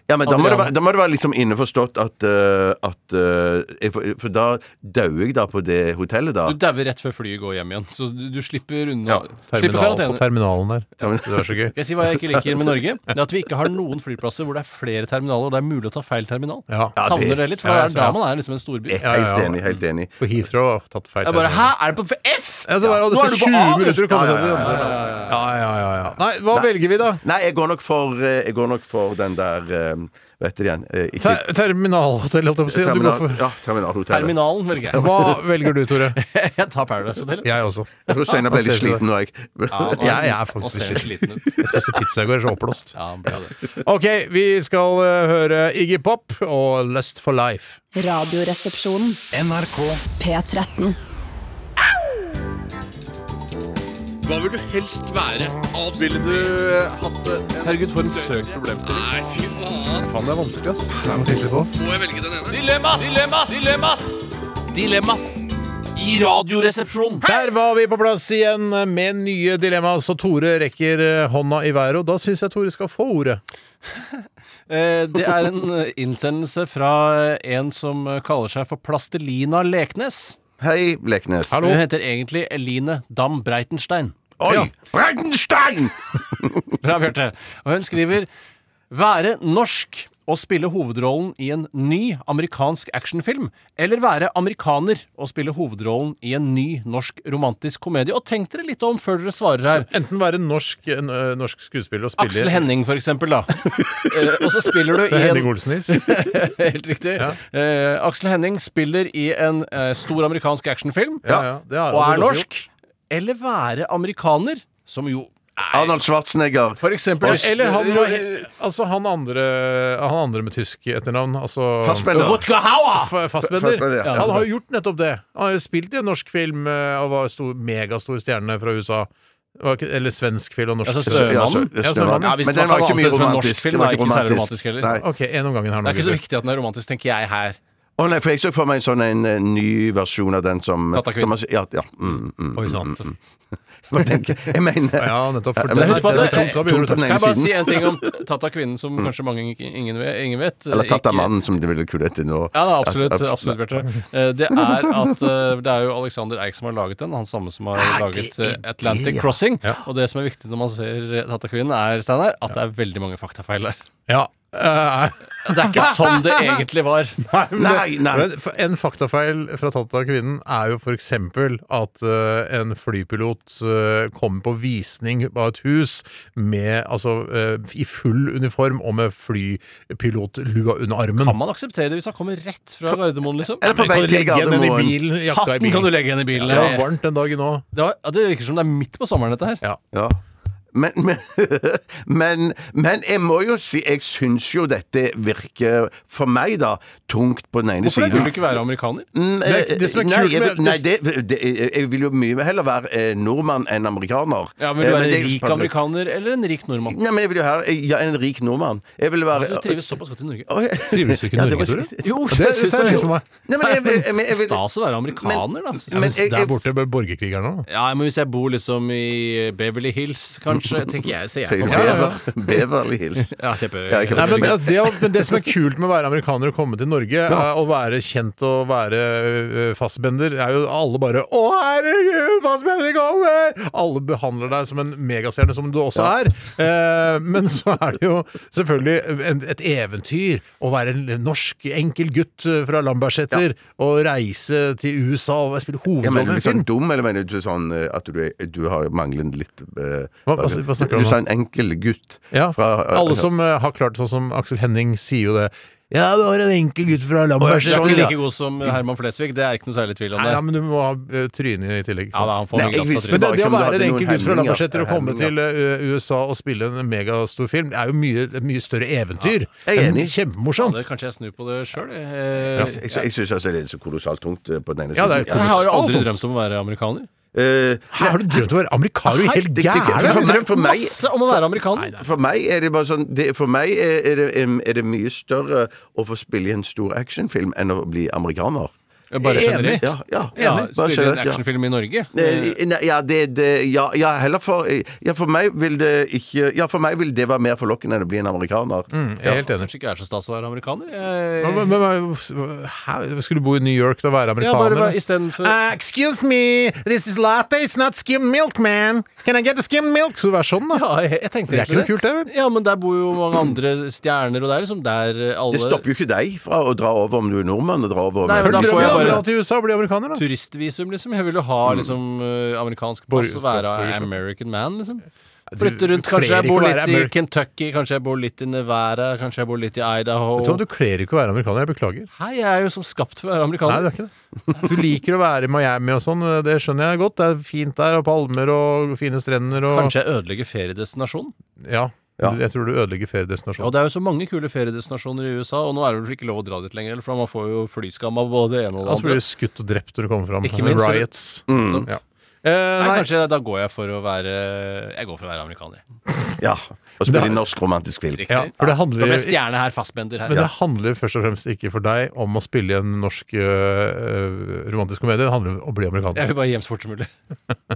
Speaker 9: Ja, men da må, det
Speaker 8: Adriana.
Speaker 9: være, da må det være liksom innforstått at, eh, at eh, jeg, får- For da dauer jeg da på det hotellet, da.
Speaker 8: Du dauer rett før flyet går hjem igjen, så du, du slipper unna.
Speaker 9: Ja,
Speaker 8: slipper
Speaker 7: Terminal, på
Speaker 8: karantene.
Speaker 7: terminalen der. Det var
Speaker 8: *laughs*
Speaker 7: så gøy.
Speaker 8: Skal jeg si hva jeg ikke liker med
Speaker 7: *laughs*
Speaker 8: Norge? Det er At vi ikke har noen flyplasser hvor det er flere terminaler, og det er mulig å ta feil terminal.
Speaker 7: Ja.
Speaker 9: Ja,
Speaker 8: Savner
Speaker 9: det-
Speaker 8: det litt, for det
Speaker 7: ja, jeg
Speaker 8: er
Speaker 7: ser-
Speaker 8: da man er liksom en storby. Jeg
Speaker 9: Jeg er helt
Speaker 7: Ja, ja, ja.
Speaker 9: enig. helt enig
Speaker 7: På Heathrow har jeg tatt feil.
Speaker 8: bare
Speaker 7: terminal.
Speaker 8: Hæ, er det på F?!
Speaker 7: Ja, så bare, å,
Speaker 8: Nå er du
Speaker 7: det tar
Speaker 8: på
Speaker 7: 20
Speaker 8: A, du.
Speaker 7: minutter å komme seg til den. Ja, ja, ja, ja. Nei, hva velger vi, da?
Speaker 9: Nei, jeg går nok for, eh, jeg går nok for den der eh, Vet dere igjen eh, ikke,
Speaker 7: Ter terminalhotell, holdt jeg på å si. Du går
Speaker 9: terminal,
Speaker 7: for.
Speaker 9: Ja, terminalhotellet.
Speaker 8: Terminalen, velger jeg.
Speaker 7: Hva velger du,
Speaker 8: *laughs*
Speaker 7: Tore?
Speaker 8: Jeg tar Paradise Hotel.
Speaker 7: Jeg også.
Speaker 9: Jeg tror Steinar ble
Speaker 7: Hva
Speaker 9: litt
Speaker 7: ser du
Speaker 9: sliten nå, jeg.
Speaker 8: nå
Speaker 7: Jeg- jeg er
Speaker 8: nå
Speaker 7: faktisk
Speaker 8: ser
Speaker 7: litt
Speaker 8: du sliten ut.
Speaker 7: Jeg spiste pizza i går, jeg er så oppblåst.
Speaker 8: Ja, bra det.
Speaker 7: Ok, vi skal eh, høre Iggy Pop og Lust for Life.
Speaker 1: Radioresepsjonen. NRK P13.
Speaker 10: Hva vil du helst være? Ville du eh, hatt det?
Speaker 8: Herregud, for en søk problem.
Speaker 10: Nei, fy faen.
Speaker 8: det er vanskelig, ass.
Speaker 10: Må jeg velge den ene?
Speaker 3: Dilemmas! Dilemmas! Dilemmas! Dilemmas i Radioresepsjonen.
Speaker 7: Der var vi på plass igjen med nye dilemma, så Tore rekker eh, hånda i været. Og da syns jeg Tore skal få ordet.
Speaker 8: Eh, Det er en eh, innsendelse fra eh, en som eh, kaller seg for Plastelina Leknes.
Speaker 9: *laughs* Hei, Leknes.
Speaker 8: Hun heter egentlig Eline Dam Breitenstein.
Speaker 9: Oi! Breitenstein!
Speaker 8: Bra, Bjarte. Og hun skriver Være norsk og spille hovedrollen i en ny amerikansk actionfilm, eller være amerikaner og spille hovedrollen i en ny norsk romantisk komedie. Og tenk dere litt om før dere svarer her.
Speaker 7: Enten være norsk, en, eh, norsk skuespiller og spille
Speaker 8: Aksel Henning, for eksempel, da. Eh, og så
Speaker 7: *laughs*
Speaker 8: spiller du i
Speaker 7: Henning
Speaker 8: en
Speaker 7: Olsenis.
Speaker 8: *laughs* Helt riktig. Eh, Aksel Henning spiller i en eh, stor amerikansk actionfilm
Speaker 7: Ja, ja, det har
Speaker 8: og
Speaker 7: han
Speaker 8: er
Speaker 7: også
Speaker 8: norsk. Eller være amerikaner, som jo
Speaker 9: Arnold Schwarzenegger.
Speaker 8: For eksempel.
Speaker 7: Eller han, altså han, andre, han andre med tysk etternavn. Altså,
Speaker 9: Fassbender.
Speaker 8: Rutger Hauer!
Speaker 7: Fa- Fassbender.
Speaker 9: Fassbender, ja.
Speaker 7: Han har jo gjort nettopp det. Han har jo spilt i en norsk film eh, og var stor, megastor stjerne fra USA. Var ikke- Eller svensk film og norsk
Speaker 8: Altså,
Speaker 7: film.
Speaker 8: Snømannen?
Speaker 9: så-
Speaker 7: Ja, Snømannen.
Speaker 8: Ja, hvis
Speaker 9: Men
Speaker 8: man
Speaker 9: den var
Speaker 8: kan
Speaker 9: ikke
Speaker 8: anse
Speaker 9: mye
Speaker 8: det som en norsk
Speaker 9: romantisk.
Speaker 8: film,
Speaker 9: Det var
Speaker 8: da,
Speaker 9: ikke
Speaker 8: ikke særlig
Speaker 9: romantisk.
Speaker 8: romantisk heller.
Speaker 9: Nei.
Speaker 7: Ok, en om gangen
Speaker 8: Det
Speaker 7: her nå.
Speaker 8: er ikke så
Speaker 7: gutter.
Speaker 8: viktig at den er romantisk, tenker jeg her.
Speaker 9: Å nei, for jeg så for meg en sånn en, eh, ny versjon av den som
Speaker 8: Katakvinn.
Speaker 9: Thomas- Ja, ja. Mm, mm.
Speaker 7: Oi, sant.
Speaker 9: Hva tenker jeg? Jeg mener
Speaker 7: Ja, nettopp. For
Speaker 9: Ja, men
Speaker 7: den
Speaker 9: husk
Speaker 7: er-
Speaker 9: på at
Speaker 7: den er
Speaker 9: det-
Speaker 7: tom, så blir det
Speaker 9: tom på
Speaker 8: Kan
Speaker 7: tøft.
Speaker 9: den ene
Speaker 8: jeg bare
Speaker 9: siden.
Speaker 8: si en ting om Tata kvinnen, som kanskje mange ikke- ingen, vet- ingen vet?
Speaker 9: Eller tatt av
Speaker 8: Ikke-
Speaker 9: mannen, som det ville kunne hete nå.
Speaker 8: Ja, da, absolutt,
Speaker 9: At- at-
Speaker 8: absolutt Bjarte. Eh, Det er at eh, det er jo Alexander Eik som har laget den. Han samme som har laget eh, Atlantic Crossing. Og det som er viktig når man ser eh, Tata Kvinnen, er Steinar, at det er veldig mange faktafeil der.
Speaker 7: Ja. Eh,
Speaker 8: Det er ikke sånn det egentlig var.
Speaker 7: Nei, men det-
Speaker 9: Nei, nei.
Speaker 7: Men f- en faktafeil fra tatt av kvinnen er jo for eksempel at eh, en flypilot eh, kommer på visning av et hus med, altså, eh, i full uniform og med flypilotlua under
Speaker 8: Kan
Speaker 7: armen.
Speaker 8: man akseptere det hvis han kommer rett fra Gardermoen, liksom?
Speaker 9: Eller på
Speaker 7: Kan
Speaker 9: vei
Speaker 7: du
Speaker 9: til
Speaker 7: legge den i
Speaker 9: Gardermoen.
Speaker 7: bilen? Jakka i
Speaker 8: Hatten kan du
Speaker 7: bilen?
Speaker 8: legge igjen i bilen.
Speaker 7: Det var varmt den dagen òg.
Speaker 8: Det, var, ja, det virker som det er midt på sommeren, dette her.
Speaker 7: Ja.
Speaker 9: Ja. Men, men, *laughs* men, men jeg må jo si Jeg syns jo dette virker, for meg, da, tungt på den ene
Speaker 8: Hvorfor
Speaker 9: siden.
Speaker 8: det? vil du ikke være amerikaner?
Speaker 9: Mm,
Speaker 7: Det er- det som er
Speaker 9: eh,
Speaker 7: kult
Speaker 9: nei, jeg,
Speaker 7: med-
Speaker 9: nei det, det, jeg vil jo mye heller være eh, nordmann enn amerikaner.
Speaker 8: Ja, Vil du
Speaker 9: Eh,
Speaker 8: være
Speaker 9: det
Speaker 8: en
Speaker 9: er-
Speaker 8: rik amerikaner eller en rik nordmann? Altså,
Speaker 9: Nei, men jeg vil jo ha ja, en rik nordmann. Jeg vil være
Speaker 8: Du trives såpass godt i Norge.
Speaker 9: Oi.
Speaker 7: Trives du ikke i
Speaker 9: Ja, det
Speaker 7: Norge,
Speaker 9: var-
Speaker 7: Tore?
Speaker 8: Jo,
Speaker 7: Det
Speaker 8: jeg
Speaker 7: synes
Speaker 8: synes
Speaker 7: jeg er
Speaker 8: det
Speaker 7: helt for meg.
Speaker 9: Nei, men jeg, vil- men jeg vil
Speaker 8: Stas å være amerikaner, da.
Speaker 9: Men
Speaker 7: Men
Speaker 9: jeg-
Speaker 7: Der
Speaker 9: jeg-
Speaker 7: borte ble borgerkrigeren nå.
Speaker 8: Ja, men hvis jeg bor liksom i Beverly Hills, kanskje, tenker jeg, ser jeg
Speaker 9: Sier
Speaker 8: for
Speaker 9: du
Speaker 8: meg.
Speaker 9: Bever, Beverly Hills.
Speaker 8: Ja, kjempe...
Speaker 9: Ja, ikke-
Speaker 7: Nei, men, altså, det, å- men det som er kult med å være amerikaner og komme til Norge, er å være kjent og være øh, fastbender, er jo alle bare 'Å, herregud, fastbender kommer!' Alle behandler deg som en megastjerne, som du også er. Eh, men så er det jo selvfølgelig en, et eventyr å være en norsk enkel gutt øh, fra Lambertseter og reise til USA og spille
Speaker 9: Ja,
Speaker 7: hovedrollen
Speaker 9: mener
Speaker 7: i
Speaker 9: du
Speaker 7: en film.
Speaker 9: sånn dum, eller mener du sånn eh, at du, er- du har manglet litt eh,
Speaker 7: Hva- hva- hva snakker du om
Speaker 9: Du
Speaker 7: nå?
Speaker 9: sa en enkel gutt.
Speaker 7: Ja,
Speaker 9: fra- eh,
Speaker 7: alle som øh, har klart det, sånn som Aksel Henning, sier jo det. Ja, du har en enkel gutt fra
Speaker 8: Du er
Speaker 7: Lambertseter.
Speaker 8: ikke sånn like god som Herman Flesvig, det er ikke noe særlig tvil om
Speaker 7: Nei,
Speaker 8: det.
Speaker 7: ja, men du må ha ø, trynet i tillegg.
Speaker 8: Ja, da, han får
Speaker 9: Nei,
Speaker 8: mye
Speaker 9: jeg
Speaker 8: glatt av
Speaker 9: visste
Speaker 7: Men
Speaker 8: trynet.
Speaker 7: det, det å
Speaker 9: bare ikke om du
Speaker 7: være en
Speaker 9: hadde
Speaker 7: enkel
Speaker 9: noen
Speaker 7: gutt fra
Speaker 9: hemninger.
Speaker 7: Lambertseter og komme til
Speaker 9: Hemninger.
Speaker 7: ø, USA og spille en megastor film, det er jo mye, et mye større eventyr.
Speaker 9: Jeg er enig.
Speaker 7: Kjempemorsomt.
Speaker 8: Det, kanskje jeg snur på det sjøl. Jeg,
Speaker 9: Jeg, jeg syns altså det er så kolossalt tungt eh, på den ene
Speaker 7: Ja, det er
Speaker 9: siden.
Speaker 8: jeg har jo aldri
Speaker 7: Kolossalt.
Speaker 8: drømt om å være amerikaner.
Speaker 9: Eh,
Speaker 7: Her har du drømt om å være amerikaner? Du er helt
Speaker 9: det- det-
Speaker 7: gæren! liksom.
Speaker 9: for- for meg- for meg-
Speaker 8: Masse om å være amerikaner.
Speaker 9: For meg er det bare sånn det, For meg er, er, det, er det mye større å få spille i en stor actionfilm enn å bli amerikaner.
Speaker 8: Bare generelt.
Speaker 9: Ja, ja,
Speaker 8: Ja,
Speaker 9: Bare
Speaker 8: Spille en
Speaker 9: generelt, ja.
Speaker 8: actionfilm i Norge.
Speaker 9: Nei, nei, Ja, det, det ja, ja, heller for Ja, for meg vil det ikke Ja, for meg vil det være mer forlokkende enn å bli en amerikaner.
Speaker 7: Jeg er helt enig.
Speaker 8: Kanskje ikke er så stas å være amerikaner. Jeg-
Speaker 7: Men, men, men, hæ? skulle du bo i New York da og være
Speaker 8: Ja, bare, bare
Speaker 7: amerikaner?
Speaker 8: istedenfor
Speaker 7: Uh, excuse me, this is latte, it's not skim milk, man. Can I get a skim milk? Skal du være sånn, da?
Speaker 8: Ja, jeg, jeg tenkte
Speaker 7: Det
Speaker 8: egentlig
Speaker 7: er ikke noe kult, det, vel?
Speaker 8: Ja, men der bor jo mange andre stjerner, og det er liksom der eh, alle
Speaker 9: Det stopper jo ikke deg fra å dra over om du er nordmann. Og dra over om
Speaker 8: Nei, men da får
Speaker 7: Drøm
Speaker 8: jeg
Speaker 7: om å
Speaker 8: bare-
Speaker 7: dra til USA og bli amerikaner, da.
Speaker 8: turistvisum, liksom. Jeg vil jo ha
Speaker 7: Mm.
Speaker 8: liksom eh, amerikansk pass og være
Speaker 7: Borgerskapsborgerskap.
Speaker 8: American man, liksom.
Speaker 7: du-
Speaker 8: Flytte rundt.
Speaker 7: du
Speaker 8: Kanskje
Speaker 7: kler
Speaker 8: jeg bor
Speaker 7: ikke
Speaker 8: litt
Speaker 7: å være
Speaker 8: i
Speaker 7: Ameri-
Speaker 8: Kentucky, kanskje jeg bor litt i Nevada, kanskje jeg bor litt i Idaho.
Speaker 7: Vet Sånn du hva, Du kler ikke å være amerikaner. Jeg beklager.
Speaker 8: Hei, jeg er jo som skapt for å være
Speaker 7: Nei,
Speaker 8: amerikaner.
Speaker 7: det er ikke det. Du liker å være i Miami og sånn, det skjønner jeg godt. Det er fint der, og palmer og fine strender og
Speaker 8: Kanskje jeg ødelegger feriedestinasjonen?
Speaker 7: Ja. Jeg tror du ødelegger
Speaker 8: Ja, og
Speaker 7: feriedestinasjonen.
Speaker 8: det er jo så mange kule feriedestinasjoner i USA, og nå er det vel ikke lov å dra dit lenger, for man får jo flyskam av både det ene og det
Speaker 7: Altså
Speaker 8: andre.
Speaker 7: blir du skutt og drept når du kommer fram.
Speaker 8: Ikke minst, så-
Speaker 7: Riots.
Speaker 8: Mm.
Speaker 7: Ja. Eh,
Speaker 8: Nei,
Speaker 7: nei,
Speaker 8: kanskje da går jeg for å være Jeg går for å være amerikaner.
Speaker 9: Ja, og spille i norsk romantisk film.
Speaker 8: Riktig.
Speaker 7: ja, for
Speaker 8: Da
Speaker 7: det handler
Speaker 8: ble stjerne her fastbender her.
Speaker 7: men det handler først og fremst ikke for deg om å spille i en norsk øh, øh, romantisk komedie. Det handler om å bli
Speaker 8: Jeg
Speaker 7: amerikaner.
Speaker 8: vil bare hjem så fort som mulig.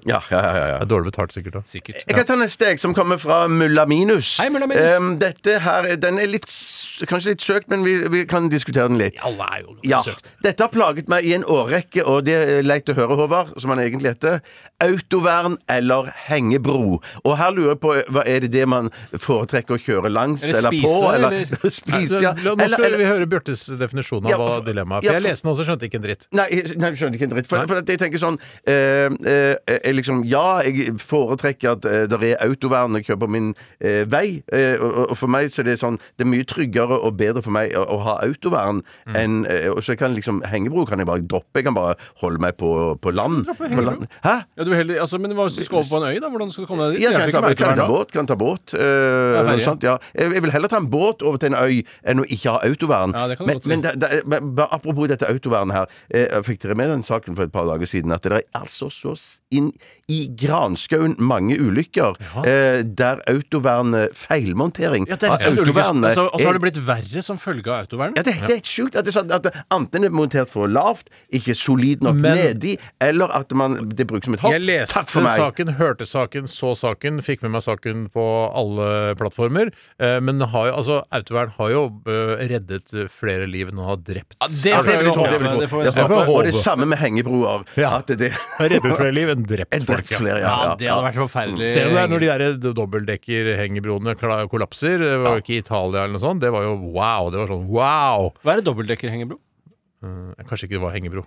Speaker 9: Ja, ja, ja, ja, ja.
Speaker 7: Det er dårlig betalt, sikkert. da
Speaker 8: Sikkert.
Speaker 9: Jeg kan ta neste, jeg, som kommer fra Mulla Minus.
Speaker 8: Hei, Mulla Minus.
Speaker 9: Em, dette her, er- den er litt, s- kanskje litt søkt, men vi, vi kan diskutere den litt.
Speaker 8: Alle er jo
Speaker 9: Ja, Dette har plaget meg i en årrekke, og det er leit å høre, Håvard, som han egentlig heter. Autovern eller hengebro? Og her lurer jeg på, hva er det det man foretrekker å kjøre langs
Speaker 8: Eller
Speaker 9: eller, på?
Speaker 8: spise,
Speaker 9: Eller,
Speaker 8: eller?
Speaker 9: *laughs* spise, ja.
Speaker 7: La- Nå skal
Speaker 9: Eller-
Speaker 7: vi høre Bjørtes definisjon av
Speaker 9: Ja,
Speaker 7: hva
Speaker 9: for-
Speaker 7: dilemmaet er.
Speaker 9: ja,
Speaker 7: For jeg
Speaker 9: for-
Speaker 7: leste den også, skjønte ikke en dritt.
Speaker 9: Nei, jeg- nei, du skjønner ikke en dritt. For, for at jeg tenker sånn eh, eh, jeg liksom, Ja, jeg foretrekker at eh, det er autovern når jeg kjører på min eh, vei. Eh, og, og- og for meg så er det sånn Det er mye tryggere og bedre for meg å, å ha autovern enn eh, Og så kan liksom hengebro kan jeg bare droppe. Jeg kan bare holde meg på, på land. På land. Hæ?
Speaker 8: Ja, du vil heller, altså, men hva hvis du skal over på en øy, da? Hvordan skal du komme deg dit?
Speaker 9: Ja,
Speaker 8: Det hjelper
Speaker 9: kan ta,
Speaker 8: ikke med
Speaker 9: kan ta
Speaker 8: autovern da.
Speaker 9: båt. Kan ta båt. eh,
Speaker 8: ferje.
Speaker 9: noe sånt, ja. Jeg jeg vil heller ta en båt over til en øy enn å ikke ha autovern.
Speaker 8: Ja, det kan du
Speaker 9: men,
Speaker 8: godt si.
Speaker 9: men, da- da- men bare apropos dette autovernet her. eh, Jeg fikk dere med den saken for et par dager siden at det er altså så s- inn i granskauen mange ulykker eh, der autovernet feilmontering
Speaker 8: Ja, det er
Speaker 9: av
Speaker 8: helt ulykkes-
Speaker 9: autovernet
Speaker 8: altså, Og så har det
Speaker 9: er-
Speaker 8: blitt verre som følge av autovernet.
Speaker 9: ja, det, det er helt sjukt at, det er sånn at enten er det montert for lavt, ikke solid nok
Speaker 7: Men-
Speaker 9: nedi, eller at man, det brukes som et hopp.
Speaker 7: Jeg leste
Speaker 9: Takk for meg!
Speaker 7: saken, hørte saken, så saken, fikk med meg saken på alle plattformer. Eh, Men det har jo, altså, autovern har jo eh, reddet flere liv enn han har drept.
Speaker 8: Ja, det
Speaker 9: Ja,
Speaker 8: får
Speaker 9: det
Speaker 8: jeg
Speaker 9: vil jeg tro,
Speaker 8: håpe.
Speaker 9: det vil jeg tro.
Speaker 8: Det får jeg
Speaker 9: Jeg
Speaker 8: håpe.
Speaker 9: håper- Og det
Speaker 7: håpe.
Speaker 9: samme med hengebroer.
Speaker 7: Ja.
Speaker 9: At det
Speaker 7: Har reddet flere liv enn drept,
Speaker 9: enn drept
Speaker 7: folk, ja.
Speaker 9: flere, ja.
Speaker 8: Ja,
Speaker 9: ja,
Speaker 8: det hadde
Speaker 9: ja.
Speaker 8: vært forferdelig.
Speaker 7: Ser du det er når de der dobbeltdekkerhengebroene kla- kollapser? Det var jo ikke Italia eller noe sånt. Det var jo wow. Det var sånn wow.
Speaker 8: Hva er det dobbeltdekkerhengebro?
Speaker 7: Eh, Kanskje ikke det var hengebro.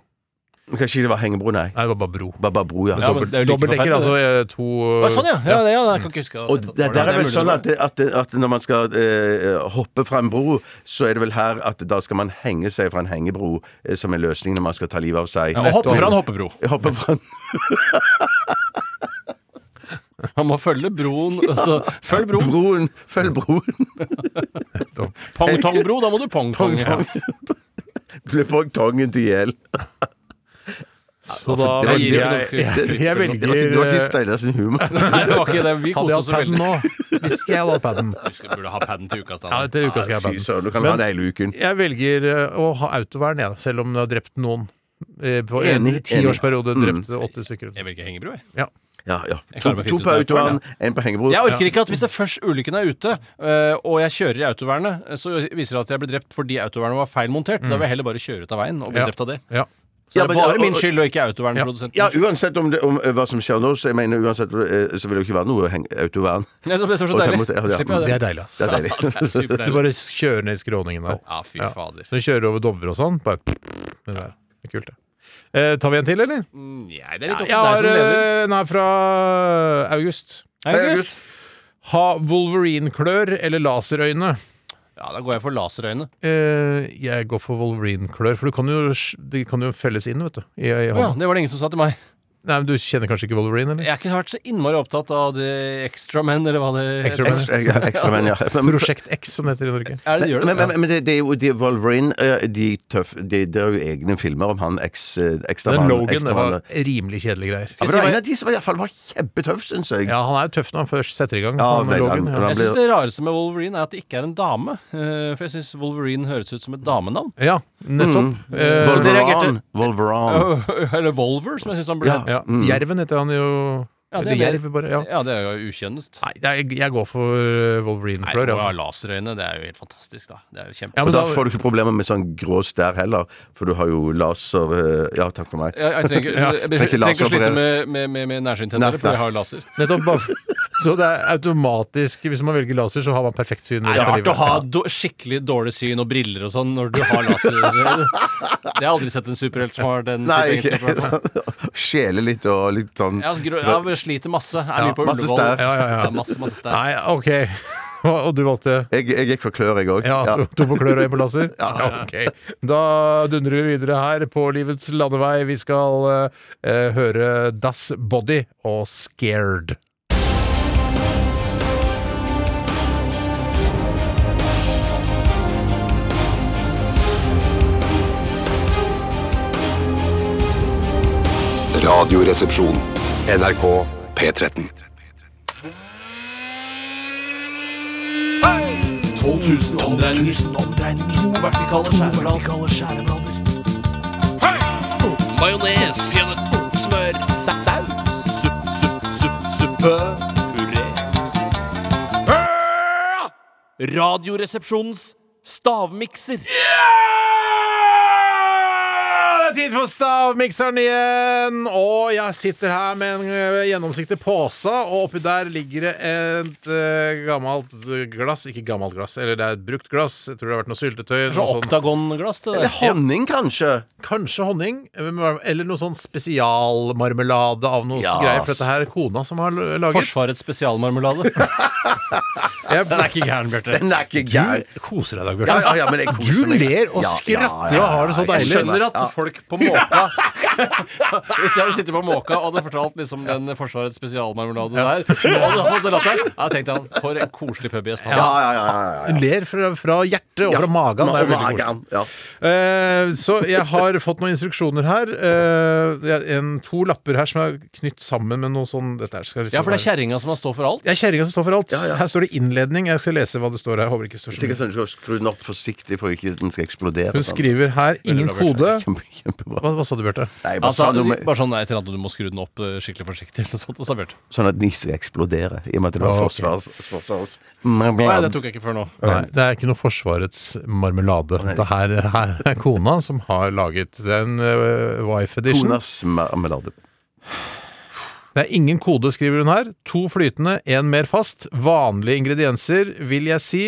Speaker 9: Men Kanskje det var hengebro, nei.
Speaker 7: Nei, det var bare bro.
Speaker 9: Bare bare bro, ja.
Speaker 8: Ja, men det er jo like
Speaker 7: Dobbeltdekker,
Speaker 8: forferdelig,
Speaker 7: altså
Speaker 8: det.
Speaker 7: eh, to
Speaker 8: Å, sånn, ja. ja, det, altså. ja jeg kan ikke huske å ha
Speaker 9: Og
Speaker 8: sett at
Speaker 9: det,
Speaker 8: var
Speaker 9: der er vel
Speaker 8: mulig
Speaker 9: sånn
Speaker 8: var.
Speaker 9: at, at, at når man skal eh, hoppe fra en bro, så er det vel her at da skal man henge seg fra en hengebro eh, som en løsning når man skal ta livet av seg.
Speaker 8: ja, og hoppe fra en hoppebro.
Speaker 9: Hoppe fra en
Speaker 8: Man må følge broen.
Speaker 9: *laughs*
Speaker 8: Altså, følg broen.
Speaker 9: broen. Følg broen. *laughs*
Speaker 8: Pongtongbro, da må du pongtong.
Speaker 9: Pongtong. Blir pongtongen til hjel.
Speaker 7: Så da
Speaker 9: Det var-
Speaker 7: velger
Speaker 9: det var-
Speaker 7: *laughs* jeg, jeg, jeg
Speaker 9: Det var ikke, det var
Speaker 7: velger
Speaker 9: ikke
Speaker 7: eh,
Speaker 9: Steinar sin humor.
Speaker 8: Nei, det var ikke det. Vi koste
Speaker 7: Hadde jeg
Speaker 8: oss jo
Speaker 7: hatt paden
Speaker 8: veldig.
Speaker 7: nå? Hvis jeg hadde hatt paden.
Speaker 8: Husker burde ha paden til uka,
Speaker 7: Ja,
Speaker 8: Steinar.
Speaker 7: etter uka skal jeg ha
Speaker 9: Fy
Speaker 7: paden.
Speaker 9: søren, du kan
Speaker 7: Men-
Speaker 9: ha det hele uken.
Speaker 7: Jeg velger eh, å ha autovern, jeg, selv om du har drept noen. Eh, På en
Speaker 9: Enig, Mm.
Speaker 7: tiårsperiode drept 80 stykker.
Speaker 8: Jeg velger hengebro, jeg.
Speaker 7: Ja.
Speaker 9: Ja, ja.
Speaker 8: Jeg
Speaker 9: To,
Speaker 8: klarer meg
Speaker 9: to
Speaker 8: fint
Speaker 9: på
Speaker 8: uten
Speaker 9: autoen, én på hengebro.
Speaker 8: Jeg orker ikke at hvis det først ulykken er ute, øh, og jeg kjører i autovernet, eh, så viser det at jeg ble drept fordi autovernet var feilmontert. Da vil jeg heller bare kjøre ut av veien og bli
Speaker 7: Ja.
Speaker 8: drept av det.
Speaker 7: Ja.
Speaker 8: Så
Speaker 9: Ja,
Speaker 8: det er
Speaker 9: men-
Speaker 8: bare min
Speaker 9: og- og-
Speaker 8: skyld og ikke autovernprodusenten.
Speaker 9: Ja, uansett om, det, om eh, hva som skjer nå, så jeg mener uansett eh, så vil det jo ikke være noe heng- autovern.
Speaker 8: Nei, det er så
Speaker 9: Og ta
Speaker 8: deilig.
Speaker 9: imot- ja, ja.
Speaker 8: Slipper
Speaker 7: Det
Speaker 8: jeg
Speaker 7: er deilig, ass.
Speaker 9: Det er
Speaker 8: det.
Speaker 9: deilig.
Speaker 8: Det er
Speaker 7: Du
Speaker 8: superdeilig.
Speaker 7: bare kjører ned i skråningen der.
Speaker 8: Ja, fy
Speaker 7: Ja.
Speaker 8: fader.
Speaker 7: Når du kjører over Dovre og sånn, bare det der. Det er kult, det. Eh, tar vi en til, eller?
Speaker 8: Nei, det er litt opp
Speaker 7: Jeg
Speaker 8: til deg
Speaker 7: har
Speaker 8: som leder.
Speaker 7: eh, Den er fra August.
Speaker 8: August.
Speaker 7: Ha Wolverine-klør eller laserøyne?
Speaker 8: Ja, da går jeg for laserøyne.
Speaker 7: Eh, jeg går for Wolverine-klør, for du kan jo, sj- de kan jo felles inn, vet du. I, i
Speaker 8: Ja,
Speaker 7: hånden.
Speaker 8: det var det ingen som sa til meg.
Speaker 7: Nei, men Du kjenner kanskje ikke Wolverine, eller?
Speaker 8: Jeg har ikke vært så innmari opptatt av The Extra Men, eller hva det
Speaker 7: Extra Men.
Speaker 9: *laughs* Ekstra, ja, ekstra men, ja. Men,
Speaker 7: Prosjekt X, som det heter i Norge.
Speaker 8: Er det, gjør det?
Speaker 9: men, men, men det, det er jo de Wolverine eh, de tøff, de, Det er jo egne filmer om han eks, eh,
Speaker 7: Den
Speaker 9: ekstramannen.
Speaker 7: Logan, det var
Speaker 9: ekstramannen.
Speaker 7: rimelig kjedelige
Speaker 9: Ja,
Speaker 7: greier.
Speaker 9: men det var en av de som i hvert fall var kjempetøff, syns jeg.
Speaker 7: Ja, han er jo tøff når han først setter i gang.
Speaker 9: Ja,
Speaker 7: han,
Speaker 9: vel,
Speaker 7: Logan,
Speaker 9: han-
Speaker 7: ja.
Speaker 9: han-
Speaker 8: jeg syns det rareste med Wolverine er at det ikke er en dame. eh, For jeg syns Wolverine høres ut som et damenavn.
Speaker 7: ja, nettopp. Eh,
Speaker 8: det reagerte-
Speaker 9: Mm. Wolverine. Wolverine.
Speaker 8: *laughs* Eller Volver, som jeg syns han burde
Speaker 9: Ja. Mm.
Speaker 8: hett.
Speaker 7: ja. Jerven heter han jo.
Speaker 8: Ja, det er
Speaker 7: eller
Speaker 8: mer-
Speaker 7: Jerv, bare. Ja.
Speaker 8: Ja, det er jo ukjennest.
Speaker 7: Nei, jeg, jeg går for
Speaker 8: Nei,
Speaker 7: Wolverine-klør.
Speaker 8: å ha
Speaker 7: Altså.
Speaker 8: laserøyne, det er jo helt fantastisk, da. Det er jo kjempe...
Speaker 7: Ja,
Speaker 9: Og
Speaker 7: men
Speaker 9: da
Speaker 7: da-
Speaker 9: får du ikke problemer med sånn grå stær heller, for du har jo laser eh, Ja, takk for meg.
Speaker 8: Jeg, jeg trenger,
Speaker 9: Ja,
Speaker 8: jeg,
Speaker 9: det er
Speaker 8: trenger ikke
Speaker 9: ikke
Speaker 8: å slite
Speaker 9: laseroperere.
Speaker 8: med, med, med, med
Speaker 9: Nei,
Speaker 8: nærsyntendere, for
Speaker 9: nei.
Speaker 8: jeg har laser.
Speaker 7: Nettopp. bare for- *laughs* Så det er automatisk Hvis man velger laser, så har man perfekt syn.
Speaker 8: Det er
Speaker 7: resten av
Speaker 8: rart å
Speaker 7: livet.
Speaker 8: ha do, skikkelig dårlig syn og briller og sånn når du har
Speaker 9: *laughs*
Speaker 8: laser. Jeg har aldri sett en superhelt som har den.
Speaker 9: Nei,
Speaker 8: type egenskapen, i hvert fall.
Speaker 9: ikke *laughs* Skjele litt og litt sånn
Speaker 8: Jeg, har grå- jeg har- sliter masse. Jeg er mye på
Speaker 9: masse
Speaker 8: Ullevål.
Speaker 9: stær.
Speaker 7: Ja, ja, ja.
Speaker 8: masse, masse stær.
Speaker 7: Nei, OK. *laughs* Og og du valgte
Speaker 9: Jeg, jeg gikk for klør, jeg òg.
Speaker 7: ja, to, to på klør og én på laser? Ja, ok. Da dundrer vi videre her på livets landevei. Vi skal eh, høre Das Body og Scared.
Speaker 2: Radioresepsjon. NRK P13.
Speaker 3: 12 000 omdreininger. To vertikale skjæreblader. Majones. Smør. Saus. Supp, supp, supp, suppe. Puré. Radioresepsjonens stavmikser.
Speaker 7: Ja, Ah, Det er tid for stavmikseren igjen! Og jeg sitter her med en ø, gjennomsiktig pose, og oppi der ligger det et ø, gammelt glass Ikke gammelt glass, eller det er et brukt glass. Jeg tror det har vært noe syltetøy.
Speaker 8: Det er
Speaker 7: Noe
Speaker 8: sånn
Speaker 7: sånn,
Speaker 8: oktagonglass til det.
Speaker 9: Eller honning, kanskje?
Speaker 7: kanskje honning, eller noe sånn spesialmarmelade av noe
Speaker 9: Ja,
Speaker 7: greier. For dette her er kona som har l- laget.
Speaker 8: Forsvarets
Speaker 3: *laughs*
Speaker 8: spesialmarmelade.
Speaker 7: Jeg,
Speaker 8: Den er ikke gæren, Bjarte.
Speaker 9: Den er ikke gæren.
Speaker 7: du koser deg i dag,
Speaker 9: Ja,
Speaker 7: Bjørte.
Speaker 9: ja, ja, men jeg koser
Speaker 7: Du
Speaker 9: meg.
Speaker 7: ler og
Speaker 9: Ja, ja,
Speaker 7: skratter
Speaker 9: ja,
Speaker 7: og har det sånn. så
Speaker 9: ja, jeg
Speaker 7: deilig.
Speaker 9: skjønner.
Speaker 7: *laughs*
Speaker 8: Skjønner at folk på måka *laughs* Hvis jeg hadde sittet på måka og hadde fortalt liksom den Forsvarets spesialmarmelade
Speaker 7: *laughs*
Speaker 8: der, og hadde fått en latter, da tenkte han for en koselig pubgjest. han er.
Speaker 7: Hun ler fra, fra hjertet og
Speaker 8: Ja,
Speaker 7: fra magen. Det er
Speaker 8: ma-
Speaker 7: veldig koselig.
Speaker 8: magen,
Speaker 7: Eh, så jeg har fått noen instruksjoner her. Eh, det er en, to lapper her som er knytt sammen med noe sånn dette her skal liksom
Speaker 8: Ja, for det er
Speaker 7: være-
Speaker 8: kjerringa som har stått for alt.
Speaker 7: Det er kjerringa som står for alt.
Speaker 8: Ja, ja.
Speaker 7: Her står det innledning. Jeg skal lese hva det står her. Jeg Håper det ikke står så mye.
Speaker 9: Sikkert sånn at du skal skru den opp forsiktig for ikke den skal eksplodere. Sånn.
Speaker 7: Hun skriver her 'ingen kode'.
Speaker 9: Kjempe, kjempebra.
Speaker 7: Hva, hva sa du, Bjarte?
Speaker 9: Nei, bare
Speaker 8: Altså,
Speaker 9: sa noe med-
Speaker 8: bare sånn, nei, et eller annet, Du må skru den opp eh, skikkelig forsiktig. Eller noe sånt, og så Bjarte.
Speaker 9: Sånn at den ikke skal eksplodere, i og med at det var
Speaker 7: Ah, Ok.
Speaker 9: forsvars... forsvars
Speaker 8: Nei, det tok jeg ikke før nå.
Speaker 7: Nei, det er ikke noe Forsvarets marmelade. Det her, her er kona som har laget Det er en eh, wife edition.
Speaker 9: Konas marmelade.
Speaker 7: Det er ingen kode, skriver hun her. To flytende, én mer fast. Vanlige ingredienser, vil jeg si.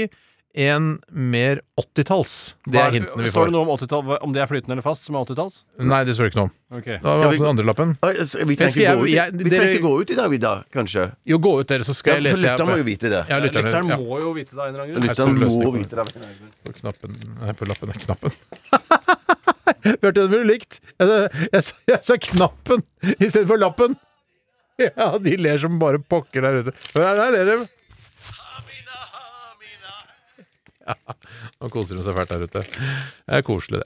Speaker 7: En mer 80-talls. Det
Speaker 8: Hva-
Speaker 7: er hintene vi
Speaker 8: Står det
Speaker 7: får.
Speaker 8: noe om 80-tall, om det er flytende eller fast, som er 80-talls?
Speaker 7: Nei, det står ikke noe om.
Speaker 8: Ok.
Speaker 7: Da var det den andre lappen.
Speaker 9: Oi, altså, Vi
Speaker 7: Jeg
Speaker 9: trenger
Speaker 7: skal-
Speaker 9: ikke gå ut, i-
Speaker 7: jeg-
Speaker 9: vi trenger
Speaker 7: dere-
Speaker 9: ikke gå ut i dag, vi da, kanskje?
Speaker 7: Jo, gå ut dere, så skal jeg
Speaker 9: Ja,
Speaker 7: lese.
Speaker 9: for
Speaker 7: her.
Speaker 9: lytteren må jo vite det.
Speaker 7: Ja, lytteren,
Speaker 8: Lytteren
Speaker 7: ja.
Speaker 8: må jo vite det av en eller annen grunn.
Speaker 9: Lytteren
Speaker 7: Jeg så
Speaker 9: må
Speaker 7: løsning
Speaker 9: vite det.
Speaker 7: På knappen Nei, på lappen er knappen. *laughs* Bjarte, den ville du likt. Jeg, jeg, sa- jeg sa knappen istedenfor lappen. *laughs* Ja, de ler som bare pokker der ute. Hør her, der ler de. Nå koser hun seg fælt der ute. Det er koselig,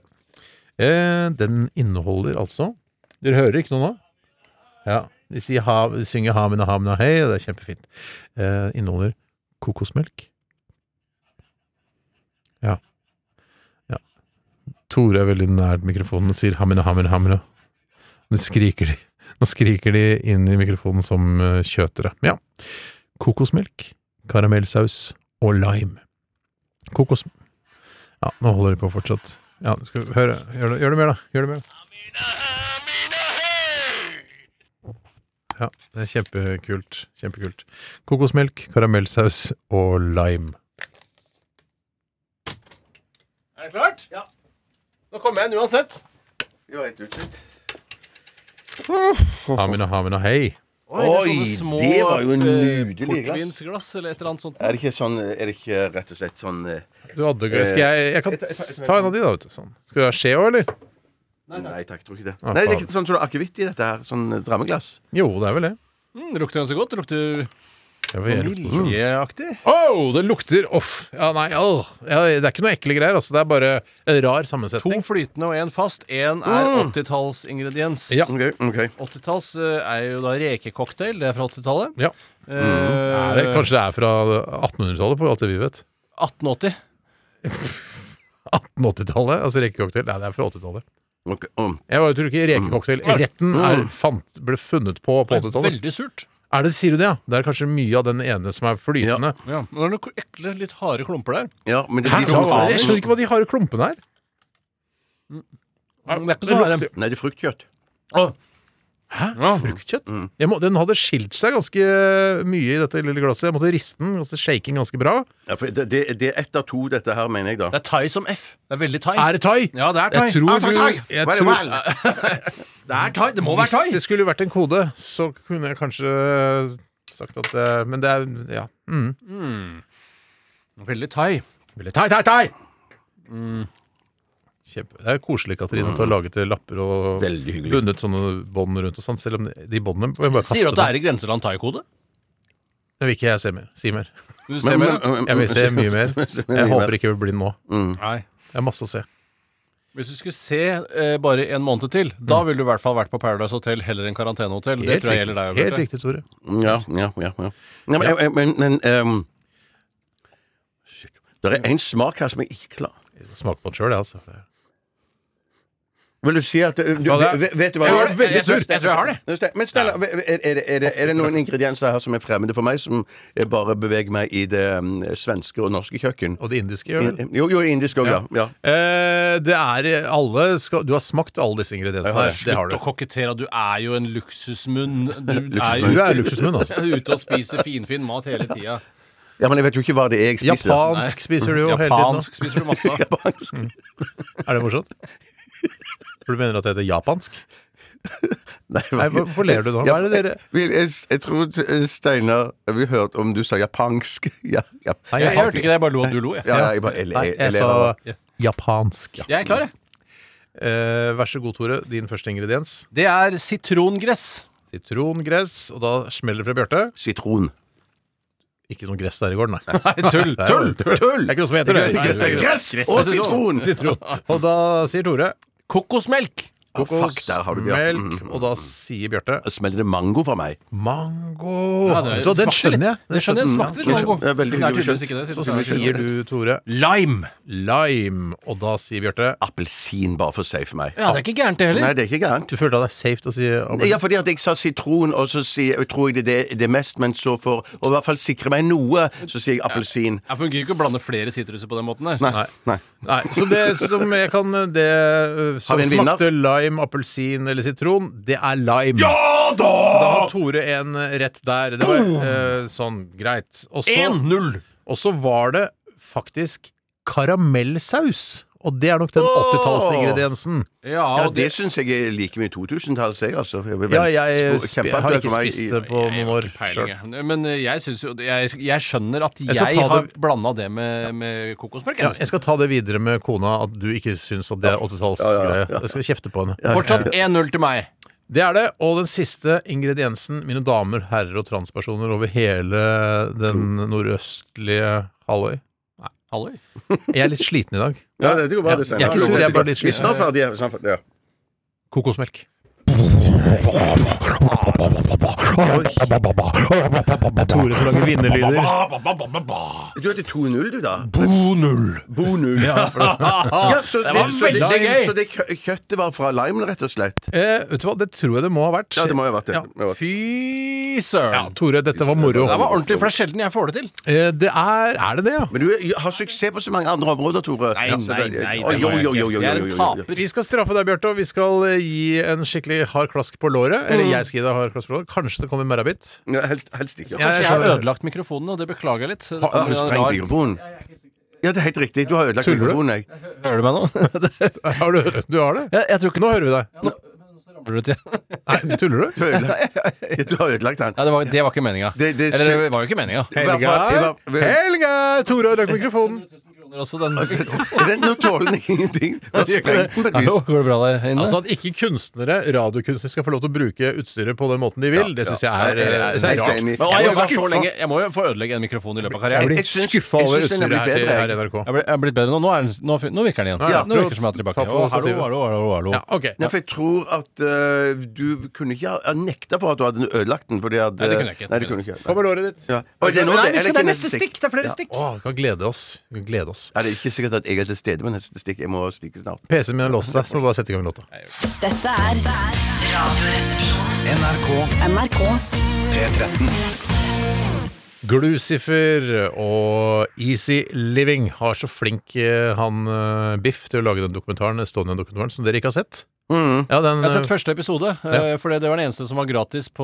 Speaker 7: det. Eh, den inneholder altså Dere hører ikke noe nå? Ja. De, sier ha, de synger 'Hamina, hamina, hei', og det er kjempefint. Eh, inneholder kokosmelk. Ja. ja. Tore er veldig nært mikrofonen og sier 'hamina, hamina, hamina'. Nå skriker de, nå skriker de inn i mikrofonen som eh, kjøtere. Ja. Kokosmelk, karamellsaus og lime. Kokos... Ja, nå holder de på fortsatt. Ja, skal vi høre. Gjør det, gjør det mer, da. Gjør det mer, da. Ja, det er kjempekult. Kjempekult. Kokosmelk, karamellsaus og lime.
Speaker 8: Er det klart? Ja. Nå kommer jeg inn uansett.
Speaker 7: Hamina, hamina, hei.
Speaker 8: Oi, det, er sånne små,
Speaker 9: det var jo
Speaker 8: eh,
Speaker 9: nydelig glass.
Speaker 8: Portvinsglass eller et eller annet sånt.
Speaker 9: Er det ikke sånn Er det ikke rett og slett sånn eh,
Speaker 7: Du hadde gøy. Skal jeg, jeg kan
Speaker 9: eh,
Speaker 7: ta en av de, da. vet du sånn. Skal du ha skje òg, eller?
Speaker 9: Nei takk, tror ikke det.
Speaker 7: Ah,
Speaker 9: Nei, det er
Speaker 7: faen.
Speaker 9: ikke sånn som du har akevitt i dette her. Sånn eh, drammeglass.
Speaker 7: Jo, det er vel det.
Speaker 8: Mm, lukter ganske godt. Det Lukter
Speaker 7: Jeg vil gjerne-
Speaker 8: Mm. vaniljeaktig.
Speaker 7: Åh, det lukter Uff. Ja, nei, åh. Ja, det er ikke noe ekle greier. Altså. Det er bare en rar
Speaker 8: To
Speaker 7: sammensetning.
Speaker 8: flytende og én fast. Én er
Speaker 7: Mm.
Speaker 8: 80-tallsingrediens.
Speaker 7: Ja.
Speaker 9: Ok, ok.
Speaker 8: 80-talls eh, er jo da rekecocktail. Det er fra 80-tallet.
Speaker 7: Ja. Mm.
Speaker 8: Eh,
Speaker 7: Er det, kanskje det er fra 1800-tallet, for alt det vi vet.
Speaker 8: 1880.
Speaker 7: 1880-tallet? Altså rekecocktail? Nei, det er fra 80-tallet.
Speaker 9: Ok, um. om.
Speaker 7: Jeg bare tror ikke rekecocktail-retten er- fant- ble funnet på på 80-tallet.
Speaker 8: Veldig surt.
Speaker 7: Er det, sier du det, ja? Det er kanskje mye av den ene som er flytende.
Speaker 8: Ja, men det er noen ekle, litt harde klumper der.
Speaker 9: Ja, men det
Speaker 7: Hæ?
Speaker 9: blir sånn
Speaker 7: Jeg skjønner ikke hva de harde klumpene er.
Speaker 8: Men Det er ikke så harde.
Speaker 9: Nei, det er fruktkjøtt.
Speaker 7: Hæ? Fruktkjøtt? Jeg må, den hadde skilt seg ganske eh, mye i dette lille glasset. Jeg måtte riste den, altså shake den ganske bra.
Speaker 9: Ja, for det, det, det er ett av to, dette her, mener jeg, da.
Speaker 8: Det er thai som F. Det er veldig thai.
Speaker 7: Er det thai?
Speaker 8: Ja, det er thai.
Speaker 7: Jeg tror du jeg
Speaker 9: Well,
Speaker 7: tror,
Speaker 9: well.
Speaker 8: *laughs* Det er thai. Det må være
Speaker 7: Hvis
Speaker 8: thai.
Speaker 7: det skulle vært en kode, så kunne jeg kanskje eh, sagt at det Men det er Ja. Mm.
Speaker 8: Veldig thai.
Speaker 7: Veldig Thai, thai, thai! Kjempe. Det er koselig, Katrine, at du har laget lapper og
Speaker 9: Veldig hyggelig.
Speaker 7: bundet sånne bånd rundt og sånn. Selv om de båndene må jeg bare
Speaker 8: Sier du
Speaker 7: kaste
Speaker 8: at det
Speaker 7: dem.
Speaker 8: er i grenseland thai-kode?
Speaker 7: Det vil ikke jeg se mer. Si mer.
Speaker 8: Du
Speaker 9: Men-
Speaker 8: ser mer,
Speaker 9: men-
Speaker 8: da?
Speaker 9: men-
Speaker 7: Jeg vil se mye
Speaker 8: *laughs*
Speaker 7: mer.
Speaker 9: Se mye
Speaker 7: Jeg
Speaker 9: mer.
Speaker 7: håper ikke jeg blir blind nå.
Speaker 8: Nei.
Speaker 7: Det er masse å se.
Speaker 8: Hvis du skulle se eh, bare en måned til, da ville du i hvert fall vært på Paradise Hotel heller enn karantenehotell. Det
Speaker 7: Helt
Speaker 8: tror jeg gjelder
Speaker 7: riktig,
Speaker 8: deg.
Speaker 7: Helt
Speaker 8: Bjarte.
Speaker 7: riktig Tore.
Speaker 9: Mm, Ja, ja, ja. ja. Nei, men, eh, men, men ehm, Shit. Det er en smak her som jeg ikke klarer.
Speaker 7: Smak på den sjøl, jeg, altså.
Speaker 9: Vil du si at eh, du, du,
Speaker 7: Hva det
Speaker 9: vet- Vet du hva
Speaker 7: Jeg var veldig sur.
Speaker 8: Jeg tror jeg har det.
Speaker 9: Men Stella, er, er, er, det- er det noen ingredienser her som er fremmede for meg, som jeg bare beveger meg i det mm, svenske og norske kjøkken?
Speaker 7: Og det indiske gjør vel?
Speaker 9: Jo, jo, indisk òg, ja. ja.
Speaker 7: Eh, det er alle skal, Du har smakt alle disse ingrediensene
Speaker 9: Jeg har
Speaker 7: her.
Speaker 9: det.
Speaker 7: Det har
Speaker 8: Slutt
Speaker 7: du.
Speaker 8: å kokettere. Du er jo en luksusmunn. Du er
Speaker 7: Du
Speaker 8: jo
Speaker 7: er luksusmunn, altså.
Speaker 8: *laughs* ute og spiser finfin mat hele tida.
Speaker 9: Ja, Men jeg vet jo ikke hva det er jeg spiser.
Speaker 7: Japansk spiser du jo hele tiden.
Speaker 8: Japansk spiser du
Speaker 9: *laughs*
Speaker 8: masse av.
Speaker 9: Japansk.
Speaker 7: nå. Er det morsomt? For du mener at det heter japansk? Nei,
Speaker 9: hva-
Speaker 7: hvorfor ler du nå? Hva er det dere
Speaker 9: Jeg, jeg, jeg tror eh, Steinar Vi hørte om du sa japansk. *laughs* Ja, ja.
Speaker 7: Nei,
Speaker 8: Jeg hørte ikke det, jeg bare lo at du lo.
Speaker 9: Ja,
Speaker 8: Jeg,
Speaker 9: ja, jeg bare jeg,
Speaker 7: Nei,
Speaker 9: jeg,
Speaker 7: jeg
Speaker 9: ler av det.
Speaker 7: sa japansk.
Speaker 8: jeg er klar, jeg.
Speaker 7: Eh, vær så god, Tore. Din første ingrediens.
Speaker 8: Det er sitrongress.
Speaker 7: Sitrongress. Og da smeller det fra Bjarte.
Speaker 9: Sitron.
Speaker 7: Ikke noe gress der i går, nei.
Speaker 9: Nei, tull,
Speaker 7: Det er jo-
Speaker 9: tull, tull.
Speaker 7: Det er ikke noe som heter det.
Speaker 9: Det er gress, gress og sitron.
Speaker 7: sitron. Og da sier Tore
Speaker 8: Kokosmelk.
Speaker 9: Ah, fuck, der har du det, ja.
Speaker 7: Kokosmelk.
Speaker 9: Mm.
Speaker 7: Og da sier Bjarte
Speaker 9: Smeller det mango fra meg?
Speaker 7: mango.
Speaker 8: Ja, det-
Speaker 7: Vet du hva, den
Speaker 8: smakte litt-
Speaker 7: skjønner jeg.
Speaker 8: det skjønner jeg, det smakte litt
Speaker 7: Mm.
Speaker 8: mango.
Speaker 9: Det er veldig
Speaker 8: Det er
Speaker 9: hyggelig
Speaker 8: tydeligvis
Speaker 9: skjønt.
Speaker 8: ikke det,
Speaker 7: Så
Speaker 8: sitron-
Speaker 7: sier du, Tore,
Speaker 8: Lime.
Speaker 7: lime. Og da sier Bjarte
Speaker 9: Appelsin bare for seg for meg.
Speaker 8: Ja, det er ikke gærent, det
Speaker 9: Nei,
Speaker 8: heller.
Speaker 9: det er ikke gærent.
Speaker 7: Du følte det er safe å si abort?
Speaker 9: Ja, fordi at jeg sa sitron, og så sier, jeg tror jeg det er det, det er mest, men så for å i hvert fall sikre meg noe, så sier jeg appelsin.
Speaker 8: Jeg fungerer ikke å blande flere sitruser på den måten der.
Speaker 9: Nei. Nei.
Speaker 7: Nei, så det som jeg kan Det øh, som
Speaker 9: vi en vinner?
Speaker 7: smakte lime, appelsin eller sitron, det er lime. Ja da! Så da har Tore en øh, rett der. Det var øh, sånn, greit. Og så,
Speaker 8: 1-0.
Speaker 7: og så var det faktisk karamellsaus. Og det er nok den 80-tallsingrediensen.
Speaker 8: Ja,
Speaker 9: Ja,
Speaker 8: og
Speaker 9: det
Speaker 8: det
Speaker 9: syns jeg er like mye 2000-tallet, jeg, altså. Jeg vil
Speaker 7: Ja,
Speaker 9: vel-
Speaker 7: jeg,
Speaker 9: spo-
Speaker 7: sp-
Speaker 9: kjempe-
Speaker 7: har ikke
Speaker 9: for meg i-
Speaker 7: spist det på noen år
Speaker 8: Peiling,
Speaker 7: sjøl.
Speaker 8: jeg. Men eh, jeg syns jo jeg, jeg skjønner at jeg,
Speaker 7: skal ta
Speaker 8: har
Speaker 7: det-
Speaker 8: blanda det med, med kokosmelk. jeg
Speaker 7: Ja,
Speaker 8: nesten.
Speaker 7: jeg skal ta det videre med kona, at du ikke syns at det er 80-tallsgreie. Jeg skal kjefte på henne.
Speaker 8: Fortsatt 1-0 til meg.
Speaker 7: Det er det. Og den siste ingrediensen, mine damer, herrer og transpersoner over hele den nordøstlige halvøy.
Speaker 8: Halløy.
Speaker 7: Jeg er litt sliten i dag.
Speaker 9: Ja, det det går bra, det
Speaker 7: Jeg er ikke sur, jeg er bare litt sliten.
Speaker 9: Snart ferdig. snart ferdig, Ja.
Speaker 7: Kokosmelk. Tore som lager vinnerlyder.
Speaker 9: Du hadde 2-0, du, da? Bo-null. Ja, så det,
Speaker 8: var
Speaker 9: så det,
Speaker 8: veldig gøy.
Speaker 9: Så det kø- kjøttet var fra limen, rett og slett?
Speaker 7: Eh, vet du hva, det tror jeg det må ha vært.
Speaker 9: Ja, det må jo ha vært det.
Speaker 7: Ja.
Speaker 9: Det må ha vært.
Speaker 8: Fy
Speaker 7: Ja,
Speaker 8: søren.
Speaker 7: Tore, dette var moro.
Speaker 8: Det var ordentlig, for det er sjelden jeg får det til.
Speaker 7: Eh, det er Er det det, ja?
Speaker 9: Men du har suksess på så mange andre områder, Tore.
Speaker 8: Nei,
Speaker 9: Ja, så
Speaker 8: nei,
Speaker 9: det-
Speaker 8: nei, det
Speaker 9: Oi,
Speaker 8: må jeg
Speaker 9: jo, jo,
Speaker 8: ikke.
Speaker 9: jo, jo,
Speaker 8: Jeg er
Speaker 9: jo,
Speaker 8: en
Speaker 9: jo, jo.
Speaker 8: taper.
Speaker 7: Vi skal straffe deg, Bjarte, og vi skal eh, gi en skikkelig hard klask på låret.
Speaker 9: Mm.
Speaker 7: Eller jeg skal gi deg hard klask på låret. Kanskje det kommer merrabitt.
Speaker 9: Ja, helst, helst ikke.
Speaker 7: Ja,
Speaker 9: Ja,
Speaker 7: jeg
Speaker 8: Jeg har
Speaker 7: skjønner.
Speaker 8: ødelagt mikrofonen, og det beklager jeg litt. eh, Det
Speaker 9: har du
Speaker 8: kommer en
Speaker 9: sprengt
Speaker 8: rar-
Speaker 9: mikrofonen? Ja, det er helt riktig. Du har ødelagt
Speaker 7: Tuller du?
Speaker 9: mikrofonen, jeg.
Speaker 8: Hører du meg nå?
Speaker 7: Har du, du har det?
Speaker 8: Jeg, jeg tror ikke
Speaker 7: Nå hører vi deg.
Speaker 8: Ramler du til?
Speaker 7: Nei, tuller du?
Speaker 9: Du har ødelagt- Du har ødelagt den.
Speaker 8: *laughs* Nei, det var, det var ikke meninga.
Speaker 9: Det- det-
Speaker 8: Eller det var jo ikke meninga.
Speaker 9: I hvert fall- i
Speaker 7: Helga!
Speaker 9: hvert fall-
Speaker 7: Helga! Tore har lagt mikrofonen.
Speaker 9: Den- Nå tåler den *laughs* ingenting. Du har Altså,
Speaker 8: *laughs*
Speaker 9: sprengt den på et vis.
Speaker 8: Hallo, går det bra der inne?
Speaker 7: Altså At ikke kunstnere, radiokunstnere skal få lov til å bruke utstyret på den måten de vil, det syns jeg er, eh,
Speaker 9: Ja, jeg er
Speaker 7: det er
Speaker 9: helt
Speaker 7: rart.
Speaker 8: Men
Speaker 9: enig.
Speaker 8: jeg,
Speaker 7: Jeg
Speaker 8: jobber så
Speaker 7: skuffa.
Speaker 8: lenge, jeg må jo få ødelegge en mikrofon i løpet av
Speaker 7: Jeg
Speaker 8: karrieren.
Speaker 7: blir
Speaker 9: Jeg syns-
Speaker 7: skuffa over
Speaker 9: jeg syns den
Speaker 7: utstyret
Speaker 9: blir
Speaker 7: her,
Speaker 9: bedre,
Speaker 7: her i
Speaker 9: jeg.
Speaker 7: NRK.
Speaker 8: Jeg ble, jeg er blitt bedre nå. Nå, er den, nå, nå virker den igjen.
Speaker 7: Ja,
Speaker 8: nå virker det som jeg er tilbake.
Speaker 7: ta på
Speaker 8: Å, hallo,
Speaker 7: stativet.
Speaker 8: hallo, hallo, hallo.
Speaker 7: Ja, ok.
Speaker 9: Nei, for jeg tror at eh, du kunne ikke ha nekta for at du hadde ødelagt den. Fordi at, eh,
Speaker 8: Nei, det kunne jeg ikke.
Speaker 9: Nei, det kunne jeg ikke.
Speaker 7: Hva med låret ditt?
Speaker 9: Ja. Oi, det er nå-
Speaker 8: Nei,
Speaker 9: er
Speaker 8: vi skal
Speaker 9: ikke
Speaker 8: til neste stikk! Det er flere stikk.
Speaker 7: Å, vi kan glede oss. Vi kan glede oss.
Speaker 9: Ja, det er ikke sikkert at jeg er til stede med neste stikk. Jeg må stikke snart.
Speaker 7: PC-en min har låst seg, så må vi bare sette i gang låta.
Speaker 1: Dette er Radioresepsjonen. NRK. NRK.
Speaker 7: Glucifer og Easy Living har så flink eh, han eh, Biff til å lage den dokumentaren, Estonia-dokumentaren, som dere ikke har sett.
Speaker 9: Mm.
Speaker 7: Ja, den,
Speaker 8: Jeg har
Speaker 7: eh,
Speaker 8: sett første episode, eh, for det det var den eneste som var gratis på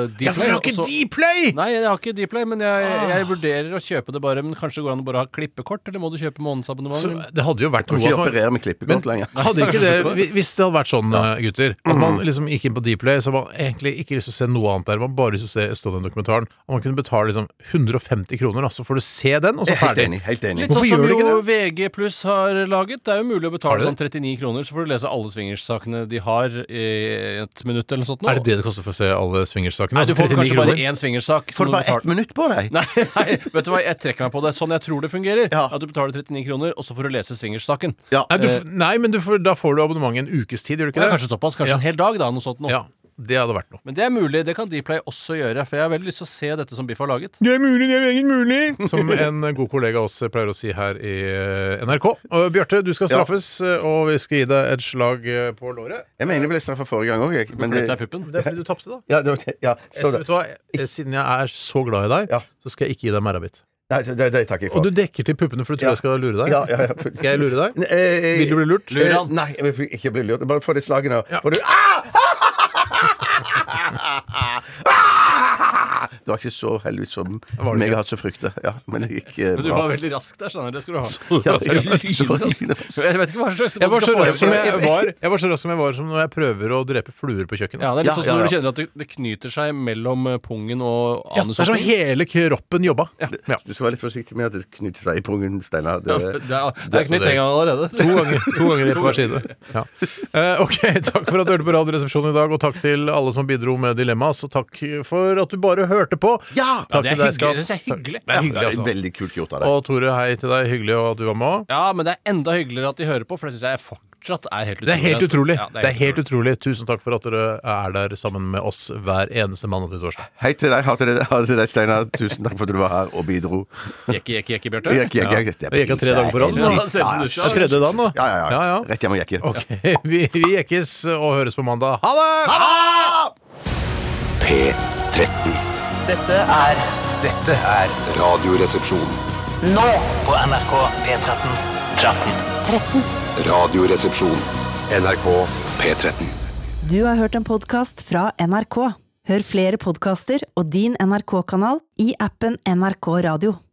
Speaker 8: eh, Dplay. og så-
Speaker 7: Dplay! Ah.
Speaker 8: Nei, jeg har ikke Dplay, men jeg, jeg vurderer å kjøpe det bare. Men kanskje det går an å bare ha klippekort, eller må du kjøpe månedsabonnement?
Speaker 7: Så det hadde jo vært
Speaker 9: Du
Speaker 7: noe
Speaker 9: kan ikke
Speaker 7: at man-
Speaker 9: operere med
Speaker 7: Men
Speaker 9: klippekort lenger. Mm.
Speaker 7: hadde ikke
Speaker 9: *laughs*
Speaker 7: det, hvi- hvis det hadde vært sånn, eh, gutter At man liksom gikk inn på Dplay, så hadde man egentlig ikke lyst til å se noe annet der. Man bare lyst til å se Estonia-dokumentaren. Og man kunne betale liksom 150 kroner, da, så får du se den, og så
Speaker 9: Jeg er Helt
Speaker 7: ferdig.
Speaker 9: enig. helt enig
Speaker 8: Litt sånn
Speaker 7: Hvorfor
Speaker 8: som
Speaker 7: gjør de
Speaker 8: jo
Speaker 7: ikke
Speaker 8: VG pluss har laget. Det er jo mulig å
Speaker 7: Har
Speaker 8: betale
Speaker 7: de
Speaker 8: sånn 39 kroner, så får du lese alle swingers-sakene de har i et minutt eller noe sånt. nå.
Speaker 7: Er det det det koster for å se alle swingersakene?
Speaker 8: Nei, du
Speaker 7: Altså,
Speaker 8: får
Speaker 7: 39
Speaker 8: kanskje
Speaker 7: kroner?
Speaker 8: bare én swingers-sak.
Speaker 9: Får
Speaker 8: som
Speaker 9: du
Speaker 8: du
Speaker 9: bare ett
Speaker 8: betaler-
Speaker 9: minutt på deg?
Speaker 8: *laughs* Nei, nei, vet du hva, jeg trekker meg på det. Sånn jeg tror det fungerer.
Speaker 9: Ja.
Speaker 8: At du betaler 39 kroner, og så får du lese swingers-saken.
Speaker 9: Ja.
Speaker 7: Nei, du, f- nei men du får, da får du abonnement en ukes tid, gjør du
Speaker 8: Det
Speaker 7: ikke
Speaker 8: er
Speaker 7: det?
Speaker 8: Kanskje såpass. Kanskje
Speaker 7: Ja.
Speaker 8: en hel dag, da. Noe sånt noe.
Speaker 7: Ja, det hadde vært noe.
Speaker 8: Men det er mulig. Det kan Dplay også gjøre. For jeg har veldig lyst til å se dette som Biff har laget.
Speaker 7: Det er mulig, det er egen mulig! Som en god kollega av oss pleier å si her i eh, NRK. Og Bjarte, du skal
Speaker 9: Ja.
Speaker 7: straffes, eh, og vi skal gi deg et slag eh, på låret.
Speaker 9: Jeg mener jeg ble straffa forrige gang òg, jeg. Men
Speaker 8: Flytt deg
Speaker 9: det,
Speaker 8: puppen.
Speaker 7: Det er fordi du tapte, da.
Speaker 9: ja, det, var- ja,
Speaker 7: Jeg,
Speaker 9: *laughs* så det.
Speaker 7: vet du hva? Jeg- Siden jeg er så glad i deg,
Speaker 9: Ja.
Speaker 7: så skal jeg ikke gi deg merrabitt.
Speaker 9: Nei, så det, det takker jeg
Speaker 7: Og
Speaker 9: for.
Speaker 7: du dekker til puppene, for du tror
Speaker 9: Ja.
Speaker 7: jeg skal lure deg.
Speaker 9: Ja, ja, ja.
Speaker 7: Skal jeg lure deg?
Speaker 9: Vil
Speaker 7: Vil du bli lurt?
Speaker 8: Lur han.
Speaker 9: Eh, Nei, jeg vil ikke bli lurt. Bare få det slaget nå. Får du Ah! Det var ikke så heldigvis som
Speaker 8: var det
Speaker 9: meg
Speaker 8: ikke?
Speaker 9: har hatt så frykte. Ja, men det gikk eh,
Speaker 8: Men du
Speaker 9: bra.
Speaker 8: var veldig rask der, skjønner du. *laughs* Det skal du ha.
Speaker 9: Ja, jeg var så
Speaker 8: Lynrask.
Speaker 9: lynrask.
Speaker 8: Jeg vet ikke hva slags
Speaker 7: Jeg var, så
Speaker 8: skal få
Speaker 7: rask som
Speaker 8: det.
Speaker 9: *laughs*
Speaker 7: jeg, var, jeg var så rask som jeg var som når jeg prøver å drepe fluer på kjøkkenet.
Speaker 8: Ja, det er litt sånn som når du kjenner at det, det knyter seg mellom eh, pungen og
Speaker 7: Ja, det
Speaker 8: anus.
Speaker 7: er sånn hele kroppen jobba.
Speaker 9: Du skal være litt forsiktig med at det knytter seg i pungen, Steinar.
Speaker 8: Ja, det er- det er knyttet en gang allerede.
Speaker 7: To ganger, to ganger på hver side. Ja. Eh, ok, Takk for at du hørte på Radioresepsjonen i dag, og takk til alle som bidro med dilemmas. Og takk for at du bare hørte på.
Speaker 8: Ja!
Speaker 7: takk
Speaker 8: Ja, det er
Speaker 7: til deg,
Speaker 8: hyggelig.
Speaker 7: Skatt.
Speaker 8: Det er hyggelig.
Speaker 7: Det er hyggelig,
Speaker 9: Det
Speaker 7: altså.
Speaker 9: er veldig kult gjort av deg.
Speaker 7: Og Tore, hei til deg. Hyggelig at du var med òg.
Speaker 8: Ja, men det er enda hyggeligere at de hører på, for det syns jeg fortsatt er helt utrolig.
Speaker 7: Det er helt utrolig.
Speaker 8: Ja,
Speaker 7: det er helt utrolig. Tusen takk for at dere er der sammen med oss hver eneste mandag til torsdag.
Speaker 9: Hei til deg, ha til deg, ha til deg Steinar. Tusen takk for at du var her og bidro.
Speaker 8: Jekke, jekke, jekke, Bjarte.
Speaker 9: Jekke, jekke, jekke.
Speaker 7: Det gikk av tre dager på rad. nå.
Speaker 8: Ja, det ser ut som du
Speaker 7: Det
Speaker 8: skjønner.
Speaker 7: er tredje dagen nå.
Speaker 9: altså. Ja, ja, ja. Rett hjem og jekke.
Speaker 7: Ok, *laughs* vi, vi jekkes og høres på mandag. Ha det!
Speaker 2: P13.
Speaker 1: Dette er
Speaker 4: Dette er
Speaker 2: Radioresepsjon.
Speaker 4: Nå på NRK P13.
Speaker 1: 13.
Speaker 2: Radioresepsjon. NRK P13.
Speaker 1: Du har hørt en podkast fra NRK. Hør flere podkaster og din NRK-kanal i appen NRK Radio.